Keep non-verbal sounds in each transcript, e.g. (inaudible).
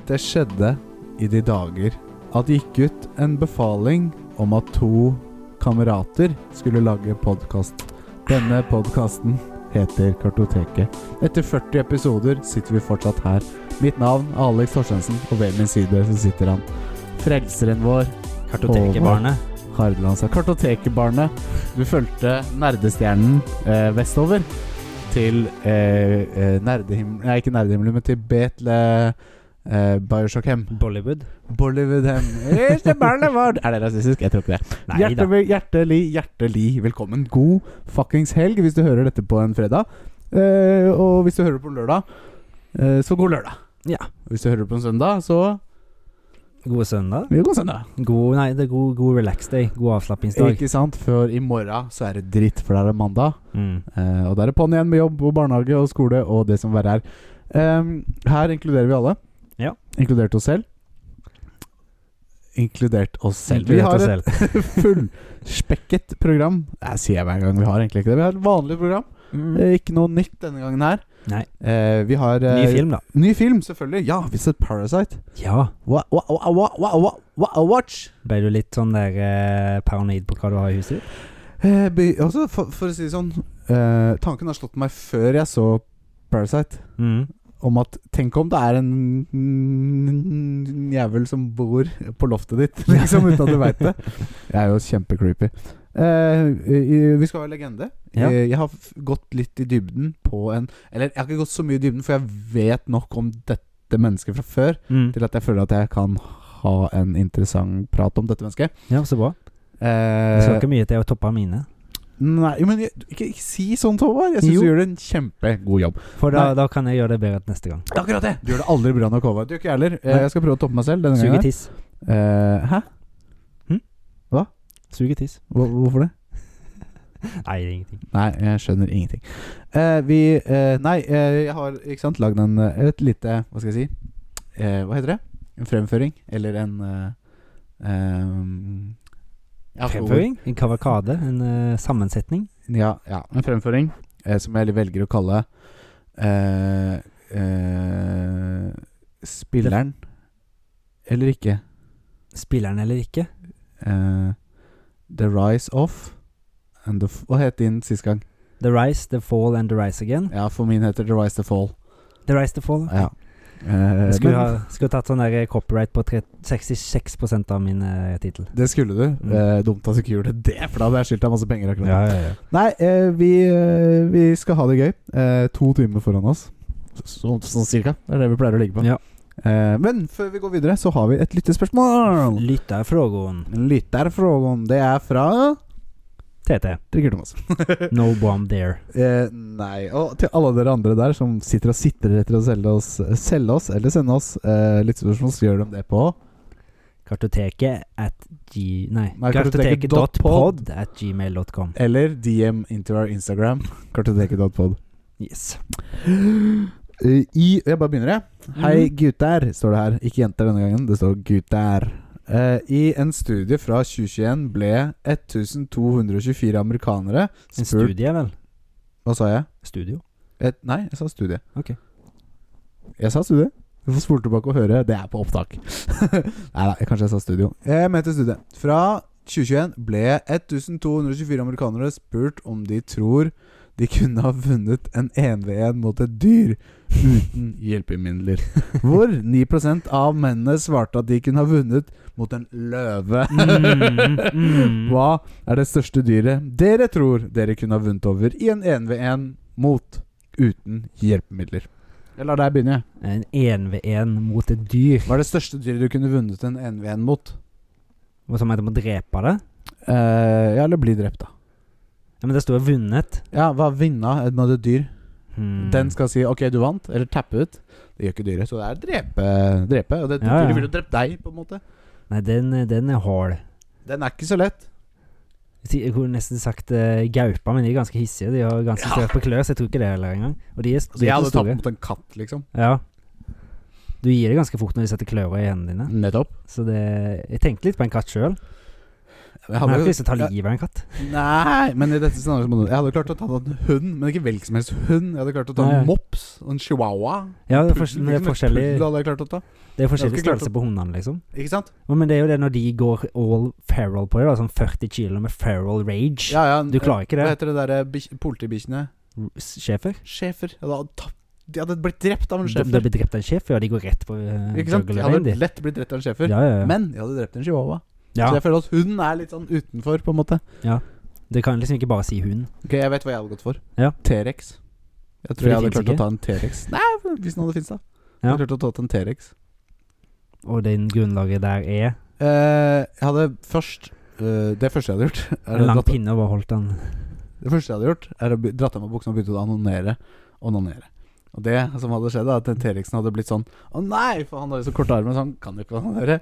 Dette skjedde i de dager at det gikk ut en befaling om at to kamerater skulle lage podkast. Denne podkasten heter Kartoteket. Etter 40 episoder sitter vi fortsatt her. Mitt navn er Alex Torstensen, og ved min side så sitter han. Frelseren vår, Kartotekebarnet. Hardeland. Kartotekebarnet. Du fulgte nerdestjernen eh, vestover til eh, eh, nerdehimmelen Nei, ikke nerdehimmelen, men til Betle eh, Bioshock Hem. Bollywood? Bollywood Hem. Here's the barnet vårt. (laughs) Er det rasistisk? Jeg tror ikke det. Nei da. Hjertelig, hjertelig, hjertelig velkommen. God fuckings helg hvis du hører dette på en fredag. Eh, og hvis du hører det på en lørdag, eh, så god lørdag. Ja. Hvis du hører det på en søndag, så God søndag. god søndag. God, nei, det er god, god relax day. God avslappingsdag. Ikke sant? Før i morgen så er det dritt, for da er det mandag. Mm. Eh, og da er det på'n igjen med jobb og barnehage og skole og det som verre er. Ehm, her inkluderer vi alle. Ja. Inkludert oss selv. Inkludert oss selv. Vi har et (laughs) fullspekket program. Det sier jeg hver gang. Vi har egentlig ikke det. Vi har et vanlig program. Eh, ikke noe nytt denne gangen her. Mm. Nei. Eh, vi har eh, Ny film, da. Ny film, selvfølgelig. Ja, vi har sett Parasite. Ja. Wha- wha- wha- wha- wha- wha- wha- Watch. Ble du litt sånn der eh, paranoid på hva du har i huset ditt? Eh, be- altså, for, for å si det sånn eh, Tanken har slått meg før jeg så Parasite. Mm. om at Tenk om det er en mm, jævel som bor på loftet ditt, (laughs) liksom, uten at du veit det. Jeg er jo kjempecreepy. Eh, i- vi skal være legende. Ja. Eh, Jeg har f- gått litt i dybden på en Eller jeg har ikke gått så mye i dybden, for jeg vet nok om dette mennesket fra før Mm. til at jeg føler at jeg kan ha en interessant prat om dette mennesket. Ja, så bra. Det skal Eh, ikke mye til å toppe mine. nei, men jeg, ikke, ikke si sånn, Håvard. Jeg syns Jo. du gjør en kjempegod jobb. For da, Nei. da kan jeg gjøre det bedre neste gang. Akkurat det! Du gjør det aldri bra nok, Håvard. Du gjør ikke jeg heller. Eh, Nei. Jeg skal prøve å toppe meg selv denne gangen. her. Suge tiss. Eh, hæ? Suge tiss. Hvor, hvorfor det? Nei, det er ingenting. Nei, jeg skjønner ingenting. Eh, vi eh, Nei, eh, jeg har ikke sant, lagd en, eh, et lite Hva skal jeg si? Eh, hva heter det? En fremføring? Eller en eh, ehm, ja, for- Fremføring? En kavakade? En eh, sammensetning? Ja, ja, en fremføring eh, som jeg velger å kalle eh, eh, Spilleren eller ikke. Spilleren eller ikke? Eh, the Rise Off and the f Hva het din sist gang? The Rise, The Fall and The Rise Again. Ja, for min heter The Rise The Fall. The Rise, The Fall. Ja. Eh, Jeg skulle, men- ha, skulle tatt sånn der copyright på tre- 66 av min uh, tittel. Det skulle du. Mm. Eh, dumt at du ikke gjorde det, for da hadde jeg skyldt deg masse penger. akkurat ja, ja. Nei, eh, vi, eh, vi skal ha det gøy. Eh, to timer foran oss. Så, sånn cirka. Det er det vi pleier å ligge på. Ja. Eh, men før vi går videre, så har vi et lyttespørsmål. Lytterfrågan, Lytterfrågan, det er fra TT. Drikker Thomas. No bomb there. Eh, nei. Og til alle dere andre der som sitter og sitter etter å selge oss, selge oss eller sende oss eh, lyttespørsmål, så gjør de det på Kartoteket at g... Nei, Nei, kartoteket.pod at gmail.com. Eller DM into our Instagram, kartoteket.pod. Yes. Eh, I, jeg bare begynner, jeg. Hei, Mhm. gutter, står det her. Ikke jenter denne gangen, det står gutter. Eh, I en studie fra 2021 ble 1224 amerikanere En spurt studie, vel? Hva sa jeg? Studio. Et, nei, jeg sa studie. Ok. Jeg sa studie. Du får spole tilbake og høre. Det er på opptak. (laughs) nei da, kanskje jeg sa studio. Jeg mente studie. Fra 2021 ble 1224 amerikanere spurt om de tror de kunne ha vunnet en 1v1 mot et dyr uten hjelpemidler. Hvor 9 av mennene svarte at de kunne ha vunnet mot en løve. Mm, mm. Hva er det største dyret dere tror dere kunne ha vunnet over i en 1v1 mot uten hjelpemidler? Jeg lar deg begynne. jeg. En én-ved-én mot et dyr. Hva er det største dyret du kunne vunnet en 1v1 mot? Hva som heter å drepe det? Eh, ja, eller bli drept, da. Ja, men det står jo 'vunnet'. Ja, hva vinna et- mot et dyr? Hmm. Den skal si 'ok, du vant', eller tappe ut. Det gjør ikke dyret, så det er drepe. drepe og det Ja, ja. dyret ville jo drept deg, på en måte. Nei, den, den er hard. Den er ikke så lett. Jeg kunne nesten sagt uh, gaupa, men de er ganske hissige. De har ganske Ja. skarpe klør, så jeg tror ikke det heller engang. Og de er, de Altså, jeg er hadde ikke tapt store. mot en katt, liksom. Ja. Du Mm. gir det ganske fort når de setter klørne i hendene dine. Nettopp. Så det Jeg tenkte litt på en katt sjøl. Jeg Men jeg har hadde, ikke lyst til å ta jeg- livet av en katt. Nei, men i dette scenarioet må du- Jeg hadde klart å ta en hund, men ikke hvilken som helst hund. Jeg hadde klart å ta Nei. en mops og en chihuahua. Ja, det er, Puddel, fors- hvilken men det er som helst puddel forskjellig, hadde jeg klart å ta. det er Jeg forskjellig skulle klart størrelse på hundene, liksom. Ikke sant? Og, men det er jo det når de går all feral på det, da, sånn 40 kilo med feral rage. Ja, ja. Du klarer ikke det. Hva heter det derre bikk- politibikkjene? Schæfer? Schæfer. Jeg hadde tapt- De hadde blitt drept av en De, schæfer. de blir drept av en schæfer, og de går rett på uh, Ikke sant? Jeg hadde lett blitt drept av en schæfer. Ja, ja, ja. Men jeg hadde drept en chihuahua. ja. Så jeg føler at hunden er litt sånn utenfor, på en måte. Du kan liksom ikke bare si hund. Ok, Jeg vet hva jeg hadde gått for. Ja. T-rex. Jeg For tror jeg hadde det finnes klart å ikke. ta en T-rex. Nei, hvis den hadde finnes, da. Jeg Ja. hadde klart å ta en T-rex. Og det grunnlaget der er Eh, jeg hadde først eh, Det første jeg hadde gjort er en å lang dratt- pinne og bare holdt den. Det første jeg hadde gjort, er å be- dratt av meg buksa og begynt å anonere. Onanere. Og det som hadde skjedd, er at T-rexen hadde blitt sånn Å nei, for han har jo så korte armer, så han kan jo ikke onanere.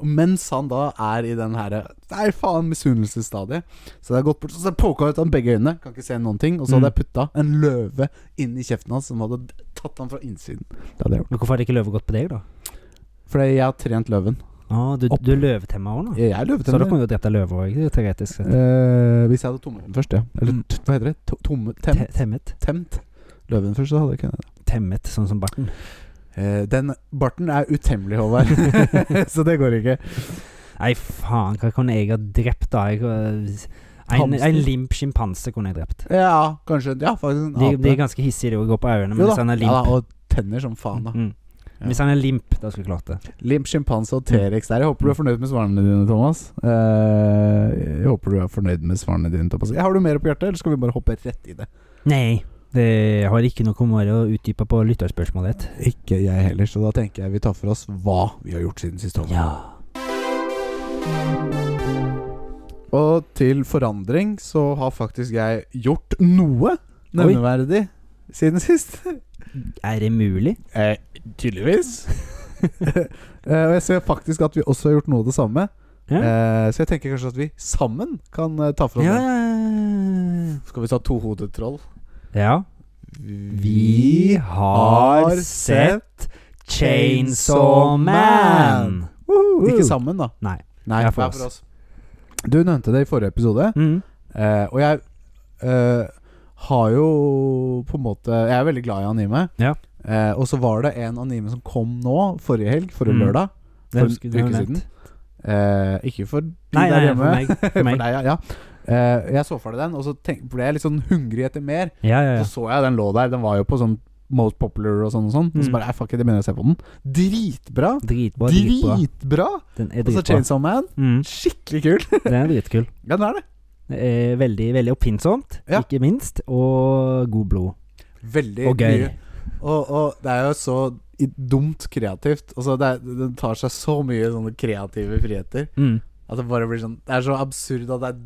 Og mens han da er i den herre Nei, faen, misunnelsesstadiet. Så det har gått bort, og så poka ut han begge øynene. Kan ikke se noen ting. Og så Mm. hadde jeg putta en løve inn i kjeften hans, som hadde tatt han fra innsiden. Det hadde jeg gjort. Men hvorfor hadde ikke løve gått på deg, da? Fordi jeg har trent løven. Ah, du, Opp. du er løvetemmer òg, nå? Jeg er Ah. Så da løvetenner. kan du jo drepe løve òg, teoretisk sett. Eh, hvis jeg hadde tommet den først, ja. Eller Mm. t- hva heter det? To- Tomme, Te- tem, Temmet. temt løven først, så hadde jeg ikke Temmet, sånn som barten. Eh, den barten er utemmelig, (laughs) Håvard. så det går ikke. Nei, faen, hva kunne jeg ha drept, da? Jeg, eh, en, Hamster. en limp sjimpanse kunne jeg drept. Ja, kanskje. Ja, faktisk en De, ape. de er ganske hissige, de å gå på øynene, men jo hvis han da. er Ja, da, limp og tenner som faen, da. mm. Ja. Hvis han er limp, da skulle jeg klart det. Limp, sjimpanse og T-rex der. Jeg håper du Mm. er fornøyd med svarene dine, Thomas. Eh, jeg håper du er fornøyd med svarene dine, Thomas. Har du mer på hjertet, eller skal vi bare hoppe rett i det? Nei, det har ikke noe om å utdype på lytterspørsmålet ditt. Ikke jeg heller, så da tenker jeg vi tar for oss hva vi har gjort siden sist. Håvard. Ja. Og til forandring så har faktisk jeg gjort noe nevneverdig siden sist. Er det mulig? (laughs) Eh, tydeligvis. (laughs) eh, og jeg ser faktisk at vi også har gjort noe av det samme. Ja. Eh, så jeg tenker kanskje at vi sammen kan eh, ta fra Ja. den. Skal vi ta tohodet troll? ja. Vi har sett Chainsaw Man. Woohoo! Ikke sammen, da. Nei. Nei Ja, hver for for, oss. oss. Du nevnte det i forrige episode, Mm. eh, og jeg eh, har jo på en måte Jeg er veldig glad i anime. Ja. Eh, og så var det en anime som kom nå, forrige helg, forrige Mm. lørdag. Det For husker en du har uke nevnt. siden. Eh, ikke for de Nei, der nei, for hjemme. (laughs) meg. (laughs) For meg. deg, ja. ja. Eh, jeg så for deg den, og så tenk, ble jeg litt sånn hungrig etter mer. Ja, ja, ja. Så så jeg den lå der. Den var jo på sånn Most Popular og sånn. Og sånn Og så Mm. bare "Nei, fuck it, jeg begynner å se på den. Dritbra! Dritbra. Dritbra! dritbra. Den er Og så dritbra. Chainsaw Man. Mm. Skikkelig kul! Den er dritkul. ja, den er det. Det er veldig, veldig oppfinnsomt, Ja. ikke minst, og god blod. Veldig Og gøy. mye. Og, og det er jo så i- dumt kreativt. Altså, det er, den tar seg så mye sånne kreative friheter. Mm. At det bare blir sånn Det er så absurd at det er,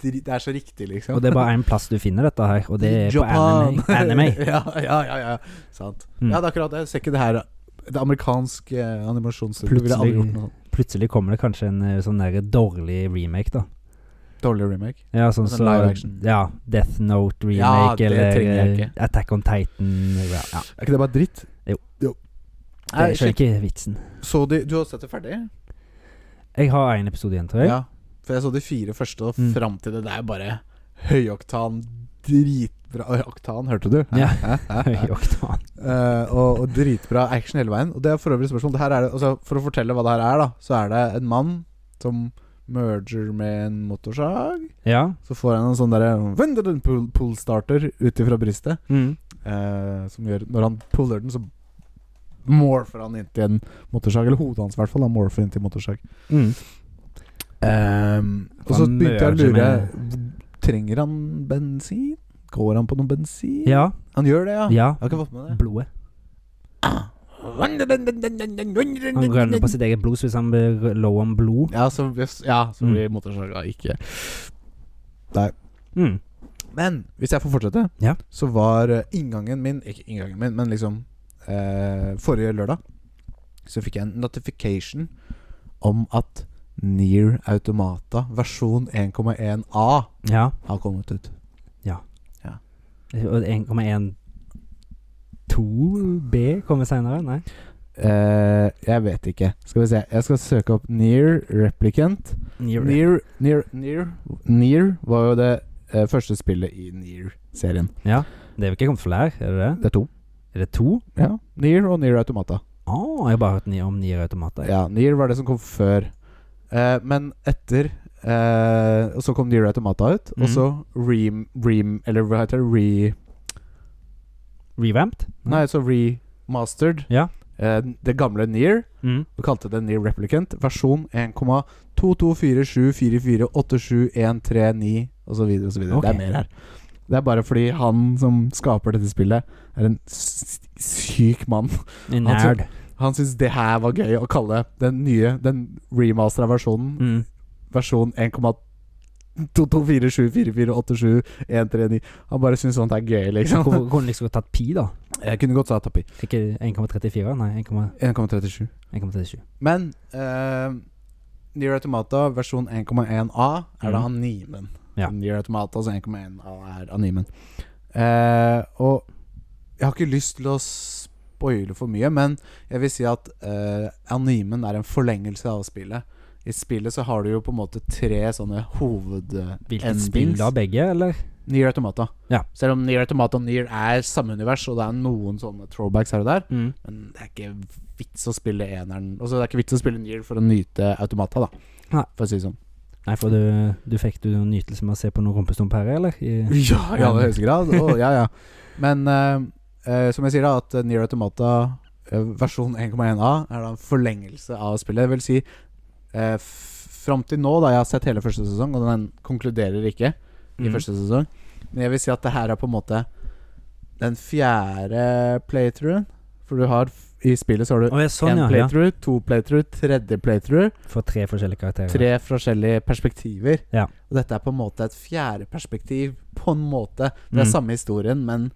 dri- det er så riktig, liksom. Og det er bare én plass du finner dette her, og det er på Japan. anime. anime. (laughs) (laughs) ja, ja, ja, ja. Sant. Mm. Ja, det er akkurat det. Jeg ser ikke det her Det amerikanske eh, animasjonsstudio ville aldri Plutselig- gjort noe sånt. Plutselig kommer det kanskje en eh, sånn der dårlig remake, da. Dårlig remake. Ja, sånn Altså så, live action. ja, Death Note Ja, remake det eller trenger jeg eh, ikke. Attack on Titan. Ja, ja. Er ikke det bare dritt? Jo. Nei, Jeg skjønner ikke vitsen. sjekk. Så de, du har sett det ferdig? Jeg har én episode igjen, tror jeg. Ja. For jeg så de fire første, og Mm. fram til det der bare høyoktan, dritbra Oi, Oktan, hørte du? (laughs) (laughs) Ja. Hæ? Hæ? Hæ? Høy oktan. Eh, og, og dritbra action hele veien. Og det er for øvrig et spørsmål. Det her er det, altså, for å fortelle hva det her er, da, så er det en mann som merger med en motorsag. Ja. Så får han en sånn derre pull-starter ut ifra bristet. Mm. Eh, som gjør Når han puller den, så morfer han inntil en motorsag. Eller hodet hans, i hvert fall. Han morfer inntil en motorsag. Mm. Ehm, og så Han begynte jeg å merger lure Trenger han bensin? Går han på noe bensin? Ja. Han gjør det, ja? Ja. Jeg har ikke fått med det. Blodet. Han rønner på sitt eget blod, så hvis han blir low on blod Ja, så, hvis- ja, så Mm. blir motorsaga ikke mm. Men hvis jeg får fortsette, Ja. så var eh, inngangen min Ikke inngangen min, men liksom eh, Forrige lørdag så fikk jeg en notification om at Near Automata versjon 1,1A har Ja. kommet ut. Og 1,1 2B kommer seinere? Nei. Eh, jeg vet ikke. Skal vi se. Jeg skal søke opp Near Replicant Near. Near, Near, Near, Near var jo det eh, første spillet i Near-serien. Ja. Det er vel ikke kommet flere, er det det? Det er to. Er det to? Ja, Near og Near Automata. Å, jeg har bare hørt ni om nier automater. Ja, Near var det som kom før. Eh, men etter eh, Og så kom Near Automata ut, og Mhm. så Ream, Ream Eller hva heter det? Re... Revamped? Nei, så Remastered. Mhm. Ja. Eh, det gamle Near. Mm. Vi kalte det Near Replicant. Versjon 1,22474487139 osv. osv. Ok. Det er mer her. Det er bare fordi han som skaper dette spillet, er en s- syk mann. En Han Nerd. Han syntes det her var gøy å kalle den nye, den remastera versjonen, Mm. versjon 1,22474487139. Han bare syntes sånt er gøy, liksom. (laughs) Hvorfor kunne du liksom godt tatt pi, da? Jeg kunne godt sagt Tapi. Ikke 1,34? Nei, 1,37. 1,37. Men eh, Nier Automata versjon 1,1A er da Mhm. animen. Ja. Nier Automata altså 1,1A er animen. Eh, og jeg har ikke lyst til å spoile for mye, men jeg vil si at eh, animen er en forlengelse av spillet. I spillet så har du jo på en måte tre sånne hoved... eh, Hvilket Endings. spill da? Begge, eller? Nier Automata. Ja. Selv om Nier Automata og Nier er samme univers, og det er noen sånne throwbacks her og der, Mm. men det er ikke vits å spille eneren Altså det er ikke vits å spille Nier for å nyte automata, da. Nei. For å si det sånn. Nei, for du, du fikk du noen nytelse med å se på noen rumpestump her, eller? I, Ja, i aller høyeste grad. Å, ja, ja. Men eh, eh, som jeg sier, da, at Nier Automata eh, versjon 1,1A er da en forlengelse av spillet. Det vil si uh, Fram til nå, da jeg har sett hele første sesong, og den konkluderer ikke i Mm. første sesong, men jeg vil si at det her er på en måte den fjerde playthroughen. For du har f- i spillet så har du Å, ja, sånn, en ja, ja. playthrough, to playthrough, tredje playthrough. For tre forskjellige karakterer. Tre forskjellige perspektiver. Ja. Og dette er på en måte et fjerde perspektiv, på en måte. Det er Mm. samme historien, men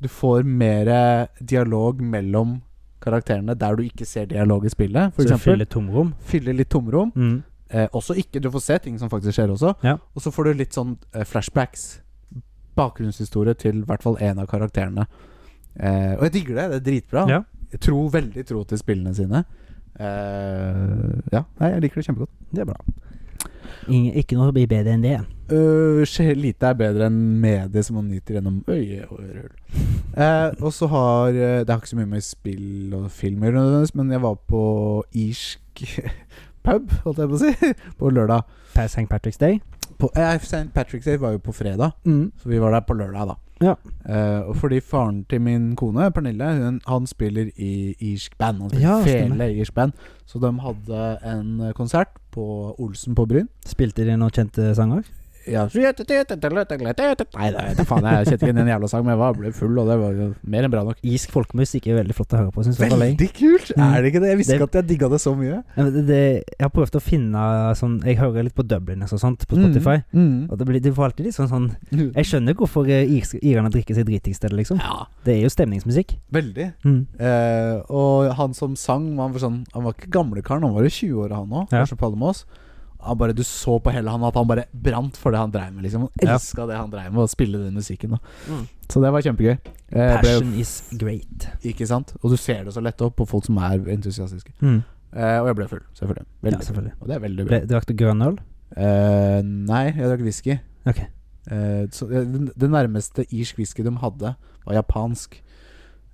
du får mer eh, dialog mellom karakterene der du ikke ser dialog i spillet, Så f.eks. du Fyller. fyller tomrom. fyller litt tomrom. Mm. Eh, også ikke Du får se ting som faktisk skjer også. Ja. Og så får du litt sånn eh, flashbacks. Bakgrunnshistorie til i hvert fall én av karakterene. Eh, og jeg digger det. Det er dritbra. Ja. Jeg tror veldig tro til spillene sine. Eh, ja, Nei, jeg liker det kjempegodt. Det er bra. Ingen, ikke noe blir bedre enn det. Øh, skje- lite er bedre enn medie som man nyter gjennom øye og ørehull. Eh, og så har eh, Det har ikke så mye med spill og film å gjøre, nødvendigvis, men jeg var på irsk (laughs) pub, holdt jeg på å si, på lørdag. Per St. Patrick's Day. På, eh, St. Patrick's Day var jo på fredag, Mm. så vi var der på lørdag, da. Ja. Eh, og fordi faren til min kone, Pernille, hun, han spiller i irsk band. Han spiller Ja, stemmer. fele i irsk band. Så de hadde en konsert på Olsen på Bryn. Spilte de noen kjente sanger? Ja. Nei, nei, det faen, jeg kjente ikke igjen en jævla sang, men jeg var, ble full, og det var jo mer enn bra nok. Irsk folkemusikk er veldig flott å høre på, syns jeg. Veldig. kult! Mm. det ikke det? Jeg Det- at jeg digga det så mye. Det, det, jeg har prøvd å finne sånn Jeg hører litt på Dubliners og sånt på Spotify. Mm. Og det blir, det får alltid litt sånn sånn Jeg skjønner hvorfor eh, irsk- irene drikker seg dritings til det, liksom. Ja, Det er jo stemningsmusikk. veldig. Eh, og han som sang, han var, sånn, han var ikke gamlekaren, han var jo 20 år, han òg. Ja. Kanskje Palmås. Han bare, du så på hele han at han bare brant for det han dreiv med. Liksom. Han Ja. elska det han dreiv med, å spille den musikken. Da. Mm. Så det var kjempegøy. Eh, ble, Passion is great. ikke sant? Og du ser det så lett opp på folk som er entusiastiske. Eh, og jeg ble full, selvfølgelig. Ja, Veldig. selvfølgelig. Og det er veldig bra. Ble, drakk du grønn øl? Eh, nei, jeg drakk whisky. Ok. Eh, så det, det nærmeste irsk whisky de hadde, var japansk.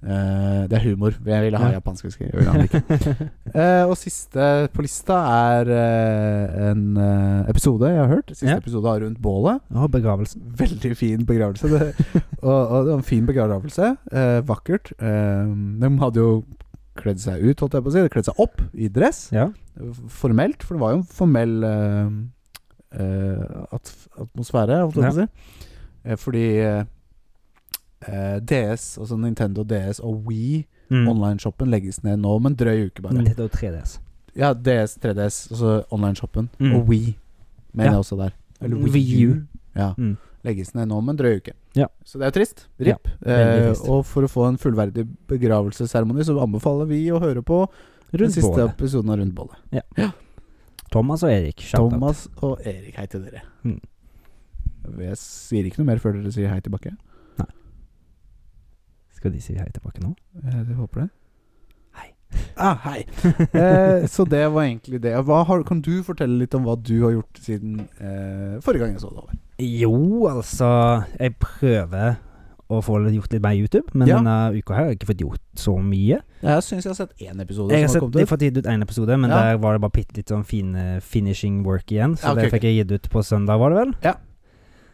Eh, det er humor. Jeg ville ha Ja. japansk whisky. Jeg ville ha den (laughs) ikke. Eh, og siste på lista er eh, en eh, episode jeg har hørt. Siste Ja. episode av Rundt bålet. Og begravelsen. Veldig fin begravelse. Det, (laughs) og, og det var en fin begravelse. Eh, vakkert. Eh, de hadde jo kledd seg ut, holdt jeg på å si. De kledd seg opp i dress Ja. formelt, for det var jo en formell eh, eh, at atmosfære, holdt jeg på å si. Eh, fordi eh, eh, DS, altså Nintendo DS og Wii, Mm. online-shoppen, legges ned nå om en drøy uke bare. Det heter jo 3DS. Ja, DS, 3DS, altså online-shoppen, Mm. og Wii, mener Ja. jeg også der. Wii U. Ja. Mm. Legges ned nå om en drøy uke. Ja. Så det er jo trist. RIP. veldig trist. Eh, og for å få en fullverdig begravelsesseremoni, så anbefaler vi å høre på den Rundt siste bålet. episoden av Rundbollet. Thomas og Erik. shout out. Thomas og Erik, hei til dere. Mm. Jeg sier ikke noe mer før dere sier hei tilbake. Skal de si hei tilbake nå? (laughs) Jeg håper det. Hei. Ah, hei. Eh, så det var egentlig det. Hva har, kan du fortelle litt om hva du har gjort siden eh, forrige gang jeg så deg over? Jo, altså Jeg prøver å få litt- gjort litt mer YouTube, men Ja. denne uka her har jeg ikke fått gjort så mye. Jeg syns jeg har sett én episode Jeg har, som sett, har jeg kommet har ut. fått gitt ut én episode, men Ja. der var det bare bitte litt sånn fine finishing work igjen. Så Ja, ok, det fikk jeg gitt ut på søndag, var det vel? Ja.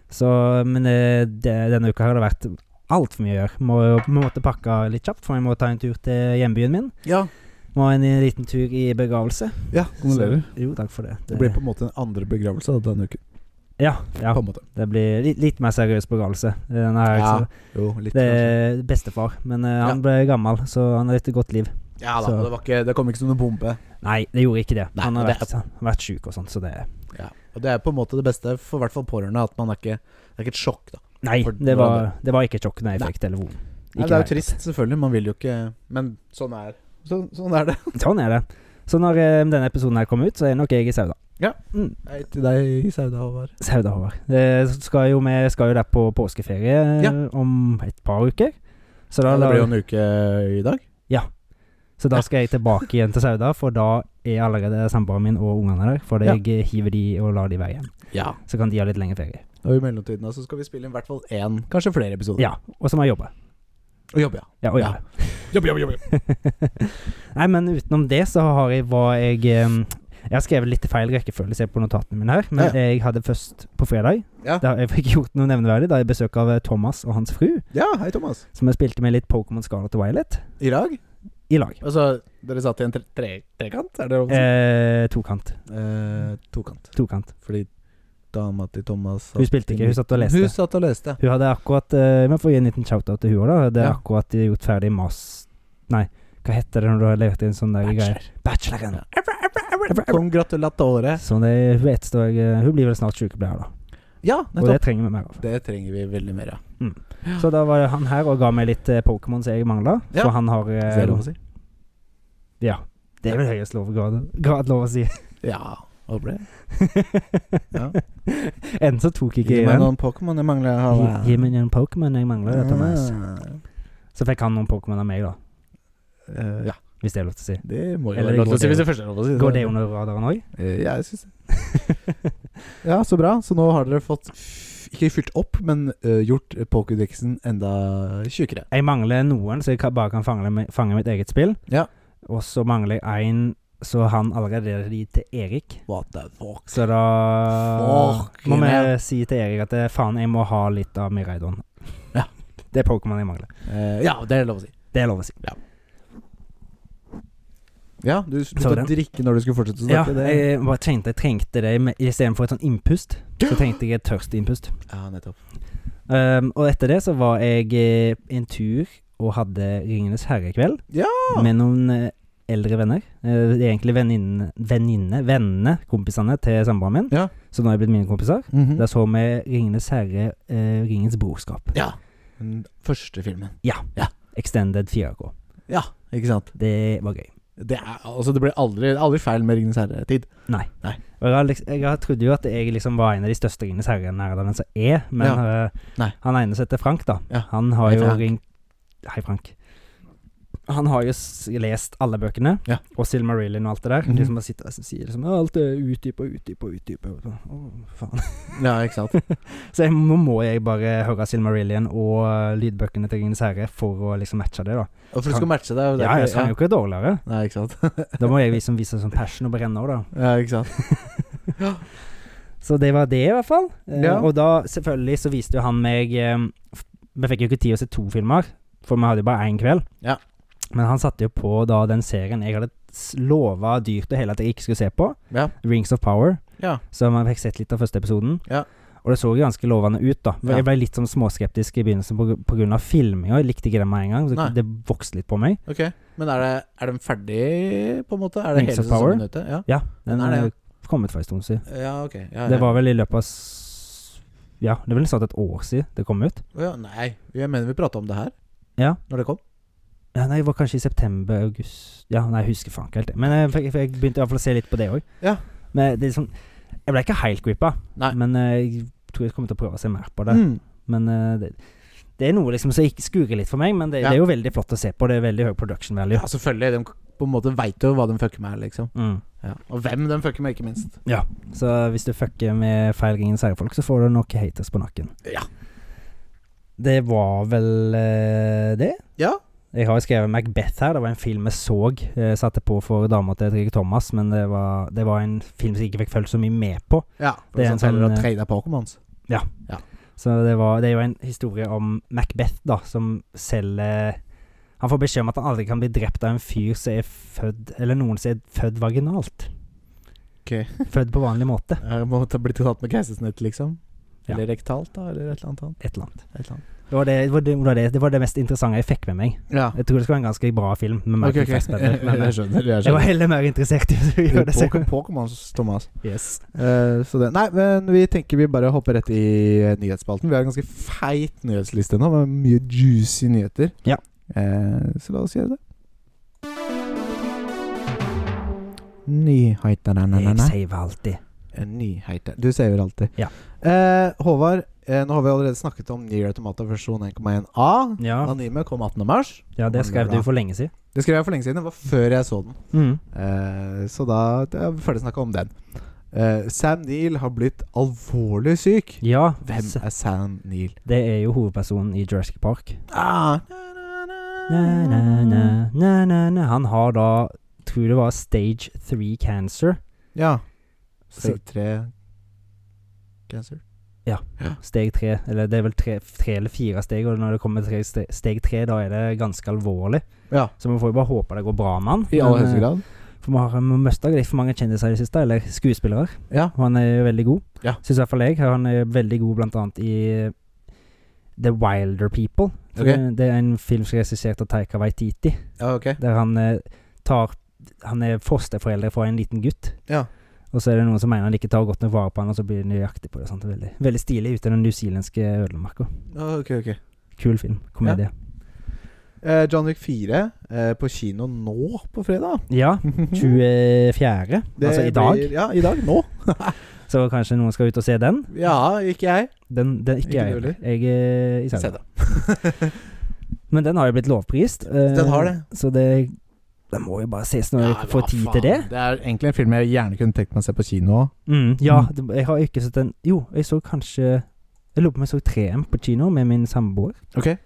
Så, men eh, det, denne uka her har det vært altfor mye å gjøre. Må jo på en måte pakke litt kjapt, for jeg må ta en tur til hjembyen min. Ja, Må ha en liten tur i begravelse. ja kondolerer. Så- Jo, takk for det. Det blir på en måte en andre begravelse da, denne uken. ja, ja, På en måte. det blir litt, litt mer seriøs begravelse. Den her, Ja, så- Jo, litt Det kanskje. er bestefar, men eh, han Ja. ble gammel, så han har et godt liv. Ja da, så- det, var ikke, det kom ikke som en bombe. Nei, det gjorde ikke det. Nei, han har det er- vært, han har vært sjuk og sånn, så det Ja. Og det er på en måte det beste for i hvert fall pårørende, at man er ikke Det er ikke et sjokk, da. Nei, For- det var, det var ikke sjokk når jeg Nei. fikk telefonen. Nei, Ikke det er jo helt. trist, selvfølgelig. Man vil jo ikke Men sånn er, så, sånn er det. (laughs) Sånn er det. Så når eh, denne episoden her kommer ut, så er nok jeg i Sauda. (laughs) Ja. Mm, Hei til deg i Sauda, Håvard. Sauda, Håvard. Eh, så skal jo vi skal jo der på påskeferie eh, Ja. om et par uker. Så da, Ja, det blir jo en uke eh, i dag. så da skal jeg tilbake igjen til Sauda, for da er allerede samboeren min og ungene der. For Ja. jeg eh, hiver de og lar de være igjen. Ja. Så kan de ha litt lengre ferie. Og i mellomtiden da, så skal vi spille inn i hvert fall én, kanskje flere episoder. Ja, og så må jeg jobbe. Og jobbe, ja. Ja, og Ja. jobbe. Nei, men utenom det så har jeg hva jeg eh, Jeg har skrevet litt i feil rekkefølge, ser jeg på notatene mine her. Ja, Men jeg hadde først på fredag. Ja. Da jeg fikk gjort noe nevneverdig da jeg besøk av eh, Thomas og hans fru. Ja, hei, Thomas. Som jeg spilte med litt Pokémon Scarlet og Violet I dag? i lag. Altså, dere satt i en tre tre trekant? Er det lov å si? Eh, tokant. Eh, tokant. Tokant. Fordi dama til Thomas Hun spilte ikke, hun satt og leste. Hun satt og leste. Hun hadde akkurat eh, Vi får gi en liten shout-out til hun òg, da. Hun hadde Ja. akkurat gjort ferdig mas... Nei, hva heter det når du har levert inn sånn der greie? Bacheloren. Congratulatore. Så det, hun, vet, så jeg, eh, hun blir vel snart sykepleier, da. Ja, Og det nettopp. trenger vi mer av. Det trenger vi veldig mer av. Så da var han her og ga meg litt eh, Pokémon som jeg mangla. Ja. For han har eh, Hvis det er lov å si. Ja. Det er vel høyest lov, grad, grad lov å si. (laughs) Ja. Håper det. (laughs) Ja. Enn så tok ikke Gi jeg meg den. noen Pokémon jeg mangler. Gi, Håvard. gi meg en Pokémon jeg mangler, da, Thomas. Ah. Så fikk han noen Pokémon av meg, da. Eh, ja, Hvis det er lov til å si. det må jo Eller være lov går til å si det- hvis det første er lov å si. Går det under radaren òg? Eh, Ja, jeg syns det. (laughs) ja, så bra. Så nå har dere fått f- ikke fylt opp, men eh, gjort Pokédexen enda tjukkere. Jeg mangler noen, så jeg kan, bare kan fange, mi- fange mitt eget spill. Ja. Og så mangler jeg én, så han allerede er de til Erik. What the fuck? Så da Fucking må vi hell. si til Erik at eh, faen, jeg må ha litt av Miraidon. Ja. (laughs) Det er Pokémon jeg mangler. Eh, ja, det er lov å si. Det er lov å si. Ja, du sluttet Sorry. å drikke når du skulle fortsette å Ja, snakke. det. jeg bare trengte, jeg trengte det men Istedenfor et sånn innpust, (gasps) så trengte jeg et tørst innpust. ja nettopp. Um, og etter det så var jeg eh, en tur og hadde Ringenes herre-kveld Ja! med noen eh, eldre venner. Eh, det er egentlig venninne, venninne, vennene, kompisene til samboeren min. Ja. Så nå er jeg blitt mine kompiser. Mhm. Der så vi Ringenes herre, eh, Ringens brorskap. Ja. Den første filmen. Extended 4K. Ja, ikke sant. Det var gøy. Det, er, altså, det blir aldri, aldri feil med Ringenes herre-tid. Og jeg, har liksom, jeg har- trodde jo at jeg liksom var en av de største Ringenes herre-nerdene som er, men eh, Nei. han ene som heter Frank, da, Ja. han har Hei, jo Frank. ringt Hei, Frank. Han har jo s lest alle bøkene, Ja. og Silmarillion og alt det der. Mhm. De som bare sitter og sier liksom «Ja, Alt er utdypa, utdypa, utdypa. sånn.» Å, faen. (laughs) Ja, ikke sant. Så jeg, nå må jeg bare høre Silmarillion og eh, lydbøkene til Ringenes herre for å liksom matche det, da. Og for du skal matche det. og det er Ja, jeg ikke- kan jo ikke dårligere. Nei, ikke sant. (laughs) Da må jeg liksom vise sånn passion og brenne òg, da. Ja, ikke sant. Så det var det, i hvert fall. Eh, Ja. Og da, selvfølgelig, så viste jo han meg eh, f- Vi fikk jo ikke tid å se to filmer, for vi hadde jo bare én kveld. Ja. Men han satte jo på da den serien jeg hadde lova dyrt og hele at jeg ikke skulle se på, Ja. Rings of Power. Ja. Så man fikk sett litt av første episoden. Ja. Og det så jo ganske lovende ut, da. Ja. Jeg ble litt sånn småskeptisk i begynnelsen på, på grunn av filminga. Jeg likte ikke det med en gang. Nei. Så det vokste litt på meg. Ok, Men er, det, er den ferdig, på en måte? Er det Rings hele of Power? sesongen ute? Ja. Ja, den Den er er det, kommet for en stund siden. ja, ok. Ja, ja. Det var vel i løpet av s- Ja, det er vel snart et år siden det kom ut. Å ja, nei, jeg mener vi prata om det her. Ja. Når det kom. Ja, nei, det var kanskje i september, august Ja, nei, jeg husker faen ikke helt det. Men jeg, fikk- jeg begynte i hvert fall å se litt på det òg. Ja. Men det er sånn Jeg ble ikke helt grippa, Nei. men eh, jeg tror jeg kommer til å prøve å se mer på det. Mm. Men eh, det, det er noe liksom som ikke skurer litt for meg, men det, Ja. det er jo veldig flott å se på. Det er veldig høy production value. Ja, selvfølgelig. De på en måte veit jo hva de fucker med, liksom. Mm. Ja. Og hvem de fucker med, ikke minst. Så hvis du fucker med feil Ringen Seier-folk, så får du noe haters på nakken. Ja. Det var vel eh, det. Ja. Jeg har jo skrevet Macbeth her. Det var en film jeg så. Jeg satte på for dama til Trygve Thomas, men det var, det var en film som jeg ikke fikk følt så mye med på. ja. Det er en sånn heller å sånn, eh, trade Pokémons. Så det, var, det er jo en historie om Macbeth, da, som selger Han får beskjed om at han aldri kan bli drept av en fyr som er født Eller noen som er født (laughs) vaginalt. Ok. Født på vanlig måte. Jeg må ta, bli tatt med keisersnitt, liksom. Ja. Eller rektalt, da, eller et eller annet annet. Et eller annet. Et eller annet. Det var det, det, var det, det var det, det, var det mest interessante jeg fikk med meg. Ja. Jeg tror det skal være en ganske bra film. Med Ok, Michael ok. Fassbender, (laughs) men eh, Jeg skjønner. Jeg jeg var skjønner. heller mer interessert i å gjøre det selv. Poké- Pokémons, Thomas. Yes. Eh, så det. Nei, men vi tenker vi bare hopper rett i eh, nyhetsspalten. Vi har en ganske feit nyhetsliste nå, med mye juicy nyheter. Ja. Eh, så la oss gjøre det. Nyheter nei, nei, nei, Jeg nei. saver alltid. Eh, Nyheter. Du saver alltid. Ja. Eh, Håvard, eh, nå har vi allerede snakket om Near Automata versjon 1,1A. Ja, Anime kom 18. mars. ja, det skrev du for lenge siden. Det skrev jeg for lenge siden. Det var før jeg så den. Eh, så da det er ferdig snakka om den. Eh, Sam Neill har blitt alvorlig syk. Ja, Hvem s- er Sam Neill? det er jo hovedpersonen i Jurassic Park. Ah. Na, na, na, na, na, na. Han har da, tror det var stage 3 cancer. Ja. Så- Stage 3 cancer. Steg 3, eller det er vel tre, tre eller fire steg, og når det kommer tre, ste- steg 3, da er det ganske alvorlig. Ja. Så vi får jo bare håpe det går bra med han. I aller Men, høyeste eh, grad. For vi har vi har mista litt for mange kjendiser i det siste, eller skuespillere. Ja. Og han er jo veldig god. Ja. Syns i hvert fall jeg. Han er veldig god blant annet i eh, The Wilder People. Så Ok. Det, det er en film som er regissert av Taika Waititi, ja, ok. der han eh, tar Han er fosterforeldre for en liten gutt. Ja. Og så er det noen som mener han ikke tar godt nok vare på han, og så blir de nøyaktig på det. Sant? Veldig, veldig stilig ute i den newzealandske ødemarka. Ja, ok, ok. Kul film. Komedie. Eh, John Wick 4 eh, på kino nå på fredag. Ja. (laughs) 24. Det altså i dag. Blir, ja, i dag. Nå. Så kanskje noen skal ut og se den. Ja, ikke jeg. Den, den ikke, Ikke jeg. du heller? Jeg er i Se Sauda. det. (laughs) Men den har jo blitt lovprist. eh, Den har det. Så det Den må jo bare ses når Ja, jeg får hva tid faen. til det. Det er egentlig en film jeg gjerne kunne tenkt meg å se på kino òg. Mm, ja, det, jeg har ikke sett den Jo, jeg så kanskje Jeg lurer på om jeg så 3M på kino med min samboer. Ok,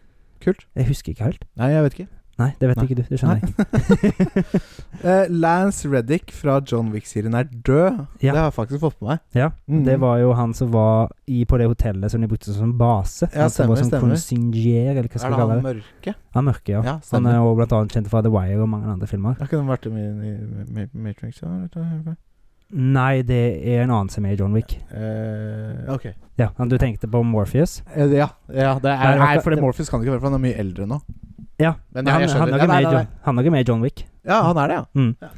kult. Jeg husker ikke helt. Nei, jeg vet ikke. Nei, det vet Nei. ikke du. Det skjønner jeg. Eh, Lance Reddick fra John Wick-serien er død. Ja. Det har jeg faktisk fått med meg. Ja, Mm. Det var jo han som var i, på det hotellet som de brukte som base. Ja, han som var som stemmer, stemmer. consigliere, eller hva Er skal det vi kalle han det? mørke? Han mørke, ja. Ja, han stemmer. er jo blant annet kjent fra The Wire og mange andre filmer. Har ikke den vært i min- i Ma- Matrix? ja, eller hva? Nei, det er en annen som er i John Wick. Eh, ok. Ja, han du tenkte på Morpheus? Eh, det- Ja, ja det er, Nei, det var nei, ikke- for det Morpheus kan det ikke være, for han er mye eldre nå. Ja, Men han, jeg, jeg han, skjønner. er ikke nei, med i nei, nei. John, han er ikke med i John Wick. Ja, han er det, ja.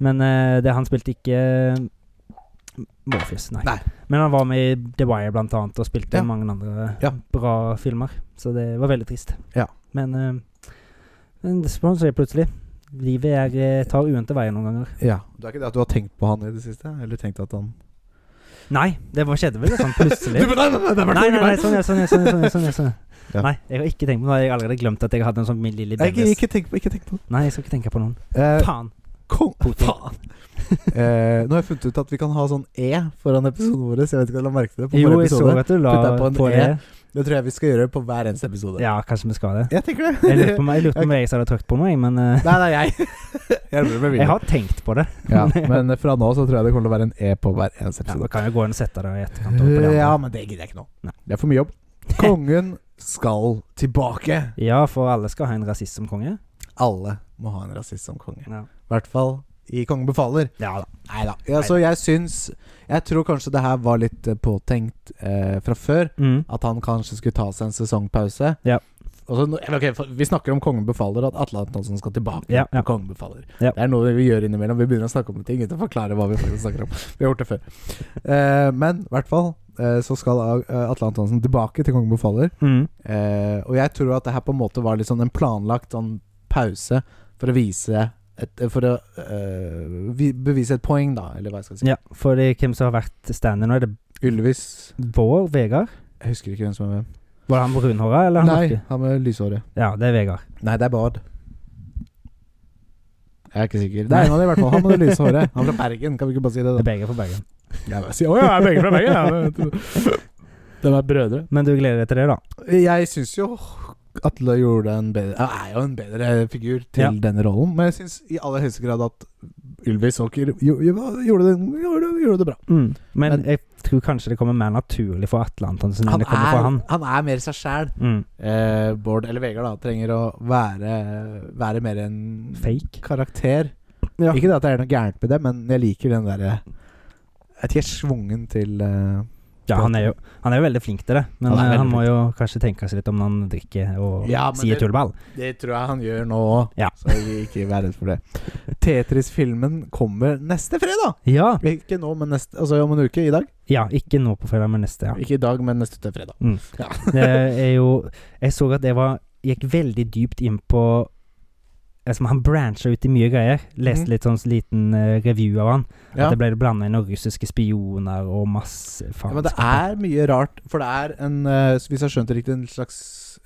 Men eh, det, han spilte ikke eh, Morpheus, nei. Nei. Men han var med i The Wire blant annet, og spilte Ja. mange andre Ja. bra filmer. Så det var veldig trist. Ja. Men, eh, men det sponser jeg plutselig. Livet er, eh, tar uendte veier noen ganger. ja. Det er ikke det at du har tenkt på han i det siste? Eller tenkt at han Nei, det var skjedde vel sånn plutselig. (laughs) Du, nei, nei, nei, det er nei, nei, nei, sånn er sånn er, sånn er, sånn er, sånn er, sånn er. Ja. Nei, jeg har ikke tenkt på noe. Jeg har allerede glemt at jeg hadde en sånn min lille Nei, ikke, Dennis. ikke tenk på Ikke tenk på Nei, jeg skal ikke tenke på noen. Eh, Faen. Kong Putin. Faen! (laughs) eh, nå har jeg funnet ut at vi kan ha sånn E foran episoden vår. Så jeg vet ikke om du la merke til det på Jo, forrige jeg så episode. at du la Putta på en på det. E. Det tror jeg vi skal gjøre på hver eneste episode. Ja, kanskje vi skal det. Jeg tenker det. Jeg (laughs) lurte på om jeg, lurte på om jeg som hadde trykt på noe, jeg, men eh, nei, nei, jeg. (laughs) jeg rører med jeg vilje. har tenkt på det. Ja, men (laughs) fra nå så tror jeg det kommer til å være en E på hver eneste Ja, da episode. kan jeg gå inn og sette det i etterkant. og på det Ja, andre. men det gidder jeg ikke nå. Nei. Det er for mye jobb. (laughs) Kongen skal tilbake. ja, for alle skal ha en rasist som konge. Alle må ha en rasist som konge. Ja, I hvert fall i Kongen befaler. ja da. Nei da. Altså, jeg syns Jeg tror kanskje det her var litt eh, påtenkt eh, fra før. Mm. At han kanskje skulle ta seg en sesongpause. Ja. Og så nå- eller ok, for vi snakker om Kongen befaler, at Atle Antonsen skal tilbake. Ja, ja. på Kongen befaler. Ja. Det er noe vi gjør innimellom. Vi begynner å snakke om ting uten å forklare hva vi faktisk snakker om. Vi har gjort det før. Eh, men i hvert fall eh, så skal eh, Atle Antonsen tilbake til Kongen befaler. Mm. Eh, og jeg tror at det her på en måte var litt sånn en planlagt sånn pause for å vise et, For å eh, vi- bevise et poeng, da, eller hva jeg skal si. ja for det, hvem som har vært stand-in nå? Er det Ylvis Bård Vegard? Jeg husker ikke hvem som er hvem. Var det han brunhåra, eller han Nei, mørke? han med lyshåret. Ja, det er Vegard. Nei, det er Bard. Jeg er ikke sikker. Det er en av de i hvert fall. Han med det lyse håret. (laughs) Han er fra Bergen, kan vi ikke bare si det? Det er da? begge for Bergen. Jeg bare Å sier, «Å, ja, jeg er begge fra (laughs) Bergen. Ja. det vet du. De er brødre. Men du gleder deg til det, da? Jeg syns jo Atle gjorde en bedre Han er jo en bedre figur til Ja. denne rollen, men jeg syns i aller høyeste grad at Ylvis Åker jo- jo- gjorde det, gjorde, gjorde det bra. Men, Mm. Men- jeg tror kanskje det kommer mer naturlig for Atle Antonsen enn Han det kommer for er, han. han er mer seg sjæl. Mm. Eh, Bård eller Vegard da trenger å være, være mer en Fake. karakter. Ja. Ikke det at det er noe gærent med det, men jeg liker den derre Jeg vet ikke, svungen til eh, Ja, han er, jo, han er jo veldig flink til det, men Han eh, er han, veldig må jo kanskje tenke seg litt om når han drikker og Ja, men sier det- tullball. Det tror jeg han gjør nå òg, Ja. så jeg- ikke vær redd for det. Tetris-filmen kommer neste fredag! Ja. Ikke nå, men neste Altså om en uke. I dag. ja! Ikke nå på fredag, men (laughs) neste, ja. Ikke i dag, men neste til fredag. Det er jo Jeg så at det var Gikk veldig dypt inn på altså, Han brancha ut i mye greier. Leste Mhm. litt sånn liten eh, review av han. Ja. At det ble blanda inn noen russiske spioner og masse Ja, faen. men det er mye rart, for det er en eh, Hvis jeg har skjønt det riktig, en slags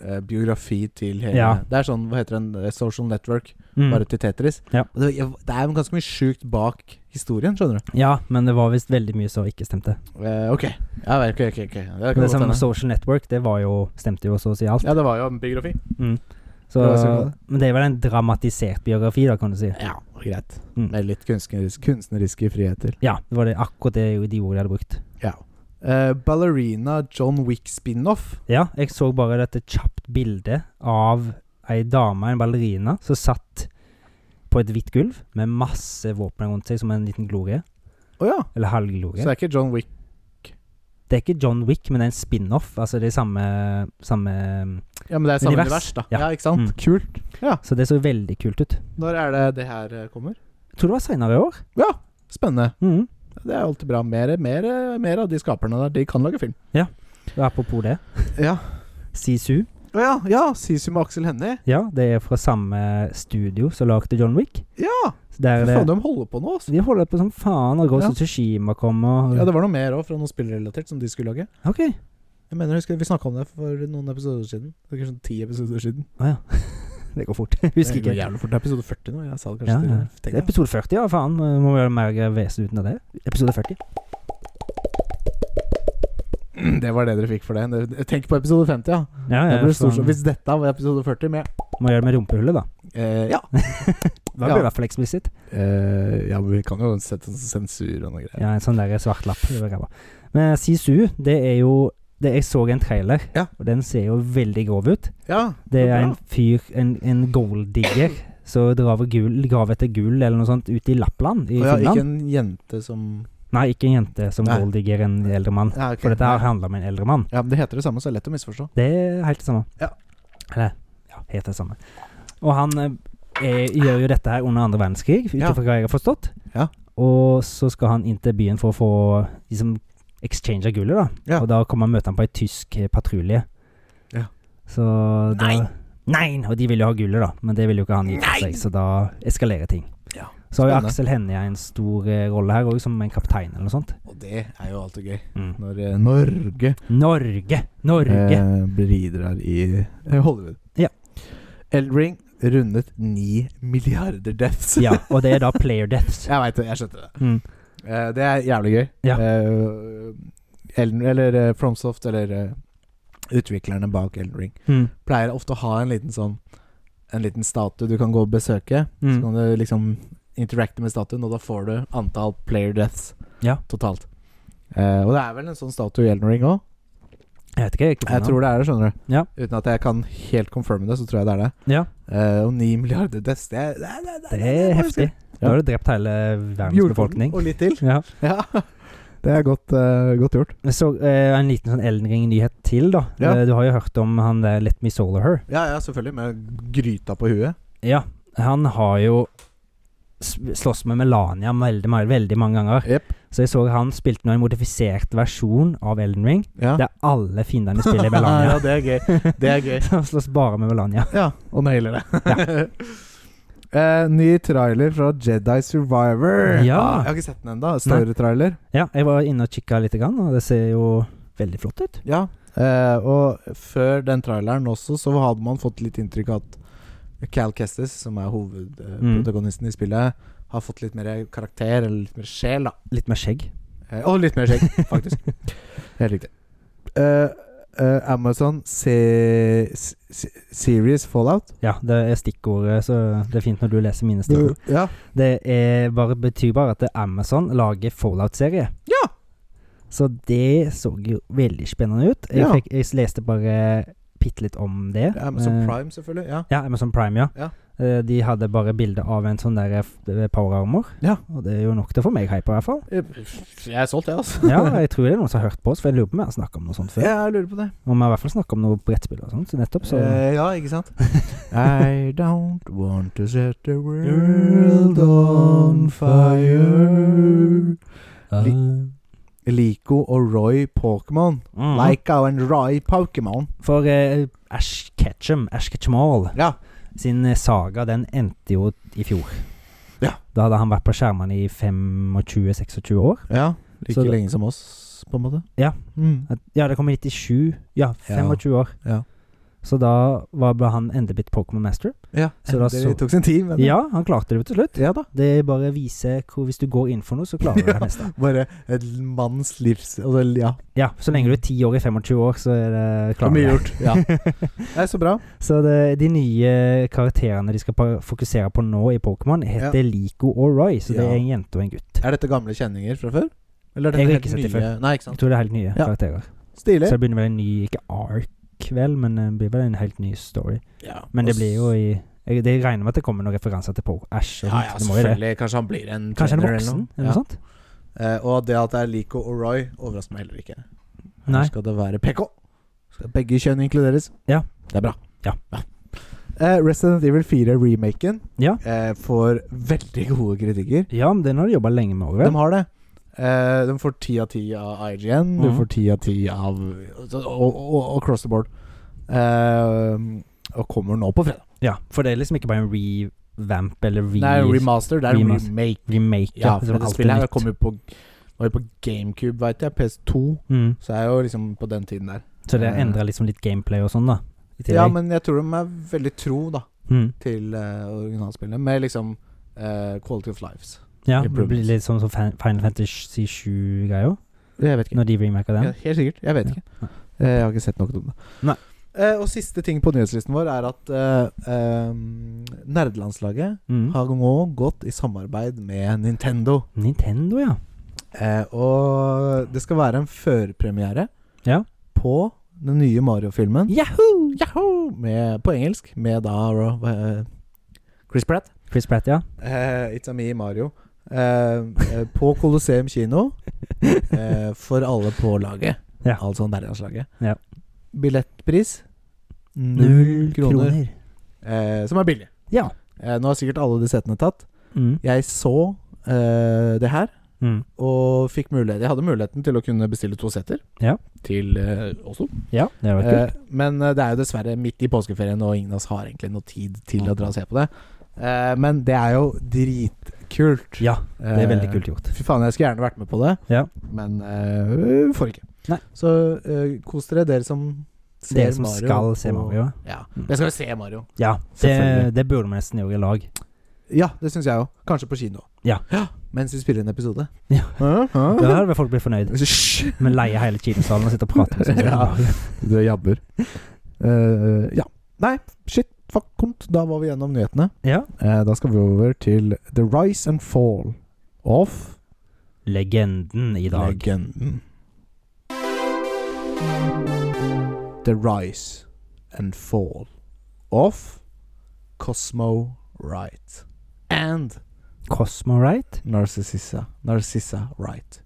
eh, biografi til hele Ja. Det er sånn, hva heter den, eh, Social Network, mm. bare til Tetris. Ja. Og Det, det er jo ganske mye sjukt bak historien, skjønner du. Ja, men det var visst veldig mye som ikke stemte. Eh, ok. Ja, ok, ok, ok. Det Men kan det samme godt med hende. Social Network, det var jo, stemte jo så å si alt. Ja, det var jo en biografi. Så, det var sånn. men det er vel en dramatisert biografi, da, kan du si. Ja, greit. Mm. Med litt kunstnerisk, kunstneriske friheter. Ja, det var det, akkurat det de ordene jeg hadde brukt. Ja. Eh, ballerina John Wick spin-off. Ja, jeg så bare dette kjapt bildet av ei dame, en ballerina, som satt på et hvitt gulv med masse våpen rundt seg, som en liten glorie. Å ja. Eller Så halvglorie. det er ikke John Wick. Det er ikke John Wick, men det er en spin-off. Altså det er samme, samme Ja, men det er samme Univers. univers, da. Ja. Ja, ikke sant? Mm. Kult. Så det så veldig kult ut. Jeg Når er det det her eh, kommer? tror det var seinere i år. Spennende. Mm. Det er alltid bra. Mer, mer, eh, mer av de skaperne der. De kan lage film. Og apropos det, Ja. Sisu. Å ja, ja. Sisu med Aksel Hennie. Ja, det er fra samme studio som lagde John Wick. Ja! Så der Fy er faen, det de holder på nå, altså. De holder på som faen, og Ghost Ja. of Tsushima kommer. og- Ja, det var noe mer òg, fra noe spillrelatert, som de skulle lage. Ok. Jeg mener, jeg husker Vi snakka om det for noen episoder siden. Det er Kanskje sånn ti episoder siden. Å ja. Det går fort. (laughs) Husker Det går ikke. jævlig fort. Det er episode 40 nå. Jeg sa det Ja, kanskje ja. til Det er episode 40, ja. Faen, må vi gjøre mer vesen uten av det. Episode 40. Tenk, (clears throat) det var det dere fikk for det. det. Tenk på episode 50, ja. Ja, Det blir stor, faen. hvis dette var episode 40 med Må gjøre det med rumpehullet, da. eh, (laughs) Ja. Da blir det i hvert fall eksplisitt. Eh, ja, men vi kan jo sette en sensur og noe greier. Ja, en sånn der svart lapp over ræva. Men Sisu, det er jo det, Jeg så en trailer, Ja. og den ser jo veldig grov ut. Ja, Det er bra. en fyr, en, en golddigger, som graver, gull, graver etter gull eller noe sånt ute i Lappland i Og ja, ikke Finland. en jente som Nei, ikke en jente som Nei. golddigger en eldre mann. ja, ok. For dette her handler om en eldre mann. Ja, men Det heter det samme, så det er lett å misforstå. Det er helt det samme. Ja. Eller ja, helt det samme. Og han eh, eh, gjør jo dette her under andre verdenskrig, ut Ja. ifra hva jeg har forstått. Ja. Og så skal han inn til byen for å få liksom, exchange av gullet, da. Ja. Og da kommer han møte han på ei tysk eh, patrulje. Ja. Så da Nei. Nei! Og de vil jo ha gullet, da, men det vil jo ikke han gi fra Nei. seg, så da eskalerer ting. Ja. Så har jo Spennende. Aksel Hennie en stor eh, rolle her òg, som en kaptein eller noe sånt. Og det er jo alltid gøy. Mm. Når eh, Norge, Norge! Norge! eh, bidrar i eh, Hollywood. Ja. Eldring rundet ni milliarder deaths. Ja, og det er da player deaths. Jeg veit det. Jeg skjønte det. Mm. Eh, det er jævlig gøy. Ja. Eh, Elden, eller eh, Fromsoft, eller eh, utviklerne bak Elden Ring, Mm. pleier ofte å ha en liten sånn En liten statue du kan gå og besøke. Så Mm. kan du liksom interacte med statuen, og da får du antall player deaths Ja. totalt. Eh, og det er vel en sånn statue i Elden Ring òg? Jeg vet ikke, jeg er ikke på Jeg den. tror det er det, skjønner du. Ja. Uten at jeg kan helt confirme det, så tror jeg det er det. Ja, Eh, og ni milliarder deaths, det er, det er, det er, det er heftig. Da har du drept hele verdens Jordkloden befolkning. Og litt til. Ja. Ja. Det er godt, eh, godt gjort. Så eh, en liten sånn Elden Ring-nyhet til, da. Ja. Eh, du har jo hørt om han der Let Me Solar Her. Ja, ja, selvfølgelig. Med gryta på huet. Ja, han har jo s- slåss med Melania veldig, ma- veldig mange ganger. Jepp. Så jeg så han spilte nå en modifisert versjon av Elden Ring, Ja. der alle fiendene spiller i (laughs) Melania. ja, det er gøy. Det er gøy. Så (laughs) han slåss bare med Melania. Ja, og nailer det. (laughs) Eh, ny trailer fra Jedi Survivor. Ja. Ah, jeg har ikke sett den ennå. Story-trailer. Ja, jeg var inne og kikka lite grann, og det ser jo veldig flott ut. Ja. Eh, og før den traileren også, så hadde man fått litt inntrykk av at Cal Kestis, som er hovedprotagonisten i spillet, har fått litt mer karakter, eller litt mer sjel, da. Litt mer skjegg. Eh, Og litt mer skjegg, faktisk. Helt riktig. Eh, eh, Amazon se se Series Fallout. Ja, det er stikkordet, så det er fint når du leser mine stikkord. Ja. Det er bare, betyr bare at det er Amazon lager Fallout-serie. Ja. Så det så jo veldig spennende ut. Jeg, Ja. fikk, jeg leste bare bitte litt om det. Amazon Eh, Prime, selvfølgelig. Ja. Ja, Amazon Prime, ja. Ja. Eh, De hadde bare bilde av en sånn der f- power armor, Ja. og det er jo nok til å få meg hype, i hvert fall. Jeg er solgt, jeg, altså. (laughs) Ja, jeg tror det er noen som har hørt på oss, for jeg lurer på om vi har snakket om noe sånt før. Jeg lurer på det. Og vi har i hvert fall snakket om noe brettspill og sånt, så nettopp, så Eh, ja, ikke sant? (laughs) I don't want to set the world on fire. Mm. Lico og Roy Pokémon. Mhm. Laika og en Roy Pokémon. For eh, Ash Ketchum, Ash Ketchum All, Ja. sin eh, saga, den endte jo i fjor. Ja. Da hadde han vært på skjermene i 25-26 år. ja. Like Så det- lenge som oss, på en måte. Ja. Mm. At- Ja, det kom i 97. Ja, 25 år. Ja. Så da var ble han endelig blitt Pokémon Master. ja. Så da det så- tok sin tid, men Ja, han klarte det jo til slutt. Ja da. Det bare viser hvor hvis du går inn for noe, så klarer (laughs) du det meste. Bare et manns livs altså, Ja. Ja, så lenge du er 10 år i 25 år, så er det klarer du det. Ja. (laughs) Nei, så bra. Så det, de nye karakterene de skal pa- fokusere på nå i Pokémon, heter Lico og Roy. Så det Ja. er en jente og en gutt. Er dette gamle kjenninger fra før? Eller er Jeg dette har helt ikke sett nye? det før. Nei, ikke Jeg sant. tror det er helt nye Ja. karakterer. Stilig. Så det begynner vel en ny, ikke ark vel, men det blir vel en helt ny story. Ja. Men det og s- blir jo i jeg, Det regner med at det kommer noen referanser til Po- Ash. Og Ja, sånt. ja, det må jo det. selvfølgelig. Kanskje han blir en Kanskje en trainer eller voksen, noe. eller Ja. noe sånt? Eh, og det at det er Lico og Roy, overrasker meg heller ikke. Her Nei. skal det være PK. Skal begge kjønn inkluderes? Ja. Det er bra. Ja. Eh, Resident Evil 4-remaken Ja. eh, får veldig gode kritikker. Ja, men den har du jobba lenge med òg, De vel? har det. Eh, de får ti av ti av IGN, de Mhm. får ti av ti av og, og, og Cross the Board. Eh, og kommer nå på fredag. Ja, for det er liksom ikke bare en revamp eller re Nei, remaster. Det er Remaster. remake. remake. Ja, for som det alt er spillet her nytt. kom jo på, var jo på GameCube, veit jeg. PS2. Mm. Så er jo liksom på den tiden der. Så det Eh. endrer liksom litt gameplay og sånn, da. I tillegg. Ja, men jeg tror de er veldig tro, da. mm. til eh, originalspillene, med liksom eh, Quality of Lives. ja, det improvements. blir litt sånn som Fan- Final Fantasy 7-greia, Jeg vet ikke. når de remaker den. Ja, helt sikkert. Jeg vet Ja. ikke. Nei. Eh, jeg har ikke sett noe om det. Nei. Eh, og siste ting på nyhetslisten vår er at eh, eh, nerdelandslaget Mm. har nå gått i samarbeid med Nintendo. Nintendo, ja. Eh, og det skal være en førpremiere Ja. på den nye Mario-filmen Yahoo! Yahoo! Med, på engelsk, med da eh, Chris Pratt. Chris Pratt, ja. Eh, it's a me, Mario. Eh, eh, på Colosseum kino eh, for alle på laget. Ja. Altså nærlandslaget. Ja. Billettpris null kroner. Eh, som er billig. Ja. Eh, nå har sikkert alle de settene tatt. Mm. Jeg så eh, det her. Mm. Og fikk mulighet Jeg hadde muligheten til å kunne bestille to setter. Ja. Til eh, også. Ja, det var kult. Eh, men eh, det er jo dessverre midt i påskeferien, og ingen av oss har egentlig noe tid til å dra og se på det. Eh, men det er jo dritkult. ja, det er veldig Eh, kult gjort. Fy faen, jeg skulle gjerne vært med på det, Ja. men øh, får ikke. Nei. Så øh, kos dere, dere som ser Dere som Mario. skal se og- Mario. Ja, Mm. dere skal jo se Mario. Ja, Selvfølgelig. det, det burde vi nesten gjøre i lag. Ja, det syns jeg òg. Kanskje på kino. Ja. Mens vi spiller en episode. Ja. Hæ? Hæ? Da hadde vel folk blitt fornøyd. Hysj! Men leie hele kinosalen og sitte og prate. med (laughs) oss om Ja. Mario. Du jabber. Eh, ja. Nei, shit, fuck kont. Da var vi gjennom nyhetene. ja. Eh, da skal vi over til The Rise and Fall of Legenden i dag. Legenden. The Rise and Fall of Cosmo Wright and Cosmo Right? Narcissa Narcissa Wright.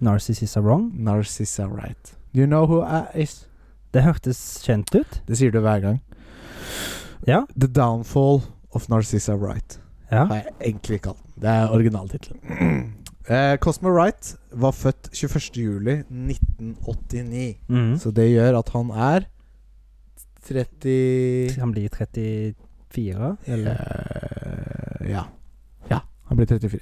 Narcissus are wrong? Narcissa Wright. Do you know who I is? Det hørtes kjent ut. Det sier du hver gang. Ja. The Downfall of Narcissa Wright ja. har jeg egentlig kalt den. Det er originaltittelen. (clears throat) Eh, Cosmo Wright var født 21.07.1989. Mhm. Så det gjør at han er 30 Han blir 34, eller? Eh, Ja. Ja, han blir 34.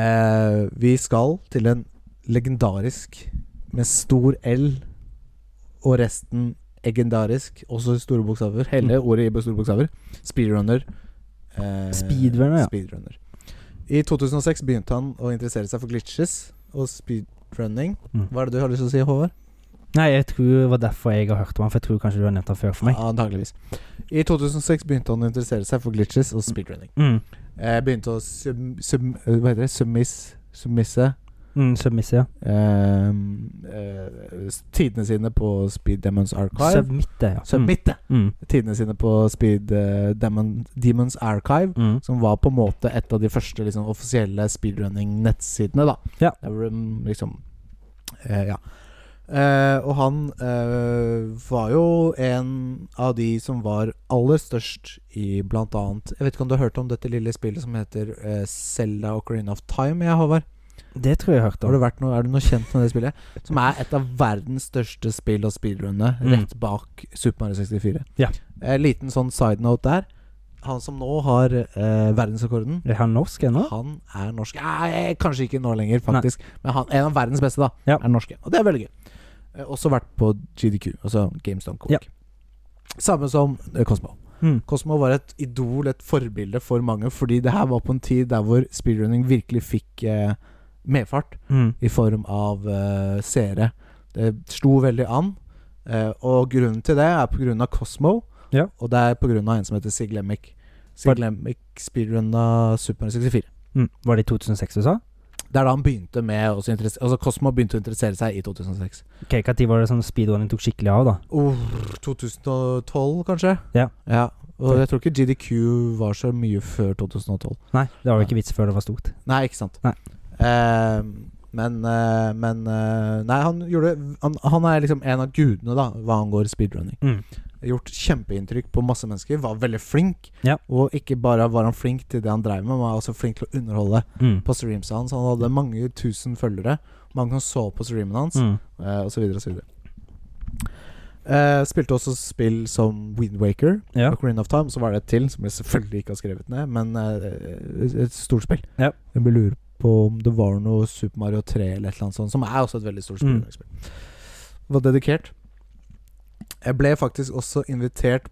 Eh, vi skal til en legendarisk med stor L og resten legendarisk, også i store bokstaver. Hele Mm. ordet i store bokstaver. Speedrunner. eh, Speedrunner, ja. speedrunner. I 2006 begynte han å interessere seg for glitches og speedrunning. Mm. Hva er det du har lyst til å si, Håvard? Nei, jeg tror det var derfor jeg har hørt om han, for jeg tror kanskje du har nevnt han før for meg. Ja, antageligvis. I 2006 begynte han å interessere seg for glitches og speedrunning. Mm. Eh, begynte å sum, sum, eh, hva heter det? Submiss, submisse Mm, Submiss, ja. eh, eh, s- tidene sine på Speed Demons Archive. Submitte, ja. Submitte! Mm. tidene sine på Speed eh, Demon, Demons Archive. Mm. Mm. Som var på en måte et av de første liksom, offisielle speedrunning-nettsidene. da Ja. Der hvor de liksom eh, Ja. Eh, og han eh, var jo en av de som var aller størst i blant annet Jeg vet ikke om du har hørt om dette lille spillet som heter eh, Zelda Ocarina of Time? Jeg, Håvard? Det tror jeg jeg har hørt Har om. du vært noe, er du noe kjent med det spillet? Som er et av verdens største spill og speedrunne, Mm. rett bak Super Mario 64. Ja. Eh, liten sånn side note der. Han som nå har eh, verdensrekorden, Er han norsk ennå? han er norsk. Nei, kanskje ikke nå lenger, faktisk. Men han, en av verdens beste, da, Ja. er norske. Og det er veldig gøy. Eh, også vært på GDQ, altså GameStone Cook. Ja. Samme som eh, Cosmo. Mm. Cosmo var et idol, et forbilde for mange, fordi det her var på en tid der hvor speedrunning virkelig fikk eh, medfart Mm. i form av eh, seere. Det slo veldig an. eh, og grunnen til det er pga. Cosmo, Ja. og det er pga. en som heter Siglemic. Siglemic speedrunna Super Mario 64. Mm. Var det i 2006 du sa? Det er da han begynte med å interesse- Altså Cosmo begynte å interessere seg i 2006. Ok, Når var det sånn speedrunning tok skikkelig av, da? Oh, 2012, kanskje? Ja. Og jeg tror ikke GDQ var så mye før 2012. Nei, det var jo ikke vits før det var stort. Nei, ikke sant. Nei. Eh, men eh, men eh, Nei, han gjorde han, han er liksom en av gudene, da, hva angår speedrunning. Mm. Gjort kjempeinntrykk på masse mennesker. Var veldig flink. Ja. Og ikke bare var han flink til det han dreiv med, men var også flink til å underholde Mm. på streamsa hans. Han hadde mange tusen følgere. Mange som så på streamen hans, Mm. eh, og så videre og så videre. Eh, spilte også spill som Windwaker, Ja. Ocarina of Time, så var det et til som jeg selvfølgelig ikke har skrevet ned, men eh, et- et stort spill. Ja. Jeg bare lurer på om det var noe Super Mario 3 eller et eller annet sånt, som er også et veldig stort spill. Mm. Var dedikert. Jeg ble faktisk også invitert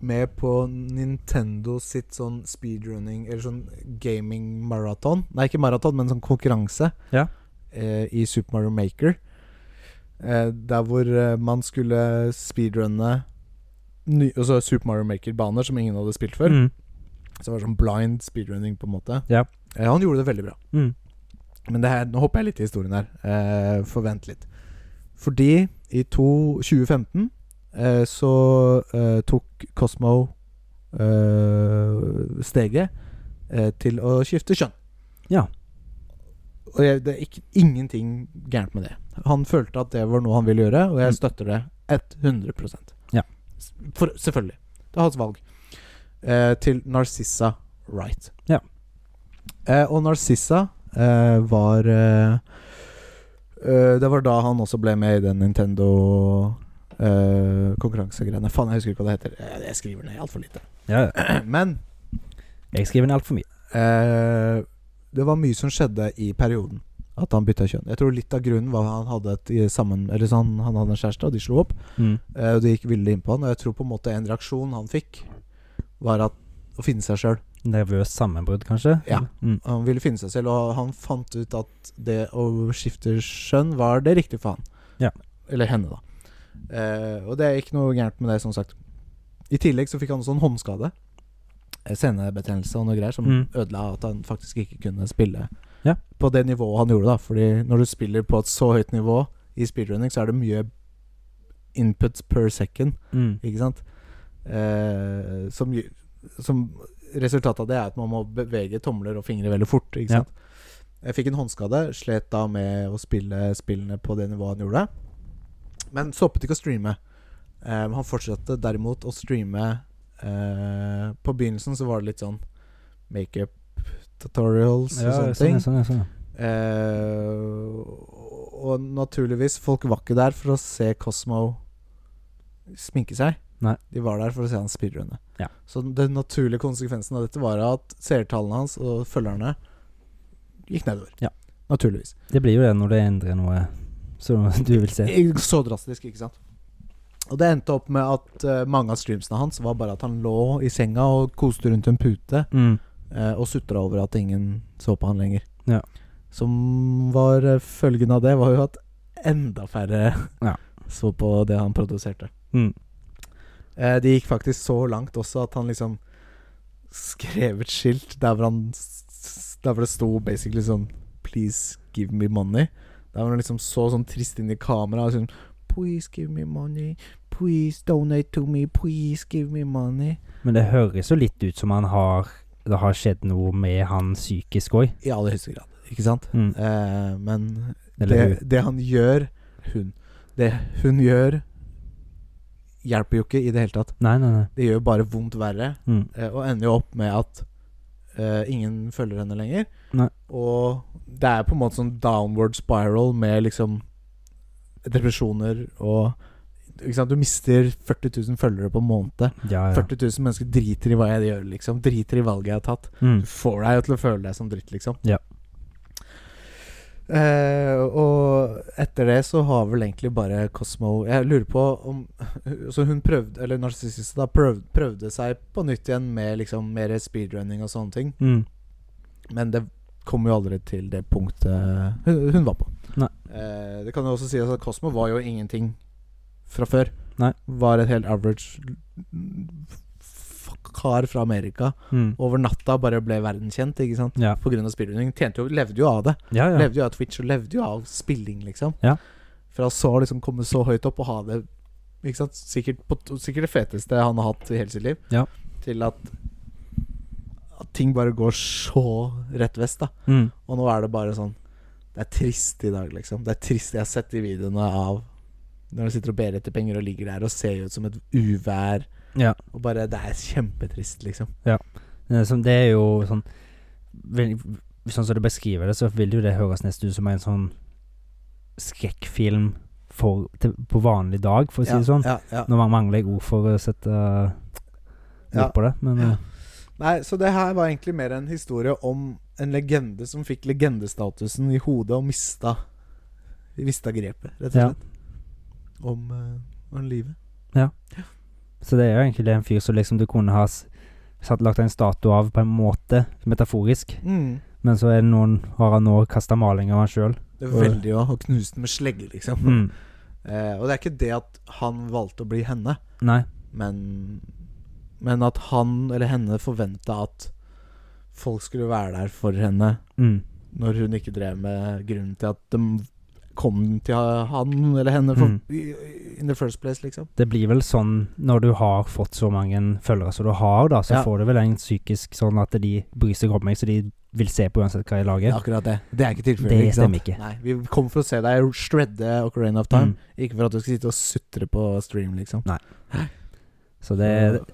med på Nintendo sitt sånn speedrunning, eller sånn gaming-maraton. Nei, ikke maraton, men sånn konkurranse Ja. eh, i Super Mario Maker. Eh, der hvor eh, man skulle speedrunne ny, altså Super Mario Maker-baner som ingen hadde spilt før. Mm. Så det var sånn blind speedrunning, på en måte. Ja. Eh, han gjorde det veldig bra. Mm. Men det her, nå hopper jeg litt i historien her. Eh, forvent litt. Fordi i to, 2015 eh, så eh, tok Cosmo eh, steget eh, til å skifte kjønn. Ja. Og jeg, det er ikke, ingenting gærent med det. Han følte at det var noe han ville gjøre, og jeg støtter det 100 Mm. Ja. S- For, Selvfølgelig. Det er hans valg. Eh, til Narcissa Wright. Ja. Eh, og Narcissa eh, var eh, eh, Det var da han også ble med i den Nintendo eh, konkurransegreiene. Faen, jeg husker ikke hva det heter. Eh, Jeg skriver ned altfor lite. (clears throat) Ja, ja. Men Jeg skriver ned altfor mye. eh, det var mye som skjedde i perioden. At han bytta kjønn. Jeg tror litt av grunnen var at han hadde, et, i- sammen, eller så han, han hadde en kjæreste, og de slo opp. Mm. Eh, Og det gikk ville inn på han Og jeg tror på en måte en reaksjon han fikk Var at å finne seg selv Nervøst sammenbrudd, kanskje? Ja. Mm. Han ville finne seg selv Og han fant ut at det å skifte skjønn Var det riktig for han Ja. Eller henne da eh, Og det er ikke noe gærent med det som sagt I tillegg så fikk han også en håndskade Eh, Senebetennelse og noe greier Som Mm. ødela at han faktisk ikke kunne spille Ja. På det nivået han gjorde da Fordi når du spiller på et så høyt nivå I speedrunning så er det mye Inputs per second Mm. ikke sant? Eh, som, gj- som resultatet av det er at man må bevege tomler og fingre veldig fort. Ikke Ja. sant? Jeg fikk en håndskade, slet da med å spille spillene på det nivået han gjorde. Men stoppet ikke å streame. Eh, han fortsatte derimot å streame eh, På begynnelsen så var det litt sånn makeup tutorials Ja, og sånne sånn, ting. ja, sånn, ja, sånn, ja. Eh, og naturligvis, folk var ikke der for å se Cosmo sminke seg. Nei. De var der for å se han speedrunne. Ja. Så den naturlige konsekvensen av dette var at seertallene hans og følgerne gikk nedover. Ja. Naturligvis. Det blir jo det når det endrer noe som du vil se. I- Så drastisk, ikke sant? Og det endte opp med at eh, mange av streamsene hans var bare at han lå i senga og koste rundt en pute Mm. eh, og sutra over at ingen så på han lenger. Ja. Som var eh, følgen av det, var jo at enda færre (laughs) Ja. så på det han produserte. Mm. Eh, det gikk faktisk så langt også at han liksom skrev et skilt der hvor han s- s- Der hvor det sto basically sånn Please give me money. Der hvor han liksom så sånn trist inn i kameraet og sånn Please give me money. Please donate to me. Please give me money. Men det høres jo litt ut som han har det har skjedd noe med han psykisk òg. I aller høyeste grad, ikke sant? Mm. Eh, men Eller det, det han gjør Hun. Det hun gjør, hjelper jo ikke i det hele tatt. Nei, nei, nei. Det gjør jo bare vondt verre, Mm. eh, og ender jo opp med at eh, ingen følger henne lenger. Nei. Og det er på en måte sånn downward spiral med liksom depresjoner og ikke sant? Du mister 40 000 følgere på en måned. Ja, ja. 40 000 mennesker driter i hva jeg gjør, liksom. Driter i valget jeg har tatt. Mm. Du får deg jo til å føle deg som dritt, liksom. Ja. Eh, og etter det så har vel egentlig bare Cosmo Jeg lurer på om Så hun prøvde, eller narsissisten da, prøvde, prøvde seg på nytt igjen med liksom mer speedrunning og sånne ting. Mm. Men det kom jo aldri til det punktet hun, hun var på. Nei. Eh, det kan jo også sies at Cosmo var jo ingenting fra før. Nei. Var et helt average f- kar fra Amerika. Mm. Over natta bare ble verdenskjent, ikke sant. Ja. På grunn av speedrunning. Tjente jo, levde jo av det. Ja, ja. Levde jo av Twitch og levde jo av spilling, liksom. Ja. Fra så liksom komme så høyt opp og ha det ikke sant? Sikkert, på, t- sikkert det feteste han har hatt i hele sitt liv, Ja. til at, at ting bare går så rett vest, da. Mm. Og nå er det bare sånn Det er trist i dag, liksom. Det er trist. Jeg har sett de videoene av når du sitter og ber etter penger og ligger der og ser ut som et uvær. Ja. Og bare Det er kjempetrist, liksom. Det er Eh, som- det er jo sånn vel, Sånn som du beskriver det, så vil jo det høres nesten ut som en sånn skrekkfilm for, til, på vanlig dag, for å si det sånn. Ja, ja, ja. Nå mangler jeg ord for å sette uh, ord Ja. på det, men Ja. uh, Nei, så det her var egentlig mer en historie om en legende som fikk legendestatusen i hodet og mista Mista grepet, rett og Ja. slett. Om, eh, om livet. Så det er jo egentlig en fyr som liksom du kunne ha s- satt, lagt en statue av på en måte, metaforisk, Mm. men så er det noen har han nå kasta maling av han sjøl. Det er veldig å å knuse den med slegge, liksom. Mm. Eh, og det er ikke det at han valgte å bli henne, Nei. men Men at han eller henne forventa at folk skulle være der for henne Mm. når hun ikke drev med grunnen til at de kom til han eller henne for, Mm. i- in the first place, liksom. Det blir vel sånn når du har fått så mange følgere som du har, da, så Ja. får du vel en psykisk sånn at de bryr seg om meg, så de vil se på uansett hva jeg Det er lager. akkurat det. Det er ikke tilfellet. det ikke sant? stemmer ikke. Nei, vi kom for å se deg shredde Ocarina of Time. Mm. Ikke for at du skal sitte og sutre på stream, liksom. Så det,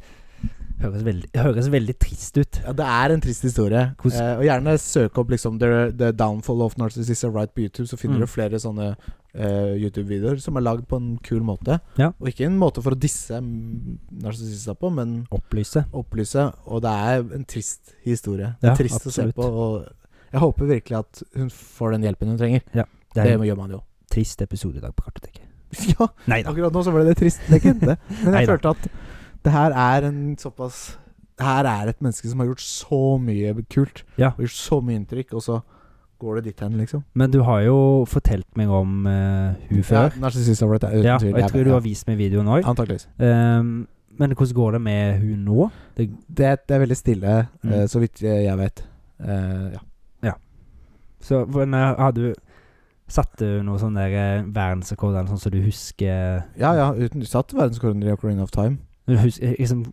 det høres, veldig, høres veldig trist ut. Ja, det er en trist historie. Hvordan- Eh, og gjerne søk opp liksom the, the Downfall of Narcissist and Right på YouTube, så finner Mm. du flere sånne eh, YouTube-videoer som er lagd på en kul måte. Ja. Og ikke en måte for å disse mm, narsissister på, men Opplyse. opplyse. Og det er en trist historie. Det Ja, er trist å se absolutt. på. Og jeg håper virkelig at hun får den hjelpen hun trenger. Det Det er en gjør (laughs) man jo. trist episode i dag på Kartoteket. ja, Nei da. Akkurat nå så ble det trist. Det er ikke det. Men jeg Neida. følte at det her er en såpass Her er et menneske som har gjort så mye kult. Ja. Og gjort så mye inntrykk, og så går det dit hen, liksom. Men du har jo fortalt meg om eh, hun før. Ja, Narsissist over dette, uten Ja, tvil. og jeg tror du har vist meg videoen òg. Antakeligvis. men hvordan går det med hun nå? Det, det er veldig stille, Mm. eh, så vidt eh, jeg vet. Eh, ja. Så hvordan eh, hadde du Satte du noe sånn der eh, verdensrekord eller sånn som du husker ja ja, uten du satt verdenskåren i Ocarina of Time? du hus- eh, liksom,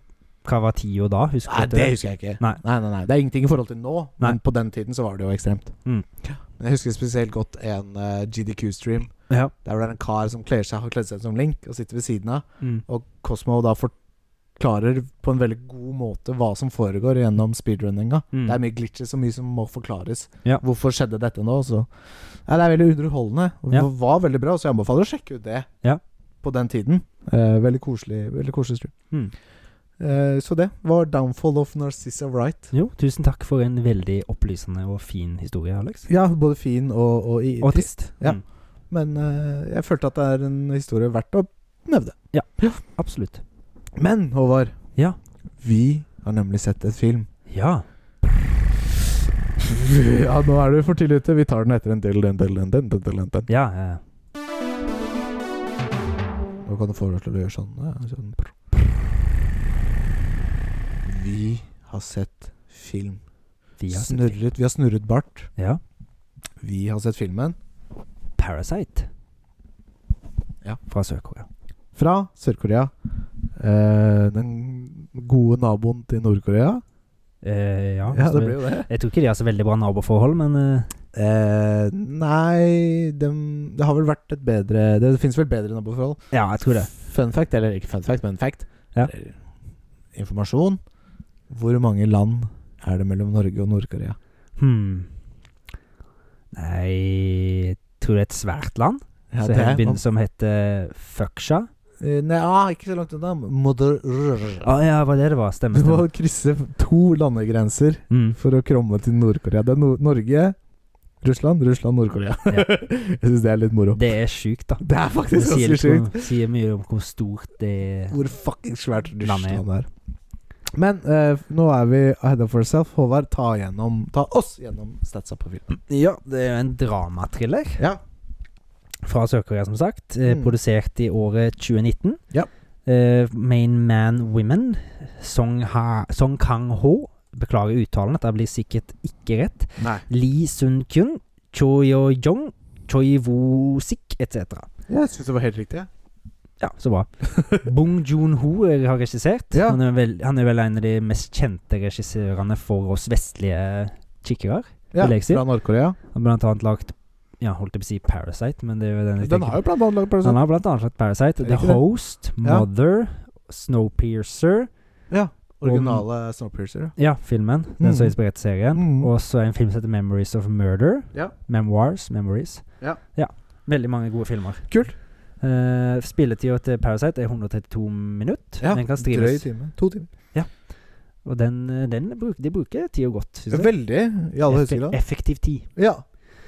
Hva var tida da? Husker Nei, du det husker jeg ikke. Nei. Nei, nei, nei. Det er ingenting i forhold til nå, Nei. men på den tiden så var det jo ekstremt. Mm. Men jeg husker spesielt godt en eh, GDQ-stream. Ja. Der hvor det er en kar som kler seg, har kledd seg som Link og sitter ved siden av. Mm. Og Cosmo da forklarer på en veldig god måte hva som foregår gjennom speedrunninga. Mm. Det er mye glitches og mye som må forklares. Ja. Hvorfor skjedde dette nå? Så. Nei, det er veldig underholdende. Og Ja. Det var veldig bra, så jeg anbefaler å sjekke ut det Ja. på den tiden. Eh, veldig koselig Veldig koselig stream. Mm. Eh, så det var 'Downfall of Narcissa Wright'. Jo, tusen takk for en veldig opplysende og fin historie, Alex. Ja, både fin og, og, i, Og trist. Ja. Mm. Men eh, jeg følte at det er en historie verdt å nevne. Absolutt. Men, Håvard, Ja. vi har nemlig sett et film. Ja. (laughs) Ja, nå er du for tidlig ute. Vi tar den etter en del, den, del, den, den, den, del, den, den. Ja, ja, ja. Nå kan du få deg til å gjøre sånn. ja, sånn. Vi har sett film. Vi har sett film. Snurret, vi har snurret bart. Ja. Vi har sett filmen Parasite. Ja. Fra Sør-Korea. fra Sør-Korea. Eh, den gode naboen til Nord-Korea. Eh, ja. Ja, så- det blir jo det. Jeg tror ikke de har så veldig bra naboforhold, men eh, Eh, nei dem, Det har vel vært et bedre Det, det fins vel bedre naboforhold. ja, jeg tror det. Fun fact, eller ikke fun fact, men fact. Ja. Eller Informasjon. Hvor mange land er det mellom Norge og Nord-Korea? Hmm. Nei jeg Tror det er et svært land Ja, så det er- det begynner, som heter Fucksha. Eh, Nei, ah, ikke så langt unna. Moder... Å ja, var det det var? Stemmer. Du må Ah, stemmer. krysse to landegrenser Mm. for å kromme til Nord-Korea. Det er no Norge, Russland, Russland, Nord-Korea. (laughs) Ja. Jeg syns det er litt moro. Det er sjukt, da. (laughs) Det er Det faktisk ganske sier, litt om- sjukt sier mye om hvor stort det hvor fucking svært Landet er. Russland er. Men eh, nå er vi ahead of ourselves. Håvard, ta, gjennom, ta oss gjennom statsa på filmen. Ja, det er jo en dramatriller Ja. fra Sør-Korea, som sagt. Eh, Mm. Produsert i året 2019. Ja. Eh, Main Man Women, Song, ha, Song Kang-ho Beklager uttalen, dette blir sikkert ikke rett. Nei. Lee Sun-kun, Cho Yo-jong, Choi Woo-sik etc. Jeg syns det var helt riktig. Ja, (laughs) så bra. Bong Joon-ho eh, har regissert. Ja. Han, er vel, han er vel en av de mest kjente regissørene for oss vestlige kikkere. Ja, Vil jeg si. fra Nord-Korea. Han har blant annet lagt Ja, holdt jeg på å si Parasite, men det er jo den jeg Den tenker har jo blant annet laget på. Han Parasite. har blant annet lagt Parasite. Er det The ikke det? Host, Ja. Mother, Snowpiercer Ja. Originale Snowpiercer. Ja, filmen. Den Mm. som inspirerte serien. Mm. Og så en film som heter Memories of Murder. Ja. Memoirs. Memories. Ja. Veldig mange gode filmer. Kult. Uh, Spilletida til Parasite er 132 minutter. Ja, den kan Drøy streames. time. To timer. Og den, eh, den bruk, de bruker tida godt, syns jeg. Veldig, i alle Effe- høyskoler. effektiv tid. Ja.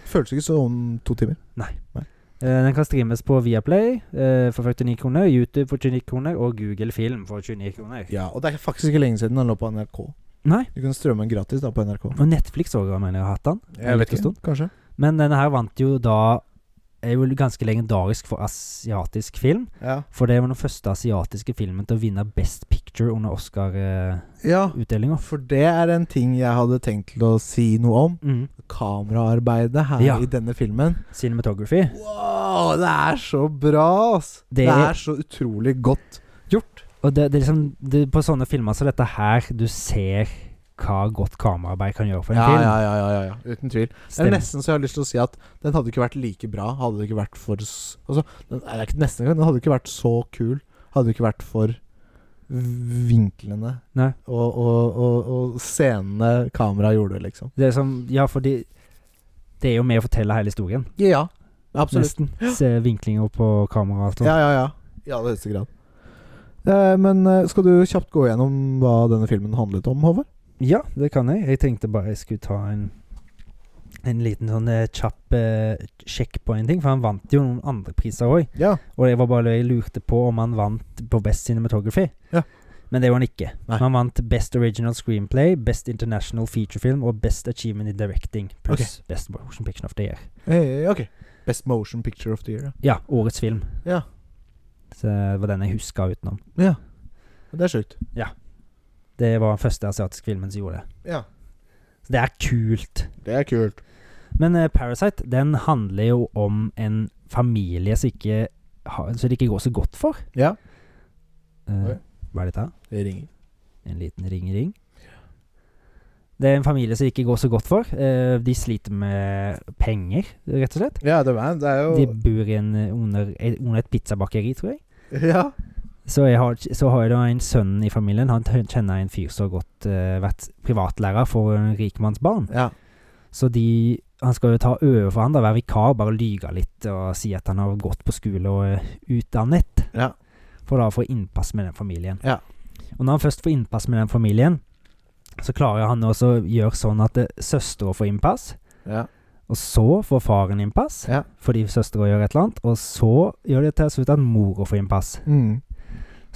Føles ikke som to timer. Eh, den kan streames på Viaplay eh, for 49 kroner, YouTube for 29 kroner og Google Film for 29 kroner. Ja, Og det er faktisk ikke lenge siden den lå på NRK. Nei, Du kan strømme den gratis da på NRK. og Netflix òg, mener jeg har hatt den. Jeg vet ikke ikke. Kanskje. Men denne her vant jo da er jo ganske legendarisk for asiatisk film. Ja. For det var den første asiatiske filmen til å vinne Best Picture under Oscar-utdelinga. ja, for det er en ting jeg hadde tenkt til å si noe om. mm. Kameraarbeidet her Ja. i denne filmen. Cinematography. Wow, det er så bra, ass! Det- Det, er så utrolig godt gjort. Og det, det er liksom det, På sånne filmer som dette her, du ser hva godt kameraarbeid kan gjøre for en Ja, film. ja, ja, ja, ja, ja. Uten tvil. Det Stem- er nesten så jeg har lyst til å si at den hadde ikke vært like bra hadde det ikke vært for s- altså, den, nei, det er ikke nesten engang. Den hadde ikke vært så kul hadde det ikke vært for vinklene Nei. og, og, og, og scenene kameraet gjorde, liksom. Det er som, ja, fordi det er jo med å fortelle hele historien, Ja, absolutt. nesten. Se vinklinger på kamera og alt sånt. sånn. Ja, ja, ja. I aller høyeste grad. Eh, men eh, skal du kjapt gå gjennom hva denne filmen handlet om, Håvard? Ja, det kan jeg. Jeg tenkte bare jeg skulle ta en en liten sånn eh, kjapp eh, sjekk på en ting, for han vant jo noen andre priser òg. Ja. Og jeg var bare jeg lurte på om han vant på Best Cinematography. Ja. Men det gjorde han ikke. Nei. Han vant Best Original Screenplay, Best International Feature Film og Best Achievement in Directing. Pluss Best Motion Picture of the Year. Eh, ok. Best motion picture of the year. Ja, årets film. Ja. Så det var den jeg huska utenom. Ja. Det er sjukt. Det var den første asiatiske filmen som gjorde det. Ja. Så det er kult. Det er kult. Men eh, Parasite den handler jo om en familie som ikke har, som det ikke går så godt for. Ja. Oi. Eh, hva er dette? Det ringer. En liten ring-ring. Det er en familie som det ikke går så godt for. Eh, De sliter med penger, rett og slett. Ja, det er, det er De bor i en, eh, under, eh, under et pizzabakeri, tror jeg. Ja. Så, jeg har, så har jeg da en sønn i familien. Han t- kjenner en fyr som har gått, eh, vært privatlærer for en rikmannsbarn. Ja. Så de, han skal jo ta over for han, da, være vikar, bare lyge litt og si at han har gått på skole og eh, utdannet. Ja. For da å få innpass med den familien. Ja. Og når han først får innpass med den familien, så klarer han også å gjøre sånn at eh, søstera får innpass, ja. Og så får faren innpass Ja. fordi søstera gjør et eller annet. Og så gjør det til slutt at mora får innpass. Mm.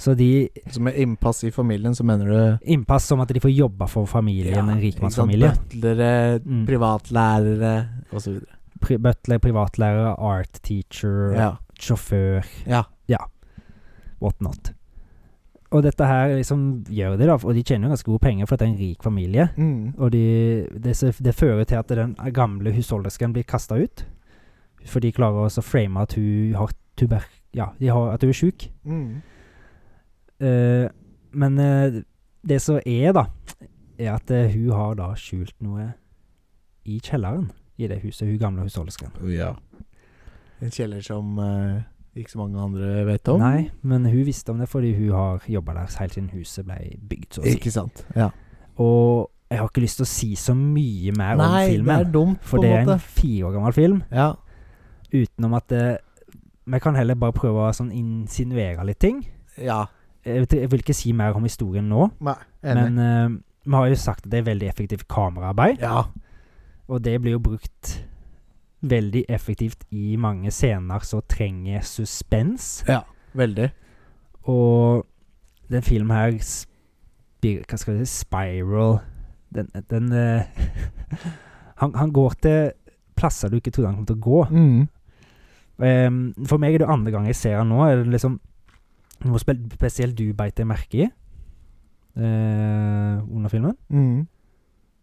Så de Så med innpass i familien, så mener du innpass som at de får jobbe for familien, en rikmannsfamilie. Butlere, Mm. privatlærere osv. Pri butler, privatlærer, art teacher, Ja. sjåfør, ja. whatnot. Og dette her liksom gjør de, da. Og de tjener jo ganske gode penger, for at det er en rik familie. Mm. Og de, det, ser- det fører til at den gamle husholdersken blir kasta ut. For de klarer også å frame at hun har tuber... Ja, de har, at hun er sjuk. Mm. Eh, men eh, det som er, da, er at eh, hun har da skjult noe i kjelleren i det huset, hun gamle husholdersken. Oh, ja. En kjeller som eh, ikke så mange andre vet om. Nei, men hun visste om det fordi hun har jobba der helt siden huset ble bygd, så å si. Ikke sant. Ja. Og jeg har ikke lyst til å si så mye mer Nei, om det er filmen, dumt, for på det en er måte. en fire år gammel film. Ja. Utenom at eh, Vi kan heller bare prøve å sånn insinuere litt ting. ja. Jeg vet- jeg vil ikke si mer om historien nå, Nei, enig. men eh, vi har jo sagt at det er veldig effektivt kameraarbeid. ja. Og det blir jo brukt veldig effektivt i mange scener som trenger suspens. ja. Veldig. Og den filmen her spir, Hva skal vi si Spiral. Den, den eh, (laughs) han, han går til plasser du ikke trodde han kom til å gå. Mm. Ehm, for meg er det andre gang jeg ser han nå. Er det liksom noe spe spesielt du beit deg merke i eh, under filmen? Mm.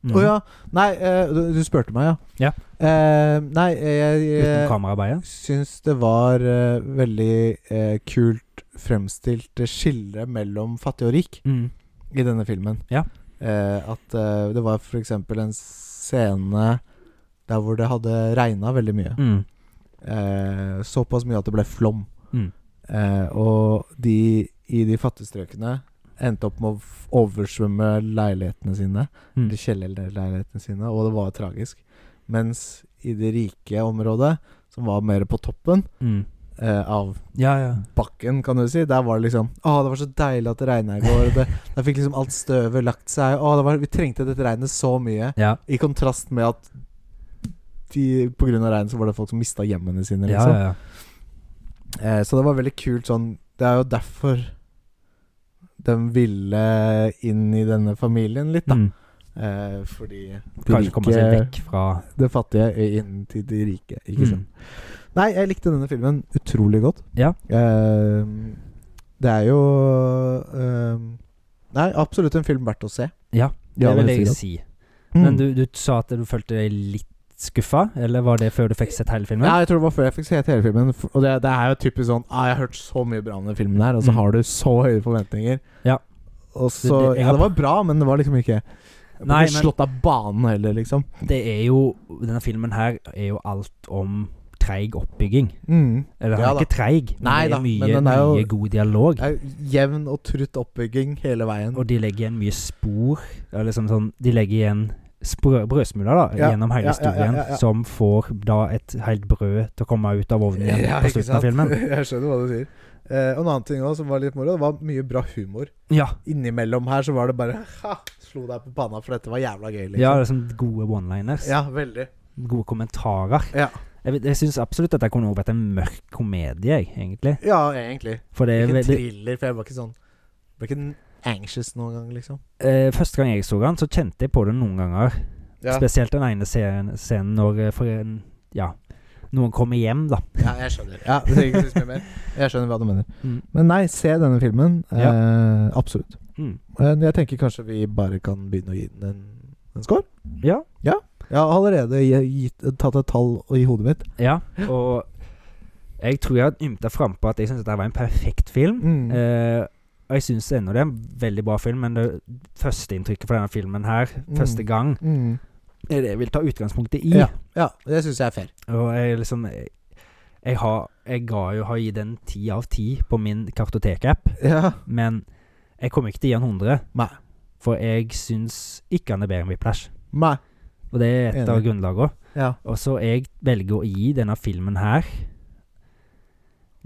Å Mm. ja. Nei, eh, du, du spurte meg, Ja. ja. Eh, nei, jeg, Uten jeg kameraarbeidet? syns det var eh, veldig eh, kult fremstilt skille mellom fattig og rik Mm. i denne filmen. Ja. Eh, at eh, det var f.eks. en scene der hvor det hadde regna veldig mye. Mm. Eh, såpass mye at det ble flom. Mm. Eh, og de i de fattige strøkene endte opp med å f- oversvømme leilighetene sine. Mm. Eller kjellerleilighetene sine, og det var tragisk. Mens i det rike området, som var mer på toppen Mm. eh, av Ja, ja. bakken, kan du si, der var det liksom Å, det var så deilig at det regna i går. og (laughs) Det, der fikk liksom alt støvet lagt seg. Å, det var, vi trengte dette regnet så mye. Ja, I kontrast med at de, på grunn av regn så var det folk som mista hjemmene sine, ja, liksom. ja, ja. Eh, så det var veldig kult sånn Det er jo derfor de ville inn i denne familien litt, da. Mm. Eh, fordi de Kanskje komme seg vekk fra det fattige er inn til de rike, ikke Mm. sant. Nei, jeg likte denne filmen utrolig godt. Ja. Eh, det er jo eh, Nei, absolutt en film verdt å se. Ja, det Ja, vil det er jeg sikkert. si. Mm. Men du, du sa at du følte deg litt skuffa, eller var det før du fikk sett hele filmen? Ja, jeg tror det var før jeg fikk se hele filmen. f- Og det, det er jo typisk sånn ah, 'Jeg har hørt så mye bra om den filmen her', og så Mm. har du så høye forventninger. Ja. Og så Det- det- Ja, jeg har- det var bra, men det var liksom ikke Jeg ble Nei, ikke men- slått av banen heller, liksom. Det er jo Denne filmen her er jo alt om treig oppbygging. Mm. Eller Ja han da. er ikke treig, men Nei det da, er men mye, den er jo- mye god dialog. Det er jo jevn og trutt oppbygging hele veien. Og de legger igjen mye spor. Eller liksom sånn, de legger igjen sprø, brødsmuler da, Ja, gjennom ja, ja, hele historien, ja, ja. som får da et helt brød til å komme ut av ovnen igjen (laughs) på ikke slutten av sant? filmen. (laughs) Jeg skjønner hva du sier. Eh, og en annen ting også, som var litt moro, det var mye bra humor. Ja, Innimellom her så var det bare ha, Slo deg på panna, for dette var jævla gøy, liksom. ja liksom gode one-liners. ja veldig. Gode kommentarer. Ja. Jeg, vet- jeg syns absolutt at det kunne vært en mørk komedie, jeg, egentlig. ja, egentlig. For det, Ikke en det, thriller, for jeg var ikke sånn Ble ikke n- anxious noen gang, liksom. eh, Første gang jeg så den, så kjente jeg på det noen ganger. Ja, Spesielt den ene scenen, scenen når eh, for en, ja, noen kommer hjem, da. ja jeg skjønner. Ja, det trenger ikke si så mye mer. Jeg skjønner hva du mener. Mm. Men nei, se denne filmen. Eh, absolutt. Mm. Men jeg tenker kanskje vi bare kan begynne å gi den en, en score. Ja. Jeg har allerede gi- gitt, tatt et tall i hodet mitt. ja. Og jeg tror jeg har ymta frampå at jeg syns dette var en perfekt film. Mm. Eh, og jeg syns ennå det er en veldig bra film, men det førsteinntrykket fra denne filmen her, Mm. første gang, Mm. er det jeg vil ta utgangspunktet i. Ja. ja, det syns jeg er fair. Og jeg liksom Jeg, jeg har Jeg ga jo har gitt den ti av ti på min kartotek-app, Ja. men jeg kommer ikke til å gi den 100, Nei. for jeg syns ikke han er bedre enn Whiplash. Nei. Og det er et av Enig. grunnlagene. Ja. Og så jeg velger å gi denne filmen her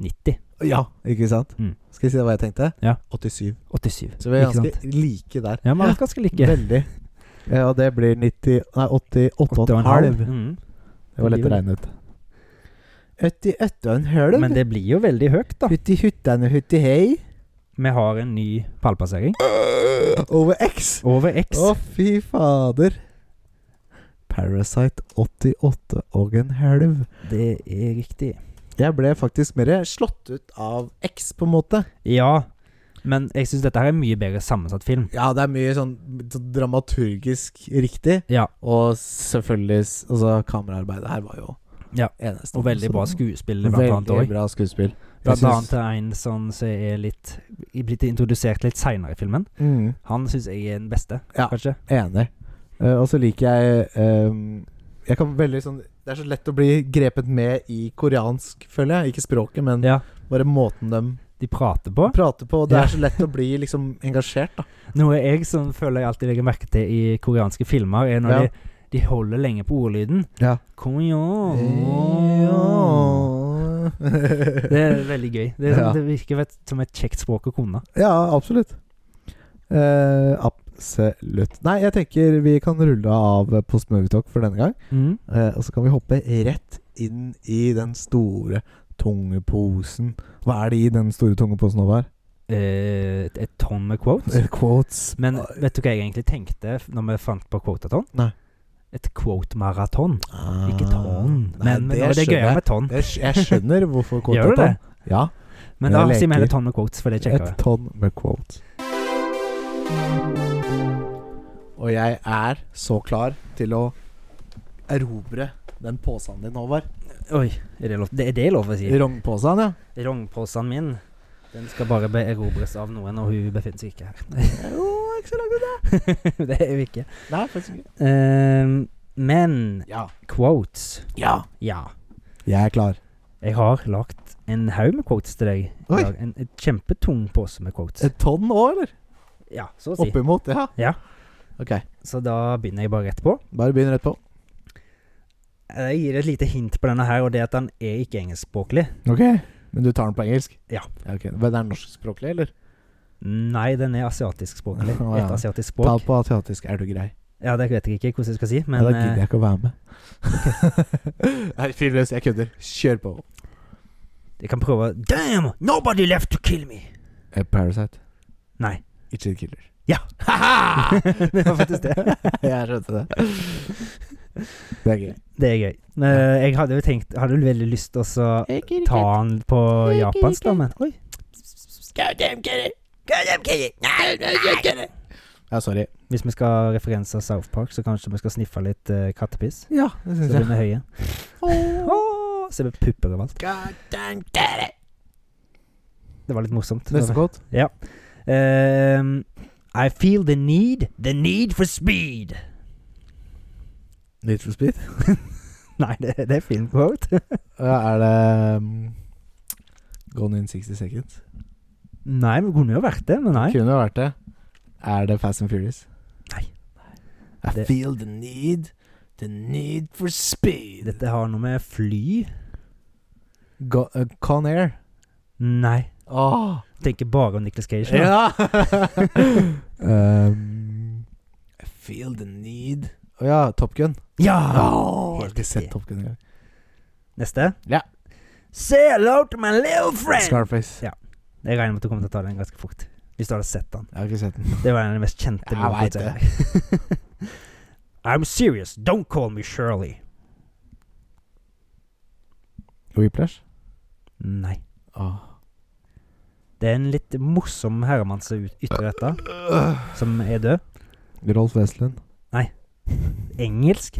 90. ja, ikke sant? Mm. Skal jeg si deg hva jeg tenkte? Ja. 87. 87. Så vi er Ikke sant? ganske like der. Ja, men det er ganske like. Veldig. Ja, det blir 90 Nei, 88,5. Mm. Det var lett Livet. regnet. Uti øttan høl, Men det blir jo veldig høyt, da. uti huttan og hutti hei, Vi har en ny pallplassering. over X. Over X. Å, fy fader. Parasite 88 og en helv. Det er riktig. Jeg ble faktisk mer slått ut av X, på en måte. Ja, men jeg syns dette her er en mye bedre sammensatt film. Ja, det er mye sånn sånn dramaturgisk riktig. Ja, Og selvfølgelig s- Altså, kameraarbeidet her var jo Ja, eneste. Og veldig bra skuespiller, blant Veldig annet òg. bra skuespill. Blant Jeg annet syns- til en sånn som er litt blitt introdusert litt seinere i filmen. Mm, Han syns jeg er den beste, Ja. kanskje. enig. Eh, og så liker jeg eh, Jeg kan veldig sånn Det er så lett å bli grepet med i koreansk, føler jeg. Ikke språket, men Ja, bare måten de de prater på. prater på. og Det Ja. er så lett å bli liksom engasjert, da. Noe jeg som føler jeg alltid legger merke til i koreanske filmer, er når Ja. de, de holder lenge på ordlyden. Ja. Konyo. Det er veldig gøy. Det, er sånn, Ja. det virker vet, som et kjekt språk å kunne. Ja, absolutt. Eh, absolutt. Nei, jeg tenker vi kan rulle av Post Movie Talk for denne gang. Mm. Eh, og så kan vi hoppe rett inn i den store tungeposen. Hva er det i den store tungeposen, Håvard? Eh, et- et tonn med quotes. Eh, Quotes. Men vet du hva jeg egentlig tenkte f- når vi fant på quotaton? Nei. Et quote-maraton. Ah, Ikke tonn, nei, men, men det, det er skjønner gøyere jeg. med tonn. Det skj- Jeg skjønner hvorfor quote (laughs) Gjør du det? Ja. Men Jeg da leker. sier vi heller tonn med quotes, for det er Et kjekkere. tonn med quotes. Og jeg er så klar til å erobre den posen din, Håvard. Oi, er det lov, det, er det lov å si? Rognposen, ja. Rognposen min, den skal bare beerobres av noen, og hun befinner seg ikke her. Jo, ikke så langt unna. (laughs) det er hun ikke. Nei, faktisk ikke. Ehm, men Ja. quotes ja. Ja. Jeg er klar. Jeg har lagt en haug med quotes til deg. i Oi. dag. En, en kjempetung pose med quotes. Et tonn òg, eller? Ja, så å si. Oppimot, ja. Ja. Ok, Så da begynner jeg bare rett på. bare begynn rett på. Jeg gir et lite hint på denne her, og det er at den er ikke engelskspråklig. Ok Men du tar den på engelsk? Ja. ok Men den er norskspråklig, eller? Nei, den er asiatiskspråklig. Å, ja. Et asiatisk Ta språk. den på asiatisk, er du grei? Ja, det vet jeg ikke hvordan jeg skal si, men ja, da gidder eh, jeg ikke å være med. (laughs) Nei, fyr løs, jeg kødder. Kjør på. jeg kan prøve Damn! Nobody left to kill me! A Eh, parasite. Nei. It's a killer. Ja. (laughs) Ha-ha! Det var faktisk det. jeg skjønte det. Det er gøy. Det er gøy. Eh, jeg hadde jo tenkt Hadde jo veldig lyst til å så ta den på japansk, da, men Oi. Ja, sorry. Hvis vi skal referanse South Park, så kanskje vi skal sniffe litt eh, kattepiss. Ja, det Så syns blir jeg. vi høye. Åh, Ser vi pupper overalt. Det var litt morsomt. Neste quote. Ehm, I feel the need, the need for (laughs) speed. Need for speed. Nei, det, det er fin quote. Ja, er det um, Gone in 60 seconds? (laughs) Nei, men det kunne jo vært det, men nei. Kunne jo vært det. Er det Fast and Furious? Nei. I Det- feel the need, the need for speed. Dette har noe med fly Go, uh, Con Air. Nei. Åh! Tenker bare om Nicholas Cage. nå. (laughs) Ja! um, I feel the need Ah, Å ja, Top Gun. ja! Åh, jeg har ikke riktig. sett Top Gun engang. Neste. Ja. Say hello to my little friend. Scarface. Jeg regner med at du kommer til å ta den ganske fort. Hvis du hadde sett den. Jeg har ikke sett den. Det var en av de mest kjente Jeg vet det. (laughs) I'm serious. Don't call me Shirley. Whiplash? Nei. Åh. Det er en litt morsom herremann som ut- ytrer dette, som er død. Rolf Westlund. (laughs) Engelsk.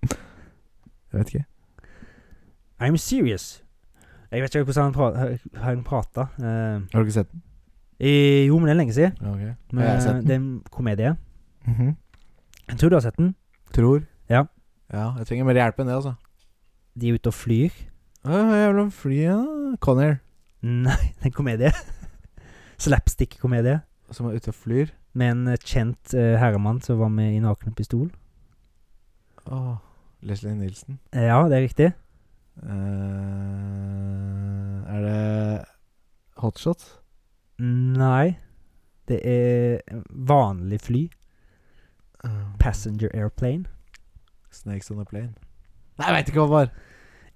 Jeg vet ikke. I'm serious. Jeg vet ikke hvordan han, pra han prata. Har du ikke sett den? Eh, jo, men det er lenge siden. Ok. Men, eh, Har jeg sett Det den? er en komedie. Mhm. Jeg tror du har sett den. Tror. Ja. Ja, jeg trenger mer hjelp enn det, altså. De er ute og flyr. (laughs) Uh, jævla fly, ja. Conair, Nei, det er en komedie. (laughs) Slapstick-komedie. som er ute og flyr. Med en eh, kjent eh, herremann som var med i Naken pistol. Åh, Leslie Nilsen. Eh, ja, det er riktig. Eh, er det Hotshot? Nei. Det er vanlig fly. Um, Passenger airplane. Snakes on a plane. Nei, jeg veit ikke hva det var.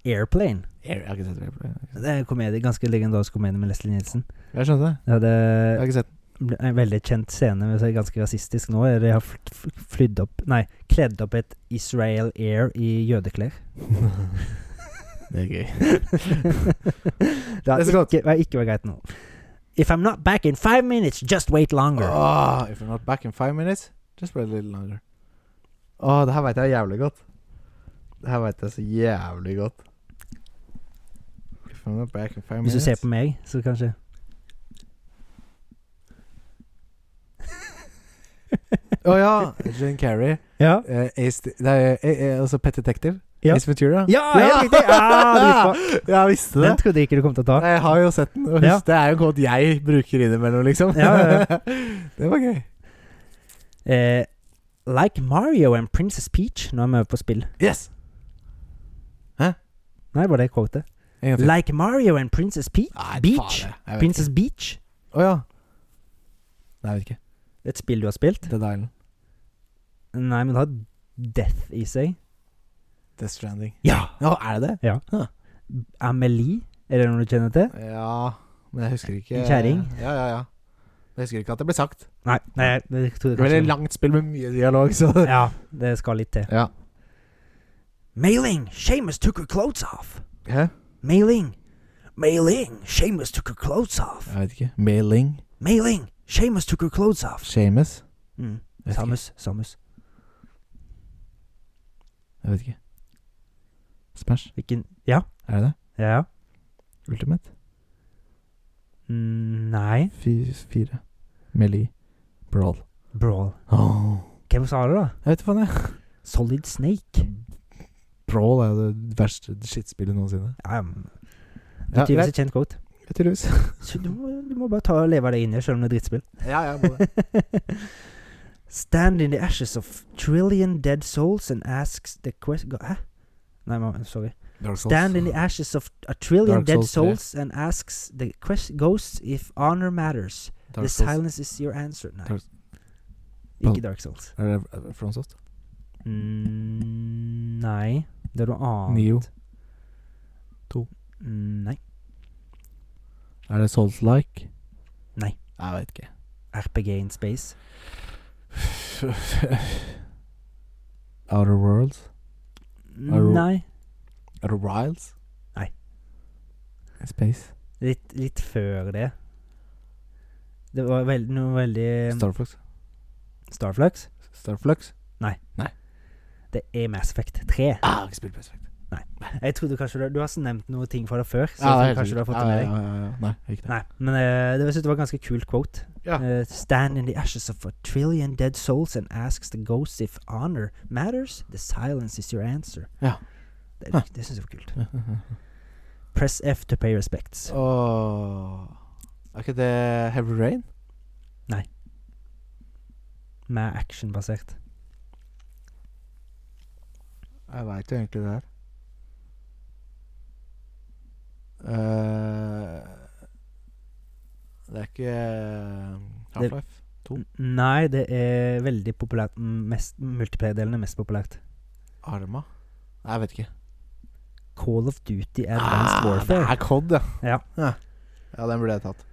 Airplane. Jeg har ikke sett det. Det er en komedie, ganske legendarisk komedie med Leslie Nielsen. Jeg skjønte det. Det hadde Jeg har ikke sett den. ble- en veldig kjent scene, men så er det ganske rasistisk nå. er De har fl- fl- flydd opp Nei, kledd opp et Israel Air i (laughs) jødeklær. (laughs) Det er gøy. det har Det er så godt. ikke, har ikke vært greit nå. If I'm not back in five minutes, just wait longer. Ah, if you're not back in five minutes, just wait a little longer. Åh, det her veit jeg jævlig godt. Det her veit jeg så jævlig godt. If I'm not back in five Hvis du minutes ser på meg, så kanskje Å ja! Jane Carrey. Ja. Eh, Ace, det er, eh, eh, altså Pet Detective. Ja. Ace Ventura. Ja, ja, riktig! Ah, Ja, dritbra. (laughs) jeg visste det. Den trodde jeg ikke du kom til å ta. Nei, Jeg har jo sett den, og husk, Ja. det er jo en kode jeg bruker innimellom, liksom. Ja, ja, (laughs) det var gøy. Eh, like Mario and Princess Peach. Nå er vi over på spill. Yes! Nei, var det quotet? En gang til. Like Mario and Princess Peach. Nei, faen, Beach. jeg vet ikke. Princess Beach. Å ja. Nei, jeg vet ikke. Det er Et spill du har spilt? Dead Island. Nei, men det har death i seg. Death Stranding. Ja! Ja, er det det? Amelie. Er det noe du kjenner til? Ja, men jeg husker ikke En kjerring? Ja, ja, ja. Jeg husker ikke at det ble sagt. Nei, nei jeg tror Det ble et kanskje langt spill med mye dialog, så Ja, det skal litt til. Ja. Mailing! Seamus took her clothes off! Hæ? Mailing! Mailing! Seamus took her clothes off! Jeg vet ikke. Mailing. Mailing! Seamus took her clothes off! Shames. Mm. Jeg vet ikke. Samus, Samus. Jeg vet ikke. Smash. Hvilken Ja? Er det det? Ja? Ultimate? Mm, nei. Fy- Fire. Melee. Brawl. Brawl. Åh. Hvem sa det, da? Jeg vet hva faen, jeg. Solid Snake. Brawl er jo det verste skittspillet noensinne. Ja, men Ja, Tydeligvis greit. Um, et kjent quote. Tydeligvis. Så du, må, du må bare ta og leve deg inn i det, selv om det er drittspill. (laughs) ja, jeg (laughs) må det. Stand in the ashes of trillion dead souls and asks the question Hæ? Nei, ma- sorry. Dark Souls. Stand in the ashes of a trillion Dark dead Souls tre. souls and asks the quest ghosts if honor matters. Dark the Souls. silence is your answer. Nei. Dark- Ikke Dark Souls. Er det- er det Fromsoft? Mm, nei. Det er noe annet. Neo. Mm, nei. Er det Souls-like? Nei. Jeg vet ikke. (laughs) RPG in space. Outer Worlds? Arrow. Nei. Outer Wilds? Nei. Space? Litt, litt før det. Det var veld, noe veldig Starflux? Starflux. Starflux? Det er Mass Effect 3. Ah, jeg har ikke spilt Best Effect. Jeg trodde kanskje Du, du har nevnt noe ting fra det før, så Ja, det er jeg tror helt kanskje du har fått sikkert. det med Ja, ja, deg. ja, ja, ja. Nei, ikke det. (laughs) Nei, men eh, det, jeg synes det var ganske kult quote. Ja. Eh, Stand in the ashes of a trillion dead souls and asks the ghosts if honor matters. The silence is your answer. Ja. Det, Hæ. det syns jeg var kult. Press F to pay respects. Åh. Er ikke det Heavy Rain? Mer actionbasert. Jeg veit jo egentlig det her. Eh, det er ikke eh, Det- Half-Life. To. N- Nei, det er veldig populært. m- mest- Multiplayer-delen er mest populært. Arma? Nei, jeg vet ikke. Call of Duty Advanced Ah, Warfare. Det er COD, ja. Ja. ja. Ja, den burde jeg tatt.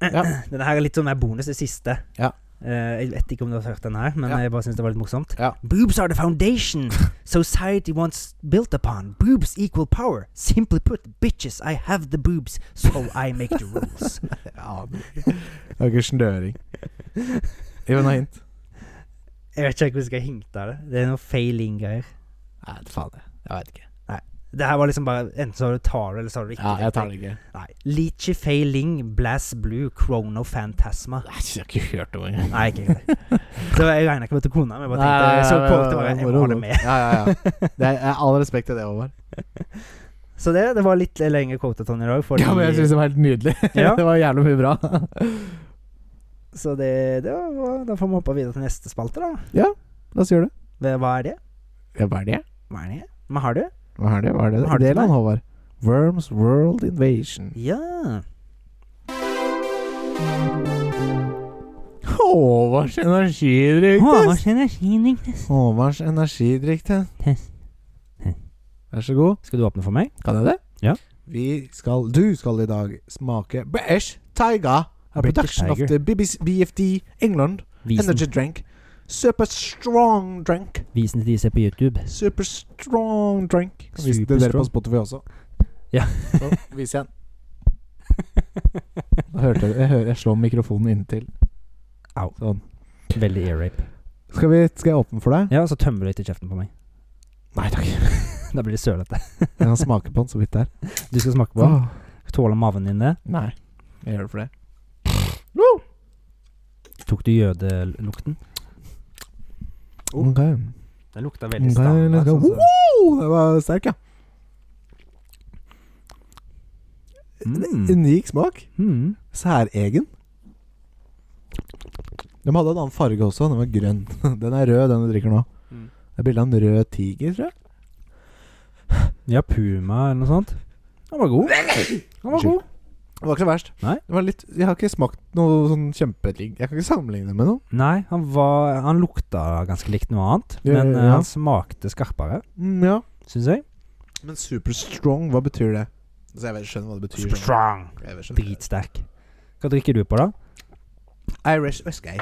Ja. (clears throat) Denne her er litt sånn mer bonus, det siste. Ja. Eh, jeg vet ikke om du har hørt den her, men Ja. jeg bare syns det var litt morsomt. Ja. Boobs are the (laughs) foundation society once built upon. Boobs equal power. Simply put, bitches, I have the boobs, so I make the (laughs) rules. Ja, det er ikke snøring. Gi meg noe hint. jeg vet ikke hvordan jeg skal hinte av det. Det er noe feil inngreier. Nei, faen jeg. Jeg veit ikke. Det her var liksom bare Enten så tar du det, eller så har du det ikke. Ja, jeg tar det ikke. Nei. Leachy Feiling, Blast Blue, Chrono Fantasma. Nei, jeg har ikke hørt om engang. Nei, (laughs) ikke egentlig. Det var- Jeg regna ikke med at det kunne, men jeg bare tenkte jeg så på det, bare, jeg må ha det med. Ja, ja, ja. Det er, er all respekt til det, Håvard. Så det, det var litt lengre quotaton i dag. Fordi, Ja, men jeg syns det var helt nydelig. (laughs) Ja. Det var jævlig (laughs) mye bra. Så det, det var, da får vi hoppe videre til neste spalte, da. La oss gjøre det. Hva- Hva er det? Ja, hva er det? Hva er det? Hva har du? Hva er det? Hva er det? Hva har du Det til land, meg? Håvard. Worms World Invasion. Ja. Håvards energidrikk. Håvards energidrikktest. Håvards energidrikk. Vær så god. Skal du åpne for meg? Kan jeg det? Ja. Vi skal, du skal i dag smake British Tiger. A British production Tiger. of the BBC, BFD England Vis den, Energy Drink. Super strong drink. vis den til de ser på YouTube. Super strong drink. Kan vise Super det dere strong. på Spotify også. Ja. Så vis igjen. (laughs) Da hørte jeg, jeg, hører, jeg slår mikrofonen inntil. Au. Sånn. Veldig ear rape. Skal, vi, skal jeg åpne for deg? Ja, og så tømmer du litt i kjeften på meg. Nei takk. (laughs) Da blir det sølete. Jeg kan smake på den så vidt der. Du skal smake Ah. på den. Tåler maven din det? Nei. Jeg gjør det for det. Tok du jødelukten? Ok. Den lukta Ok, veldig stang. let's go. Sånn, så. Oh, det var sterk, ja. mm. Unik smak. Mm. Særegen. De hadde en annen farge også. Den var grønn. (laughs) Den er rød, den du drikker nå. Mm. Det er bilde av en rød tiger, tror jeg. Ja, Puma eller noe sånt. Den var god. Den var god. Det var ikke så verst. Nei. Det var litt, jeg har ikke smakt noe sånn kjempeting. Jeg kan ikke sammenligne det med noe. Nei, han, var, han lukta ganske likt noe annet, Ja, men ja, eh, ja. han smakte skarpere, Mm, ja. syns jeg. Men super strong, hva betyr det? Altså, jeg vet skjønner hva det betyr. Super strong. Jeg vet skjønner. Dritsterk. Hva drikker du på, da? Irish whiskey.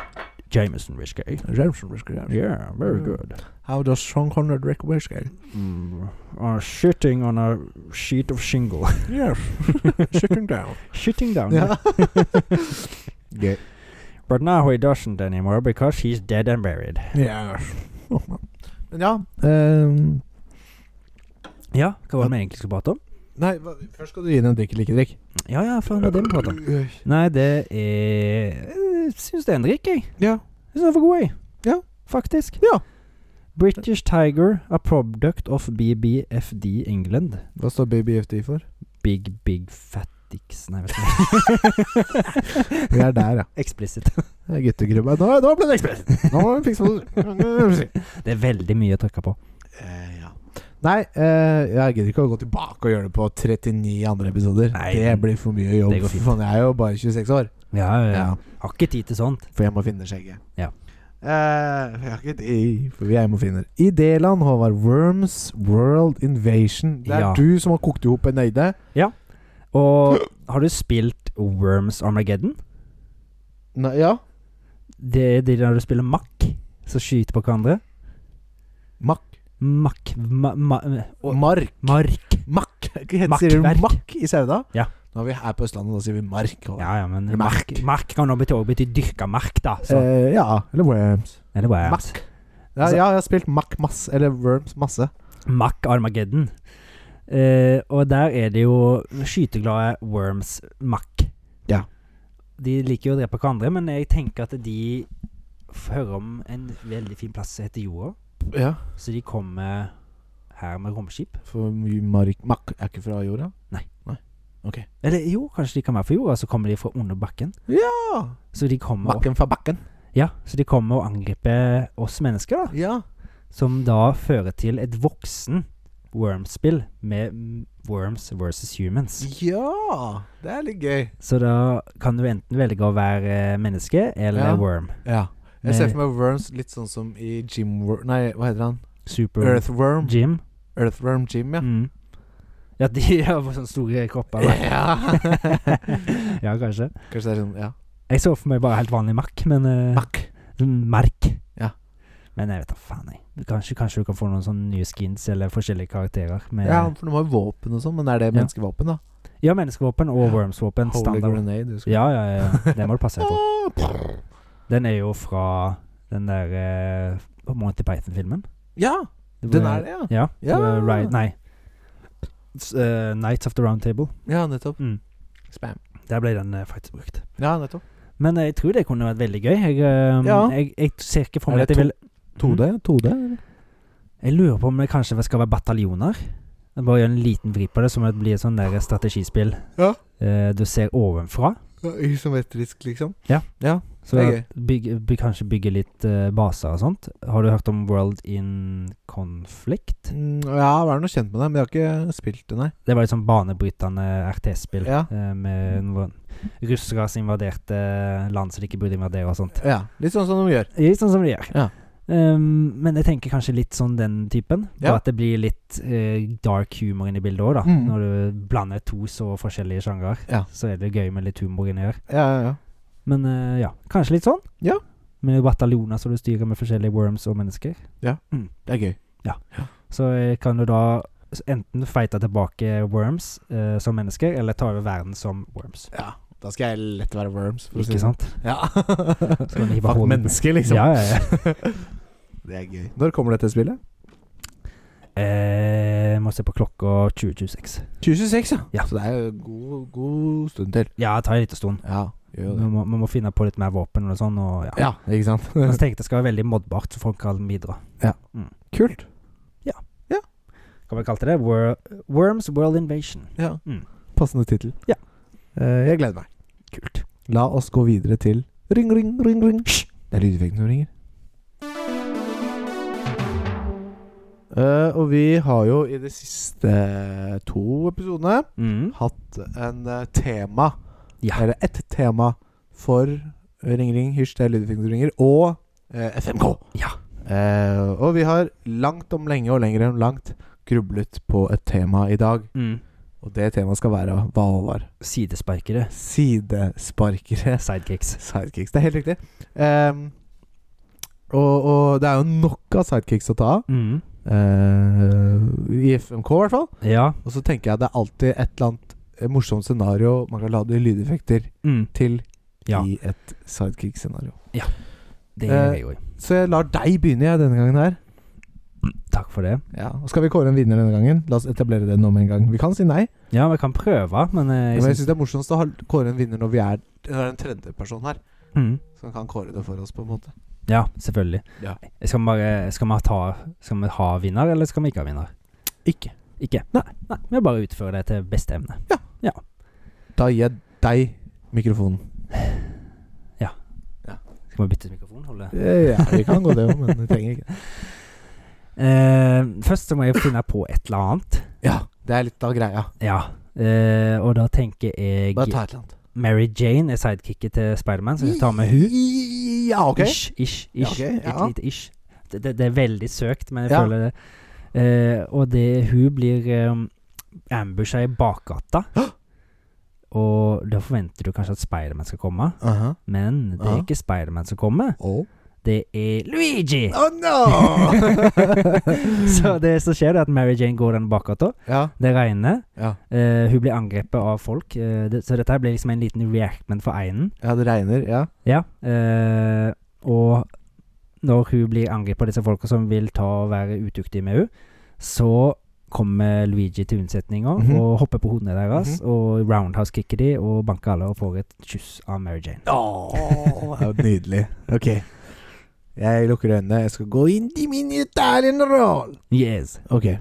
Jameson Risky. Jameson whiskey. yeah. Yeah, very good. How does Sean Conrad drink whiskey? Mm, uh, shitting on a sheet of shingle. (laughs) Yes. (laughs) Chicken down. shitting (laughs) down. Ja. Gøy. But now he doesn't anymore because he's dead and buried. Yes. Oh, Men ja ehm, Ja, hva var det vi egentlig skulle prate om? Nei, hva, først skal du gi den en drikk eller ikke drikk. Ja, ja, faen, det er det vi prater om. Nei, det er Jeg syns det er en drikk, jeg. Ja. Jeg synes den var god, jeg. Ja. Faktisk. Ja. British Tiger, a product of BBFD England. Hva står BBFD for? Big, big fat dicks (laughs) Nei, vet du Vi er der, ja. Explicit. Det er Guttegruppa. Nå, nå ble det ekspress! Nå må vi fikse det. Det er veldig mye å trykke på. Eh, ja. Nei, eh, jeg gidder ikke å gå tilbake og gjøre det på 39 andre episoder. Nei, det blir for mye jobb. det går fint. For faen, jeg er jo bare 26 år. Ja, ja. Ja. Har ikke tid til sånt. For jeg må finne skjegget. Ja. Eh, for jeg har ikke tid, for jeg må finne I det land, Håvard. Worms World Invasion. Det er Ja. du som har kokt i hop en øyde. Og har du spilt Worms Armageddon? Nei, ja. Det er det når du spiller makk, så skyter på hverandre. Makk. Makk ma, ma, Og mark. Mark. Makk. Heter, sier Makkverk. du makk i Sauda? Ja. Når vi er her på Østlandet, da sier vi mark. Håvard. Ja, ja, men Eller mark, mark. mark kan jo bety, også bety dyrka mark, da. Så. Eh, ja. Eller worms. Altså- Eller worms. Makk. Ja, ja, jeg har spilt makk masse. Eller worms masse. Mac Armageddon. Eh, og der er det jo skyteglade Worms Mac. Ja. De liker jo å drepe hverandre, men jeg tenker at de f- hører om en veldig fin plass som heter jorda. Ja. Så de kommer her med romskip. For mye mark Makk er ikke fra jorda? Eller jo, kanskje de kan være fra jorda, så kommer de fra under bakken. Ja! Så de kommer, opp, Makken fra bakken. ja, så de kommer og angriper oss mennesker, da. Ja. Som da fører til et voksen Worms-spill med mm, Worms versus Humans. Ja! Det er litt gøy. Så da kan du enten velge å være eh, menneske eller Ja. worm. Ja. Jeg ser Med- for meg Worms litt sånn som i Jim Wor- Nei, hva heter han? Super Earthworm. Jim. Earthworm Jim, Ja, ja. mm. ja de (laughs) har bare sånne store kropper. da. (laughs) (laughs) ja, kanskje. Kanskje det er sånn Ja. Jeg så for meg bare helt vanlig makk, men eh, Makk. sånn Merk. Ja. Men jeg vet da faen, jeg. Kanskje, kanskje du kan få noen sånne nye skins eller forskjellige karakterer med Ja, for de har jo våpen og sånn, men er det Ja. menneskevåpen, da? Ja, menneskevåpen og wormsvåpen. Holy Standard. grenade, du skal Ja, ja, ja. ja. Det må du passe deg (laughs) for. Ah, prr. Den er jo fra den der eh, Monty Python-filmen. Ja! Den er det, ja. Ja. Ja. det var Ri- nei. S- eh, Knights of the Round Table. Ja, nettopp. Mm. Spam. Der ble den eh, faktisk brukt. Ja, nettopp. Men jeg tror det kunne vært veldig gøy. Jeg, eh, Ja. jeg, jeg ser ikke for Er meg at det jeg vil Mm. 2D? 2D? eller? Jeg lurer på om det kanskje skal være bataljoner. Jeg bare gjør en liten vri på det, som at det blir et sånn der strategispill Ja. Eh, du ser ovenfra. Ja, Isometrisk, liksom? Ja. ja. Så Det er bygg, by- kanskje bygge litt eh, baser og sånt. Har du hørt om World in Conflict? Mm, ja, jeg er nå kjent med det, men jeg har ikke spilt det, nei. Det var et sånn banebrytende RTS-spill. Ja. eh, med noen russere som invaderte land som de ikke burde invadere og sånt. Ja, Litt sånn som de gjør. Det er Litt sånn som de gjør. Ja. Um, men jeg tenker kanskje litt sånn den typen. Ja. Bare at det blir litt eh, dark humor inn i bildet òg, da. Mm. Når du blander to så forskjellige sjangere, Ja. så er det gøy med litt humor inni her. Ja, ja, ja. Men eh, ja, kanskje litt sånn. Ja. Med bataljoner som du styrer med forskjellige worms og mennesker. Det er gøy. Så eh, kan du da s- enten fighte tilbake worms eh, som mennesker, eller ta over verden som worms. Ja, da skal jeg lett være worms. for å si Ikke det sant? sånn. Ja. Skal man hive Fuck hodet- mennesker, liksom. Ja, ja, ja. (laughs) Det er gøy. Når kommer dette spillet? Eh, må se på klokka 2026. 2026, ja. Ja. Så det er jo god, god stund til. Ja, det tar en liten stund. Ja, gjør jo Vi det. må, vi må finne på litt mer våpen og sånn. Og, ja. Ja, ikke sant? (laughs) Men så tenkte jeg det skal være veldig modbart, så folk kan bidra. Kult. Hva vi kalte det? Wor Worms World Invasion. Ja. Mm. Passende tittel. Ja. Eh, jeg gleder meg. Kult. La oss gå videre til ring, ring, ring, ring. Hysj! Det er lydeffekten som ringer. Eh, og vi har jo i de siste to episodene Mm. hatt en eh, tema, Ja. eller ett tema, for Ring Ring, Hysj, det er lydeffekten som ringer, og eh, FMK. Ja. Eh, og vi har langt om lenge og lenger enn langt grublet på et tema i dag. Mm. Og det temaet skal være hva var Sidesparkere. sidesparkere. Sidekicks. Sidekicks. Det er helt riktig. Ehm, og, og det er jo nok av sidekicks å ta av. Mm. eh, I FMK, i hvert fall. Ja. Og så tenker jeg det er alltid et eller annet eh, morsomt scenario man kan lade lydeffekter Mm. til Ja. i et sidekick-scenario. Eh. Det er jo Så jeg lar deg begynne jeg denne gangen her. Takk for det. Ja, og Skal vi kåre en vinner denne gangen? La oss etablere det nå med en gang. Vi kan si nei, Ja, vi kan prøve, men eh, jeg men jeg syns- syns det er morsomst å ha- kåre en vinner når vi er, det er en tredjeperson her. mm. Som kan kåre det for oss, på en måte. Ja, selvfølgelig. Ja. Skal vi bare Skal vi ta Skal vi ha vinner, eller skal vi ikke ha vinner? Ikke. Ikke? Nei. Nei vi bare utfører det til beste evne. Da gir jeg deg mikrofonen. Skal vi bytte mikrofon? Holde? Eh, Ja, vi kan gå det òg, men vi trenger ikke. Eh, først så må jeg finne på et eller annet. Ja, det er litt av greia. Ja. Eh, og da tenker jeg Bare ta et eller annet. Mary Jane er sidekicket til Spiderman, så vi tar med hun. Ja, ok. Ish, ish, Ja, ok, ish. Et ja. lite ish. Det, det, det er veldig søkt, men jeg Ja. føler det. Eh, og det Hun blir um, ambusha i bakgata. Og da forventer du kanskje at Spiderman skal komme, Aha. men det Ja. er ikke Spiderman som kommer. Oh. Det er Luigi! oh no! (laughs) Så det som skjer, er at Mary Jane går den bakgata. (laughs) ja, Det regner. ja. Eh, hun blir angrepet av folk. eh, det, så dette her blir liksom en liten reactment for einen. ja, det regner. Ja. Ja, eh, og når hun blir angrepet av disse folka som vil ta og være utuktige med henne, så kommer Luigi til unnsetninga Mhm. og hopper på hodene deres og roundhouse-kicker de og banker alle og får et kyss av Mary Jane. Åh, det er jo nydelig. Ok. Jeg lukker øynene. Jeg skal gå inn i min Italian roll. Yes. Ok. Eh,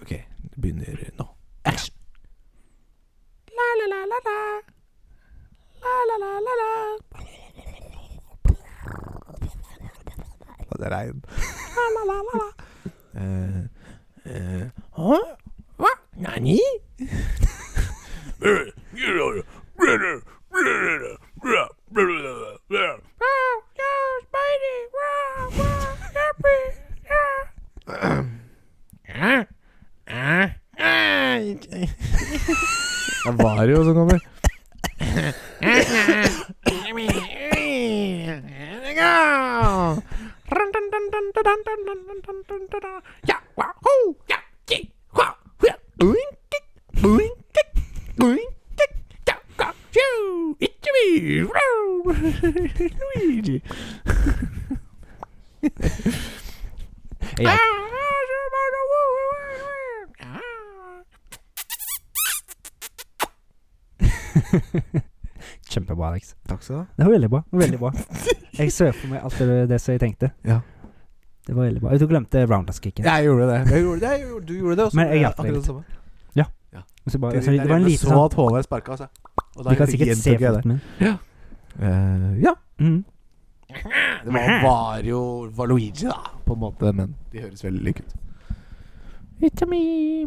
ok, det begynner nå. Action. La la la la la. La la la la la. Å, Det er regn. La la la la la. (laughs) Eh, eh, Hå? Hva? Nani? Det var sånn, Mario som kommer. Ja. Kjempebra, Alex. Takk skal du ha. Det var veldig bra. Det var Veldig bra. (laughs) Jeg ser for meg alt det, det som jeg tenkte. Ja. Det var veldig bra. Du glemte roundhouse-kicken. Jeg gjorde det. Jeg gjorde det. Jeg gjorde, du gjorde det også. Men jeg hjalp deg Akkurat litt. det samme. Så bare- Det, så det var en liten så sånn at Håvard sparka, altså. Og da Du kan sikkert gjentok se jeg det. foten min. Eh, ja. Mm. Det var, var jo var Luigi, da, på en måte, men de høres veldig like ut. It's me,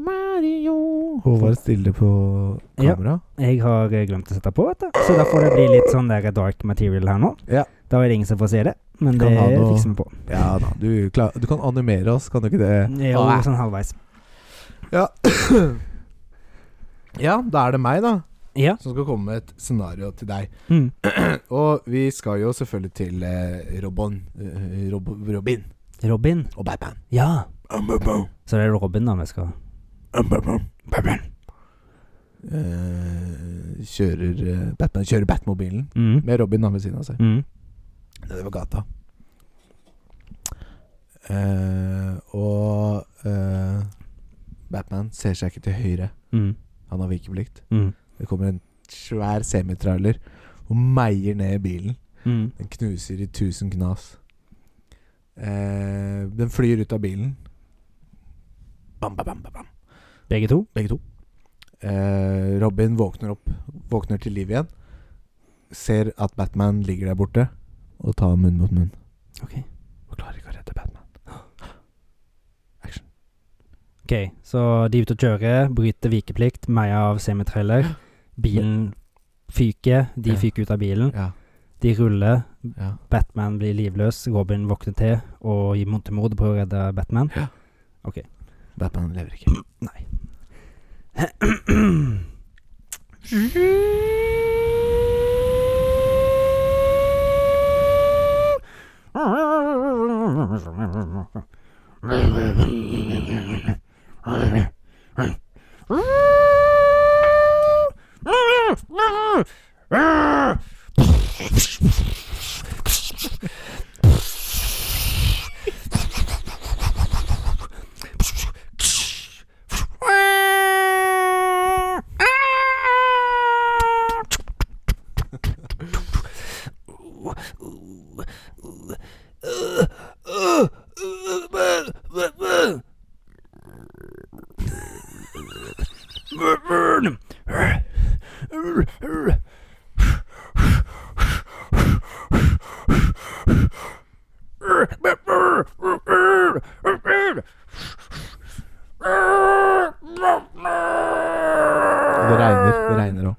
Mario Håvard stille på Ja. kamera. Jeg har eh, glemt å sette på, vet du. Så da får det bli litt sånn der dark material her nå. Ja. Da er det ingen som får se det, men Kan det ha noe- fikser vi på. Ja da, du, klar, du kan animere oss, kan du ikke det? Jo, Ah. sånn halvveis. Ja. ja, da er det meg, da, Ja. som skal komme med et scenario til deg. Mm. Og vi skal jo selvfølgelig til eh, Robin, eh, Rob Robin Robin. og Batman. Ja. I'm Batman. Så det er Robin da vi skal I'm Batman. Eh, kjører eh, Batman kjører Batmobilen mm. med Robin da ved siden av seg Mm. nedover gata. Eh, og eh, Batman ser seg ikke til høyre. Mm. Han har vikeplikt. Mm. Det kommer en svær semitrailer og meier ned bilen. Mm. Den knuser i tusen knas. Eh, den flyr ut av bilen. Bam, bam, bam, bam, bam. Begge to. Begge to. Eh, Robin våkner opp. Våkner til liv igjen. Ser at Batman ligger der borte, og tar munn mot munn. Ok. Og klarer ikke å redde Batman. (gasps) Ok, så de er ute og kjører, bryter vikeplikt, meg av semitrailer. Bilen fyker, de Ja. fyker ut av bilen. Ja, De ruller, ja. Batman blir livløs, Robin våkner til og gir mot til mord og prøver å redde Batman. Batman lever ikke. Nei. Og det regner. Det regner òg.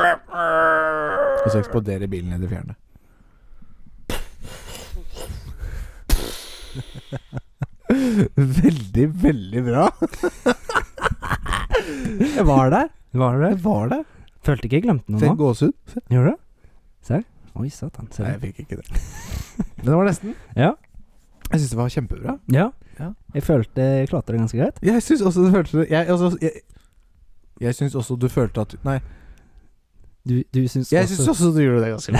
ja. Og så eksploderer bilen i det fjerne. Veldig, veldig bra. (laughs) Jeg var der. (laughs) Var det det? Jeg var der. Følte ikke jeg glemte noe Fikk nå. gåsehud. Gjorde du? Serr? Oi satan. Nei, Ser jeg du? fikk ikke det. Men det var nesten. Ja. Jeg syns det var kjempebra. Ja. Ja. Jeg følte jeg klarte det ganske greit. (laughs) Jeg syns også du følte det Jeg, altså, jeg, jeg syns også du følte at Nei, Du, du syns jeg syns også du gjorde det ganske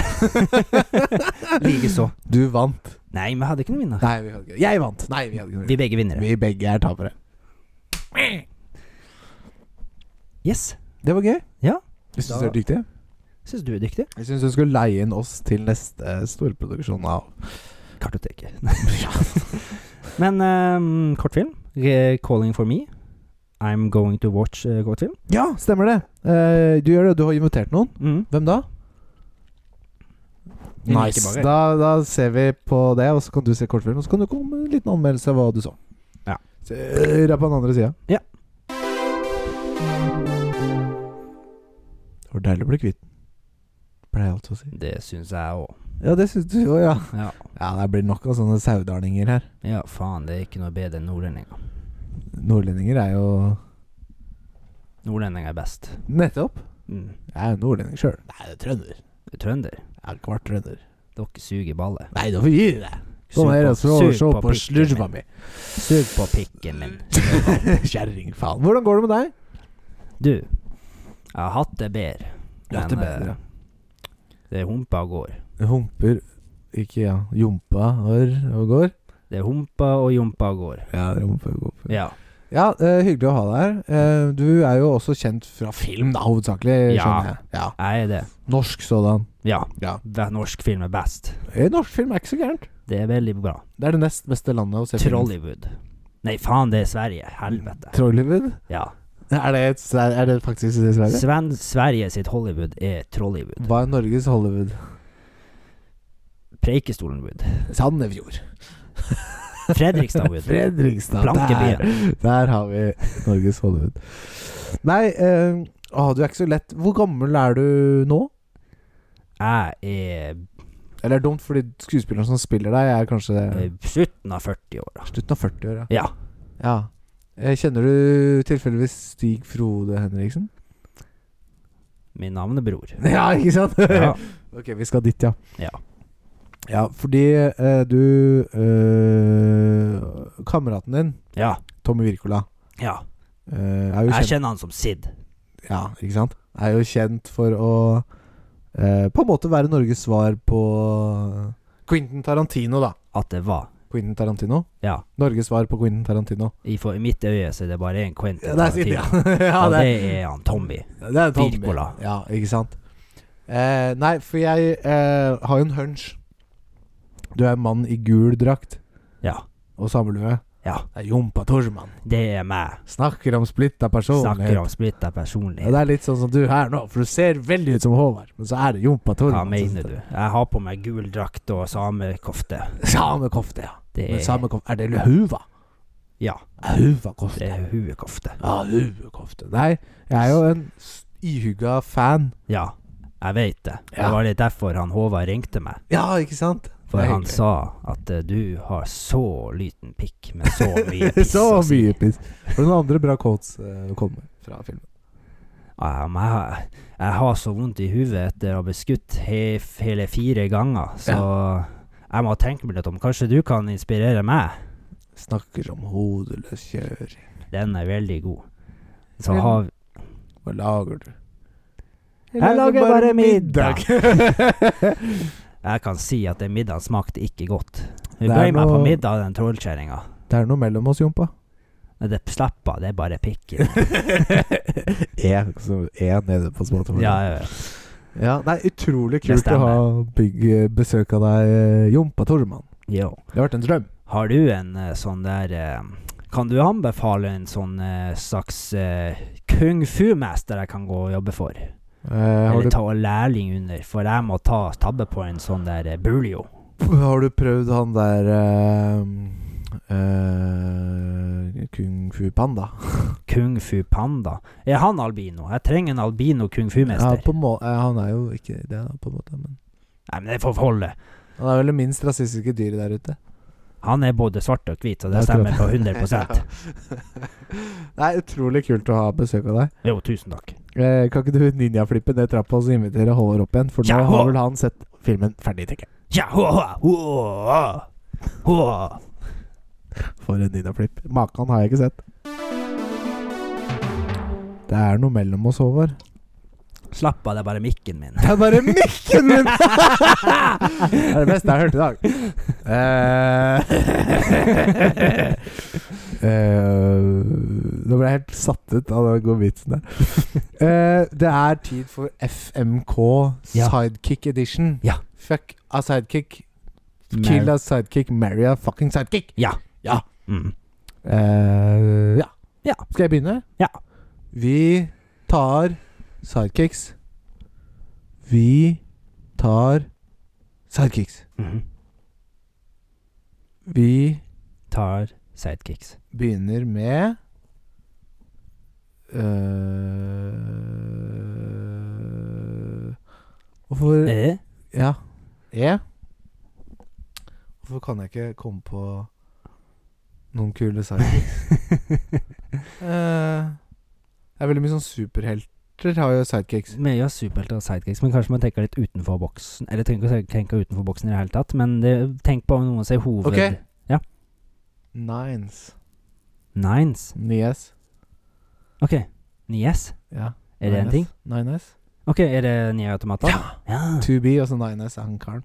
(laughs) bra. Likeså. Du vant. Nei, vi hadde ikke noen vinner. Nei, vi hadde ikke Jeg vant. Nei, vi hadde ikke Vi er begge vinnere. Vi begge er tapere. Yes. Det var gøy. Ja. Jeg syns Da- du er dyktig. Syns du er dyktig? Jeg syns du skulle leie inn oss til neste storproduksjon av (laughs) Kartoteket. (laughs) Men ehm, kortfilm. Re 'Calling for me'. I'm going to watch eh, kortfilm. Ja, stemmer det. Eh, du gjør det. Du har invitert noen. Mm. Hvem da? Ikke Nice. bare. Da, da ser vi på det, og så kan du se kortfilmen. Og så kan du komme med en liten anmeldelse av hva du så. Ja. Så, eh, er på den andre sida. Ja. Det var deilig å bli kvitt den, pleier jeg alltid å si. Det syns jeg òg. Ja, det syns du òg, ja. Ja. Ja, det blir nok av sånne saudarninger her. ja, faen, det er ikke noe bedre enn nordlendinger. Nordlendinger er jo Nordlendinger er best. Nettopp. Mm. Jeg er jo nordlending sjøl. Nei, det er trønder. Trønder, Jeg er kvart trønder. dere suger baller. Nei, da får vi gi deg. Kom Sug her på- og så- sug se på på pikken slurva mi. min. Sug på pikken min. (laughs) Kjerringfaen. Hvordan går det med deg? Du, jeg har hatt det bedre. Jeg har hatt det Men, bedre, eh, Det er humpa og går. Humper Ikke ja Jompa Hør og går Det er humpa og jompa og går. Ja, rumpa og går Ja. Ja, eh, hyggelig å ha deg her Eh, Du er jo også kjent fra film da Hovedsakelig Ja. skjønner jeg Ja Jeg er det. Norsk sådan Ja. Ja. Hver Norsk film er best. Eh, Norsk film er ikke så gærent Det er veldig bra. Det er det nest beste landet å se film Trollywood. Nei, faen, det er Sverige. Helvete. Trollywood Ja. Er det, et, Sver- er det faktisk i Sverige? Sven, Sverige sitt Hollywood er Trollywood. Hva er Norges Hollywood? Preikestolenwood. Sandefjord Fredrikstad, (laughs) Wood. Fredrikstad. Blankebyen. Der, der har vi Norges Hollywood. Nei, eh, å, du er ikke så lett. Hvor gammel er du nå? Jeg er eh, Eller dumt, fordi skuespilleren som spiller deg, er kanskje eh, slutten av 40-åra. slutten av 40 år. Ja. Ja. ja. Eh, Kjenner du tilfeldigvis Stig Frode Henriksen? (laughs) Min navnebror. Ja, ikke sant? Ja. (laughs) ok, vi skal dit, ja. Ja. Ja, fordi eh, du eh, Kameraten din, ja. Tommy Wirkola, ja. eh, er jo Jeg kjent kjenner han som Sid. Ja, ikke sant? Er jo kjent for å eh, på en måte være Norges svar på Quentin Tarantino, da. At det var. Quentin Tarantino? Ja. Norges svar på Quentin Tarantino. I, for, I mitt øye så er det bare en Quentin Ja, der sitter Tarantino. jeg. (laughs) ja, Og det, det er han Tommy. det er Tommy. Wirkola. Ja, ikke sant? Eh, nei, for jeg eh, har jo en hunch. Du er en mann i gul drakt Ja. og samlue. Ja. Det er Jompa Tormann. Det er meg. Snakker om splitta Snakker personlighet. om Ja, splitta det personlighet. er litt sånn som du her nå, for du ser veldig ut som Håvard, men så er det Jompa Hva Tormann. som mener du? Jeg har på meg gul drakt og samekofte. Samekofte, ja. Det Men er, samekofte Er det huva? Ja. det Huvakofte. er huekofte. Ja, huvakofte. Nei, jeg er jo en s- ihugga fan. Ja, jeg vet det. Det Ja. var litt derfor han Håvard ringte meg. Ja, ikke (laughs) sant? For Det er han hyggelig. sa at eh, du har så liten pikk, men (laughs) så mye piss. så å si. mye piss. Og noen andre bra quotes eh, kommer fra filmen. Ja, men jeg, har- jeg har så vondt i huet etter å ha blitt skutt he, hele fire ganger, så jeg må tenke meg litt om. Kanskje du kan inspirere meg? Snakker om hodeløs kjøring. Den er veldig god. Så Den- har Hva lager du? Jeg lager bare middag. (laughs) Jeg kan si at den middagen smakte ikke godt. Hun Det er bøy meg på noe- middag, den trollkjerringa. det er noe mellom oss, Jompa. Men det slapper, (laughs) det er bare pikk (laughs) i den. Én nede på Spotify. Ja, ja, ja. Ja, det er utrolig Det kult å ha bygg, besøk av deg, eh, Jompa Tormann. Jo. Det har vært en drøm. Har du en eh, sånn der eh, Kan du anbefale en sånn eh, slags eh, kung fu-mester jeg kan gå og jobbe for? Eh, har, Eller du, ta lærling under, for jeg må ta tabbe på en sånn der eh, buljo. har du prøvd han der eh, eh, Kung Fu Panda? Kung fu panda. Er han albino? Jeg trenger en albino kung Ja, fu-mester. på må eh, han er jo ikke det, da, på en måte. Men Nei, men det får holde. han er vel det minst rasistiske dyret der ute. Han er både svart og hvit, så det Akkurat. stemmer på 100 (laughs) (laughs) Det er utrolig kult å ha besøk av deg. Jo, tusen takk. Eh, kan ikke du ninjaflippe ned trappa og så invitere Håvard opp igjen? For nå Ja, har Håvard. vel han sett filmen ferdig, tenker jeg. Ja, hå, hå, hå, hå. For en ninjaflipp. Makan har jeg ikke sett. Det er noe mellom oss, Håvard. Slapp av, det er bare mikken min. Det er bare mikken min! (laughs) det er det beste jeg har hørt i dag. Eh, (laughs) eh, Nå ble jeg helt satt ut av den gode vitsen der. Eh, det er tid for FMK Ja. Sidekick Edition. Ja. Fuck a sidekick. Kill a sidekick. Marry a fucking sidekick. Mm. Eh, ja. Ja. Skal jeg begynne? Ja. Vi tar sidekicks. Vi tar sidekicks. Mhm. Vi Tar sidekicks. begynner med eh, Hvorfor Eh? Ja. E. Hvorfor kan jeg ikke komme på noen kule (laughs) sidekicks? Eh, det er veldig mye sånn superhelter har jo sidekicks. Vi gjør superhelter og sidekicks, men kanskje man tenker litt utenfor boksen. Eller trenger ikke å tenke utenfor boksen i det hele tatt, men det, tenk på om noen sier hoved... Ok. Ja. Nines. Nines. Nies. Ok. Nies. Ja. Er det en ting? Nines. Ok, er det nye automater? Ja. ja. 2B, og så Nines er han karen.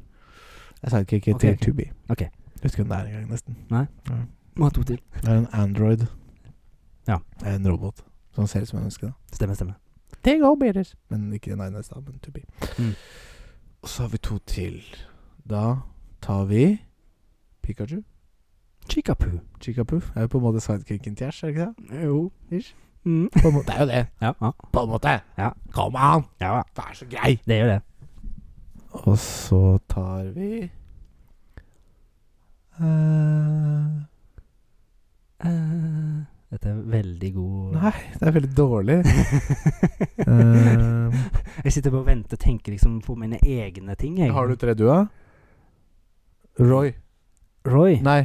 Jeg sidekicker Ok. til 2B. Ok. Jeg Husker hvem det er engang, nesten. Må ha to til. Det er en android. Ja. Det er En robot som ser ut som en menneske. da Stemmer, stemmer. Det går bedre. Men ikke Nines, da, men to be. Mm. Og så har vi to til. Da tar vi Pikachu. Chikapu. Chikapu er jo på en måte sidekicken til Ash, er det ikke det? Jo. Ish. (laughs) Mm. På en måte, det er jo det. Ja, ja. På en måte. Ja. Kom an, ja. vær så grei. Det gjør det. Og så tar vi eh, Eh, Dette er veldig god (laughs) Nei, det er veldig dårlig. (laughs) Eh. Jeg sitter bare og venter og tenker liksom på mine egne ting. Jeg. Har du tre du, da? Roy. Roy? Nei,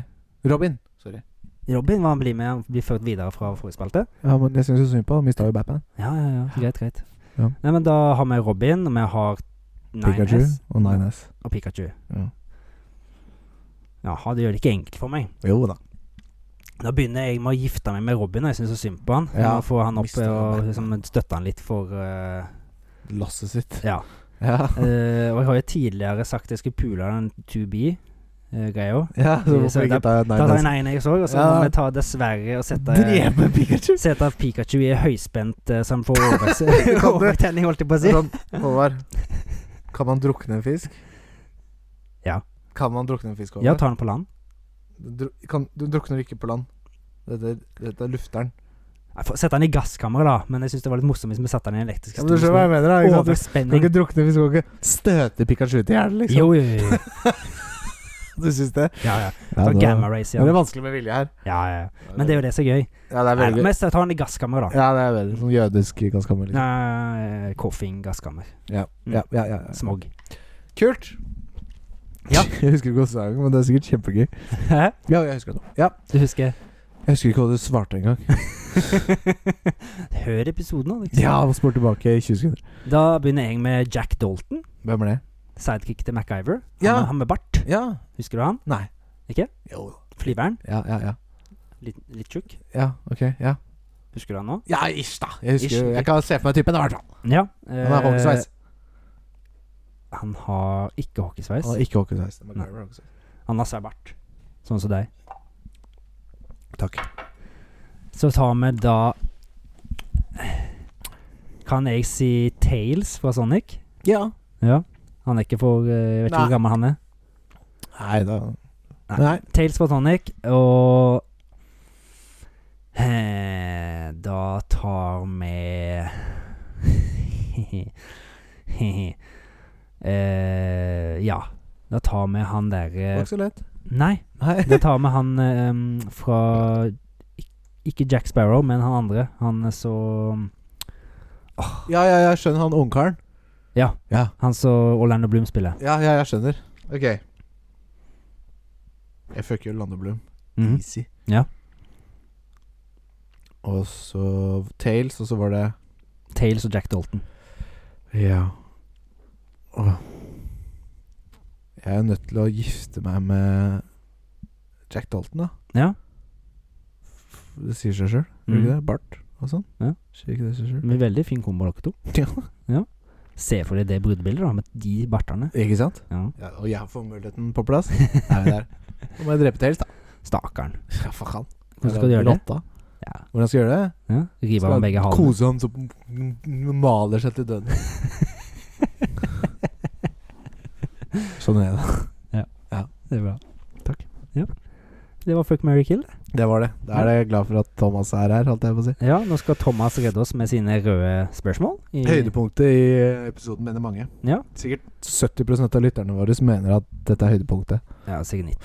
Robin. Sorry. Robin hva han blir med, han blir ført videre fra forrige spalte. Ja, men Jeg syns jo synd på ham. Mista jo Batman. Ja, ja, ja. Greit, greit. Ja. Nei, men da har vi Robin, og vi har Pikachu 9S og 9S. og Pikachu. Ja. Jaha, det gjør det ikke enkelt for meg. Jo da. Da begynner jeg med å gifte meg med Robin, og jeg syns så synd på han. Jeg Ja, må få han opp mister og han. liksom, støtte han litt for eh, Lasset sitt. Ja. Ja, Eh, og jeg har jo tidligere sagt jeg skulle pule den 2B-greia. ja så Så hvorfor ikke ta da tar jeg 9S? en jeg så, og så Ja. må vi ta dessverre og sette Drepe Pikachu! Sette Pikachu i høyspent eh, som (laughs) får overveks- Du kan- overtenning, holdt jeg på å (laughs) si. Sånn, Håvard, (laughs) kan man drukne en fisk? Ja. Kan man drukne en fisk? Håvard? Ja, ta den på land. Dru kan, du drukner ikke på land. Dette, dette er lufteren. Nei, få- Sette den i gasskammeret, da. Men jeg syns det var litt morsomt hvis vi satte den i en elektrisk Ja, men du skjønner hva jeg mener? da, Ikke sant? Du kan Overspenning. ikke drukne fisk, du kan ikke støte Pikachu til hjernen, liksom. Jo, jo, jo. jo. Du syns det? Ja, ja. Ja, Ta det- gamma race, Men det ja. er vanskelig med vilje her. ja, ja. Men det er jo det som er gøy. Ja, det er Nei, veldig Mest ta den i gasskammeret, da. Ja, det er veldig sånn jødisk gasskammer. Liksom. Nei, Koffing, gasskammer. Ja. Ja, ja, ja, ja. Smog. Kult! Ja. (laughs) jeg husker ikke hva sangen men det er sikkert kjempegøy. Hæ? Ja, jeg husker det nå. Ja. Du husker (laughs) Jeg husker ikke hva du svarte engang. Hør episoden, da. Liksom. (laughs) Ja, spol tilbake i 20 sekunder. Da begynner jeg med Jack Dalton. Hvem er det? Sidekick til MacGyver. Han, Ja. med- han med bart. Ja. Husker du han? Nei. Ikke? Jo da. Flyveren. Ja, ja, ja. Litt, litt tjukk. Ja, ok. Ja. Husker du han nå? Ja, ish, da. Jeg husker Ish, jo- ok. Jeg kan se for meg typen, i hvert fall. Ja. Han har hockeysveis. Eh, Han har ikke hockeysveis. Han har ikke hockeysveis. Det er MacGyver hockeysveis. Han har seg bart. Sånn som deg. Takk. Så tar vi da Kan jeg si Tales fra Sonic? Ja. Ja. Han er ikke for eh, Jeg vet ikke Nei. hvor gammel han er. Nei da. Nei. Nei. Tales fra Sonic, og eh, Da tar (laughs) vi eh, Ja. Da tar vi han Det derre var ikke så lett. Nei. Nei. Da tar vi han eh, um, fra ik- Ikke Jack Sparrow, men han andre. Han er så Ja, ja, jeg skjønner han ungkaren. Ja. Ja. Han så Orlando Bloom spiller. Ja, ja, jeg skjønner. Ok. Jeg fucker jo Landeblom. Mhm. Easy. Ja. Og så Tales, og så var det Tales og Jack Dalton. Ja. Åh. Jeg er jo nødt til å gifte meg med Jack Dalton, da. Ja. F- Det sier seg sjøl, gjør det ikke Mhm. det? Bart og sånn. Ja. Sier ikke det seg sjøl? Men veldig fin kombo, dere to. Ja. (laughs) Ja. Se for deg det brudebildet, da, med de bartene. Ikke sant? Ja. Ja, og jeg får muligheten på (laughs) plass. Nei, det er. Nå må jeg drepe Tales, da. Stakkaren. Ja, faen. Hvordan skal du gjøre det? Rotta. Ja. Hvordan skal jeg gjøre det? ja. Rive av Skal med begge halene. Kose han så m- m- maler seg til (laughs) døden. sånn er det. Det er bra. Takk. Ja. Det var Fuck Mary Kill. Det var det. Da er jeg glad for at Thomas er her, holdt jeg på å si. Ja, nå skal Thomas redde oss med sine røde spørsmål. i- Høydepunktet i episoden mener mange. Mm. Ja. Sikkert 70 av lytterne våre som mener at dette er høydepunktet. Ja, sikkert nitt.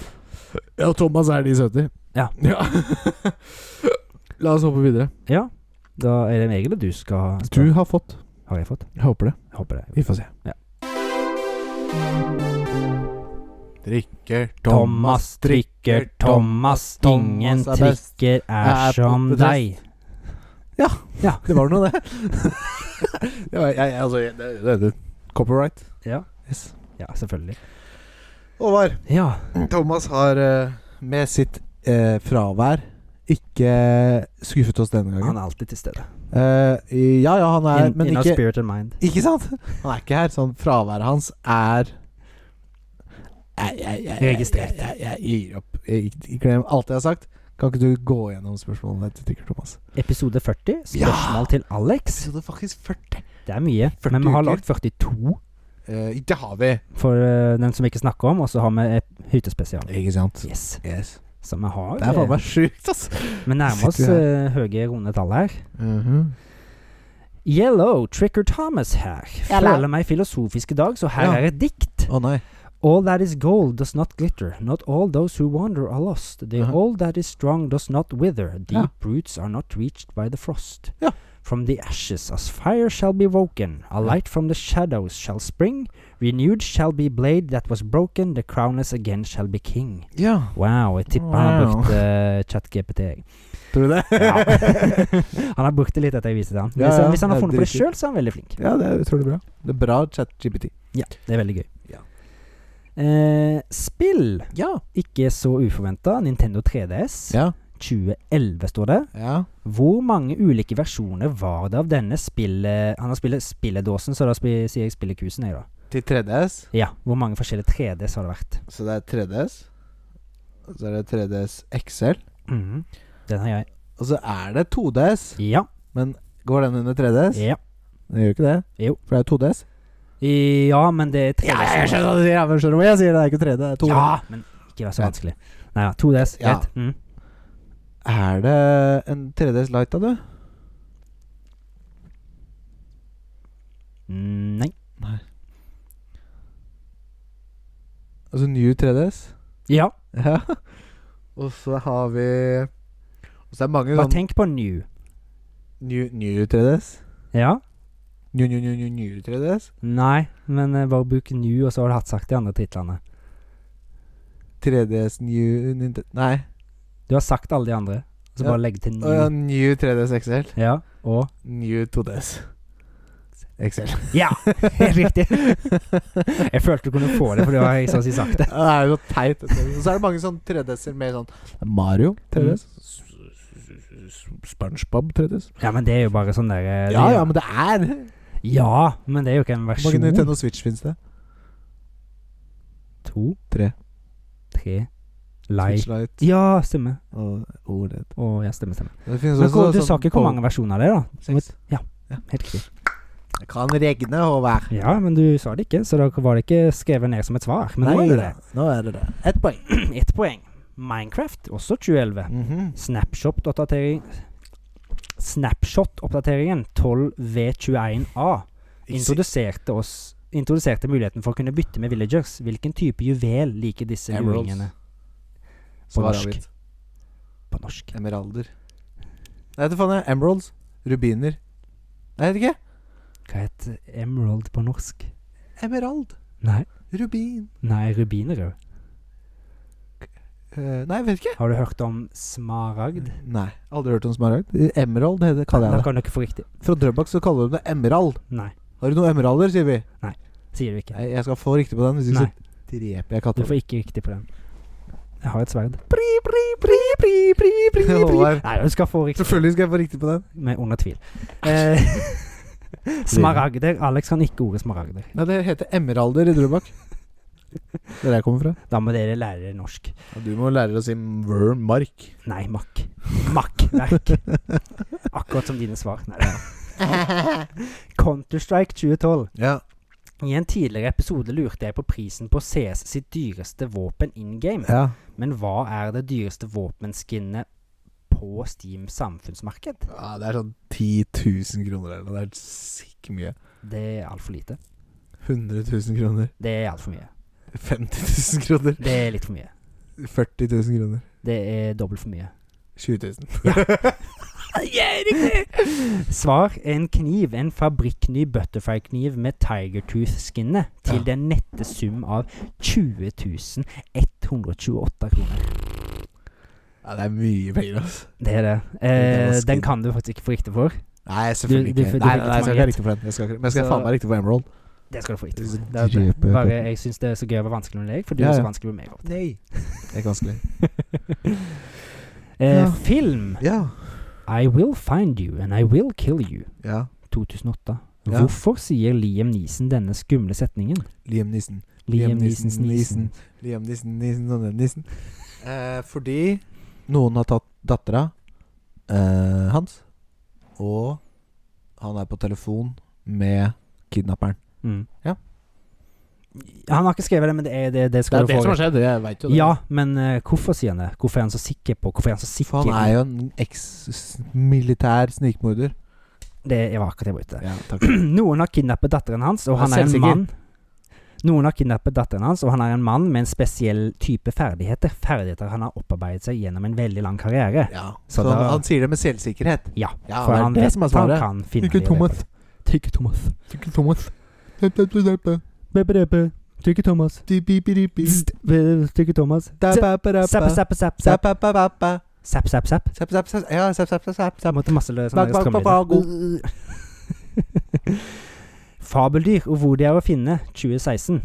Ja, og Thomas er de 70. Ja. (laughs) La oss hoppe videre. Ja. Da er det meg eller du skal ha Du har fått. Har jeg fått? Jeg håper det. Jeg håper det. Vi får se. Ja. Drikker Thomas drikker, Thomas ingen Thomas er best. drikker er Er som poppetest. deg. Det var noe, det. (laughs) det var, jeg, jeg, altså, jeg- det, det, det. Copyright. Ja. Yes. ja, selvfølgelig. Håvard, Ja. Thomas har eh, med sitt eh, fravær ikke skuffet oss denne Han gangen. er alltid til stede. Eh, i- ja, ja, han er In, Men in our ikke, spirit and mind. ikke sant? (laughs) Han er ikke her. Sånn fraværet hans er jeg, jeg, jeg, jeg, Registrert. Jeg, jeg, jeg gir opp. Jeg, jeg, glem alt jeg har sagt. Kan ikke du gå gjennom spørsmålene til Tikker Thomas? Episode 40, spørsmål til Alex. Episode faktisk 40. Det er mye. 40 Men vi har uker. lagd 42 Eh, det har vi. for eh, den som ikke snakker om, og så har vi et hyttespesial. Ikke sant? Yes. Yes. Så vi har eh, Det er faen meg sjukt, ass. Vi nærmer oss Sitter vi eh, høye, runde tall her. Mhm. Yellow, Tricker Thomas her. Yellow. Føler meg filosofisk i dag, så her Ja. er et dikt. Å nei. All that is gold does not glitter. Not all those who wander are lost. The Uh-huh. all that is strong does not wither. Deep Yeah. roots are not reached by the frost. Yeah. From the ashes as fire shall be woken. A light from the shadows shall spring. Renewed shall be blade that was broken. The crownless again shall be king. Ja. Wow, jeg tipper han har Wow. brukt uh, chat-GPT. jeg. Tror du det? (laughs) Ja. (laughs) han har brukt det litt etter jeg viste det han. Hvis, Ja, ja, han, hvis han har ja, funnet på det dritkul. sjøl, så er han veldig flink. ja, det er utrolig bra. Det er bra chat-GPT. Ja, det er veldig gøy. Ja. Eh, spill, Ja. ikke så uforventa. Nintendo 3DS. Ja. 2011 står det. Ja. Hvor mange ulike versjoner var det av denne spillet Han har spillet spilledåsen, så da spi- sier jeg spillekusen, jeg, da. Til 3DS. Ja, hvor mange forskjellige 3Ds har det vært? Så det er 3DS. Og så er det 3DS XL. Mhm. Den har jeg. Og så er det 2DS. Ja. Men går den under 3DS? Ja, Den gjør ikke det? Jo. For det er 2DS. ja men det er 3DS. hva du sier. ja, men skjønner du hva jeg sier? Det er ikke 3D, det er 2D. Ja, men ikke vær så Ja. vanskelig. Nei da, 2DS. Ja. Greit. Mhm. Er det en 3DS Lite, da, du? Mm, nei. Altså New 3DS? Ja, (laughs) Ja. Og så har vi Og så er det mange bare sånn tenk på New. new, new 3DS. Ja. New, new, new, new, new 3DS. Nei, men eh, bare bruk New, og så har du hatt sagt de andre titlene. 3DS New Ninte- Nei. Du har sagt alle de andre, så Ja. bare legg til New. Å ja, New 3DS XL. Ja, og New 2DS. XL. Ja! (laughs) Helt riktig. (laughs) Jeg følte du kunne få det, for det var jeg så å si sagt det. (laughs) Ja, Det er jo så teit. dette. Og så er det mange sånn 3DS-er med sånn Mario 3DS. SpongeBob 3DS. Ja, men det er jo bare sånn der eh, Ja, det- ja, men det er ja, men det er jo ikke en Hvor mange versjon. Nintendo Switch finnes det? To, Tre. tre, light Switch Lite Ja, stemmer. og OLED. Å, ja, stemmer, stemmer. Det finnes Men hvor, også du sånn sa ikke hvor Power- mange versjoner det er, da? Seks. Helt riktig. Det kan regne, Håvard. Ja, men du sa det ikke, så da var det ikke skrevet ned som et svar. Men nå er det det. Nå er det det. Ett poeng. Ett poeng. (clears throat) Minecraft, også 2011. Snapshot-oppdatering Snapshot-oppdateringen 12V21A introduserte oss Introduserte muligheten for å kunne bytte med villagers. Hvilken type juvel liker disse Emeralds. luringene? eh? På Svaret norsk. mitt. På norsk. Emeralder. Nei, vet du faen. jeg. Emeralds. Rubiner. Nei, jeg vet ikke. Hva heter emerald på norsk? Emerald. Nei, Rubin. nei rubiner òg. Eh, nei, jeg vet ikke. Har du hørt om smaragd? Nei, Aldri hørt om smaragd. Emerald heter, kaller Da jeg det. kan du ikke få riktig. Fra Drøbak så kaller de det emerald. Nei, Har du noen emeralder, sier vi. sier du ikke. Nei, jeg skal få riktig på den, hvis ikke Nei, så dreper jeg du katta. får ikke riktig på den. Jeg har et sverd. (laughs) Håvard. Nei, du skal få riktig. Selvfølgelig skal jeg få riktig på den. Med under tvil. Eh, (laughs) smaragder. Alex kan ikke ordet smaragder. Nei, det heter emeralder i (laughs) Drøbak. Der jeg kommer fra. Da må dere lære dere norsk. Ja, du må lære å si worm mark. Nei, makk. Makkverk. Akkurat som dine svar. Nei, da. Counter-Strike 2012. Ja. I en tidligere episode lurte jeg på prisen på CS sitt dyreste våpen in game. ja. Men hva er det dyreste våpenskinnet på Steam samfunnsmarked? Ja, det er sånn 10 000 kroner eller noe. Det er sikkert mye. Det er altfor lite. 100 000 kroner. Det er altfor mye. 50 000 kroner. Det er litt for mye. 40 000 kroner. Det er dobbelt for mye. 20 000. (laughs) (laughs) Svar en kniv, en fabrikkny butterfly-kniv med tiger tooth-skinnet, til Ja. den nette sum av 20 128 kroner. Ja, det er mye penger, altså. Det er det. Det var Eh, skinn. den kan du faktisk ikke få riktig for. Nei, selvfølgelig Du- du ikke. fikk- du nei, fikk nei, jeg skal ikke ikke ha riktig for den. Jeg skal, ikke- men jeg skal Så- faen meg ha riktig for Emerald. Det skal du få Det riktig er for. så Det er dreper jeg bare, på. jeg syns det er så gøy å være vanskelig med deg, for du Ja, er ja. så vanskelig med meg. av og til. Nei. Det er ikke (laughs) vanskelig. Eh, Ja. Film Ja. I Will Find You and I Will Kill You ja. 2008. Ja. Hvorfor sier Liam Neeson denne skumle setningen? Liam Nissen. Liam, Liam Neesons Neeson, Neeson. Liam Nissen, Nissen, Nissen, Nissen. Eh, fordi noen har tatt dattera eh, hans, og han er på telefon med kidnapperen. Mm. Ja. Han har ikke skrevet det, men det er det, det skal du få. skjedd, jeg veit Ja, men eh, hvorfor sier han det? Hvorfor er han så sikker på Hvorfor er han så sikker? For han er jo en eks-militær snikmorder. Det var akkurat det jeg var ute etter. (clears throat) Ja, takk. Noen har kidnappet datteren hans, og Han han er er en selvsikker. mann Noen har kidnappet datteren hans, og han er en mann med en spesiell type ferdigheter. Ferdigheter han har opparbeidet seg gjennom en veldig lang karriere. Ja, Så så han, da- han sier det med selvsikkerhet. Ja, Ja, for det er han det vet som er at han svaret. kan finne de løperne. Tykke Thomas. Tykke Thomas. Bebedepe, tykke Thomas. St- be- Tykke Thomas. Zapp, zapp, zapp, zapp, zapp. Zapp, zapp, zapp. Zapp, zapp, zapp. Ja, zapp, zapp, zapp, zapp, Jeg zapp. måtte masse lø- sånne Bak, bak, bak, bak, strømlyder. Fabeldyr og hvor de er å finne, 2016.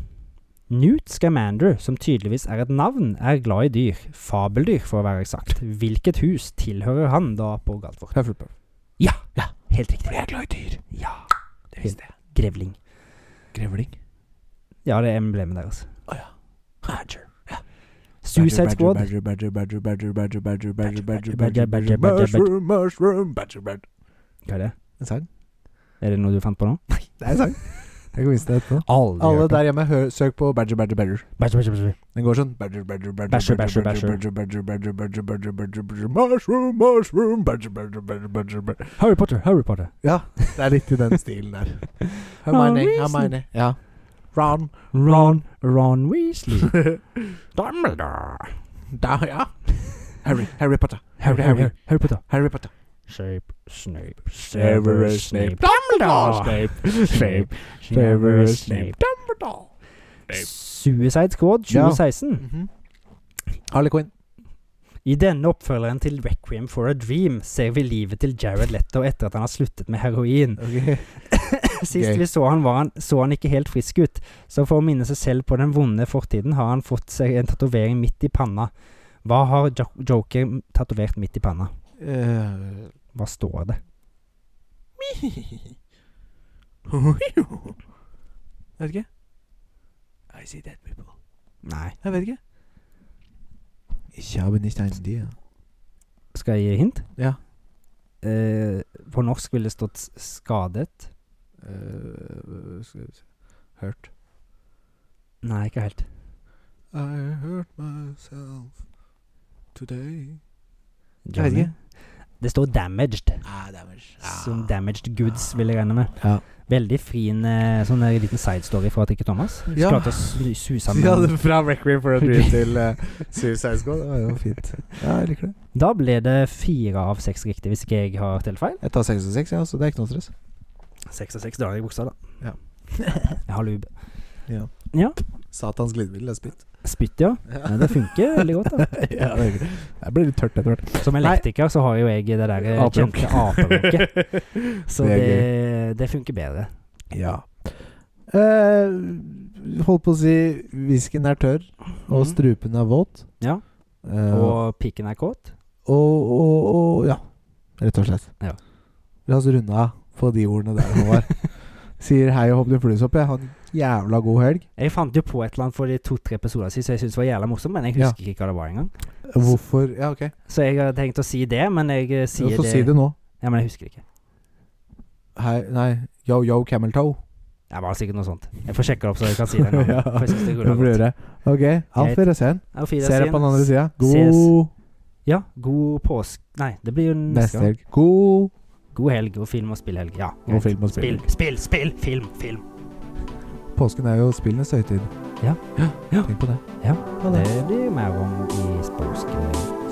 Newt Scamander, som tydeligvis er et navn, er glad i dyr. Fabeldyr, for å være eksakt. Hvilket hus tilhører han da på Galtvort? Hufflepuff. Helt riktig. Jeg er glad i dyr. Ja, Det visste jeg. grevling. Grevling. Ja, det er emblemet deres. Badger. Suicide Squad. Badger, badger, badger, badger, badger, badger, badger, badger, badger, Badger, badger, badger, badger, badger. Mushroom, mushroom, badger, badger. Hva er det? En sang? Er det noe du fant på nå? Det er en sang. Jeg kan vise deg etterpå. Aldri Alle hørt om. der hjemme, hør, søk på badger, badger, badger. Bæsj, bæsj, bæsj. Den går sånn badger, badger, badger, Basher, badger, basher, badger, badger, badger, badger, badger, badger, badger, Mushroom, mushroom, badger, badger, badger, badger, badger. Harry Potter, Harry Potter. Ja, det er litt i den stilen (laughs) der. Hermione, Hermione. Ja. Ron. Ron, Ron (laughs) Weasley. Dumbledore. Da, ja. Harry, Harry Potter. Harry, Harry, Harry Potter. Harry Potter. Snape, Snape, Severus Snape. Dumbledore! (laughs) Snape. Snape, Severus Snape. Dumbledore. Suicide Squad 2016. Mhm. Harley Quinn. I denne oppfølgeren til Requiem for a Dream ser vi livet til Jared Letto etter at han har sluttet med (laughs) heroin. Sist Gøy. vi så han, var han, så han ikke helt frisk ut, så for å minne seg selv på den vonde fortiden har han fått seg en tatovering midt i panna. Hva har jo Joker tatovert midt i panna? Eh, Hva står det? Vet ikke. I see dead people. Nei. Jeg vet ikke. Ich habe nicht ein Tier. Skal jeg gi hint? Ja. Eh, på norsk ville det stått s- 'skadet'. Eh, skal vi se. Hurt. Nei, ikke helt. I hurt myself today. Jeg vet ikke. Det står 'damaged', Ah, damage. som 'damaged goods' vil jeg regne med. Ja. Veldig fin eh, sånn der liten side story fra Trikke Thomas. Ja. Klarte å snu- suse han Ja, med- det- fra Requiem for a (laughs) Dream til eh, Suicide Squad. Det var jo fint. Ja, jeg liker det. Da ble det fire av seks riktig, hvis ikke jeg har telt feil. Jeg tar 6 og 6, ja, så det er ikke noe stress. Seks av seks dager i buksa, da. Ja. jeg har lube. Ja. Ja. Satans glidemiddel er spytt. Spytt, ja. Men det funker (laughs) veldig godt, da. ja, det er gøy. Jeg blir litt tørt etter hvert. Som elektriker så har jo jeg det der eh, Aperunk. kjente aperunket, så Det det, er det, funker bedre. Ja. Eh, holdt på å si Whisken er tørr, og Mhm. strupen er våt. Ja. Eh, og, Og piken er kåt. og, og, Ja. Rett og slett. Ja. La oss runde av på de ordene der, Håvard. (laughs) Sier hei og hopp din fluesopp. jeg. Ha en jævla god helg. Jeg fant jo på et eller annet for de to-tre episoder siden, så jeg syntes det var jævla morsomt, men jeg Ja. husker ikke hva det var engang. Hvorfor Ja, ok. Så jeg har tenkt å si det, men jeg eh, Så sier det, si det nå. Ja, men jeg husker det ikke. Hei, nei. Yo, yo, camel toe. Det var sikkert noe sånt. Jeg får sjekke det opp, så jeg kan si det nå. (laughs) Ja, For jeg synes det Det får du ruller godt. gjøre. Ok. Greit. Auf Wiedersehen. Auf Ser deg på den andre Wiedersehen. sida. Ses. God Ja, god påske Nei, det blir jo neste neste gang. helg. God, God helg og film og spillhelg. Ja. greit. god film og spill. Spill, spill, spill, film, film. Påsken er jo spillenes høytid. Ja. Ja. Tenk på det. Ja, Ha det. det blir mer om i påsken.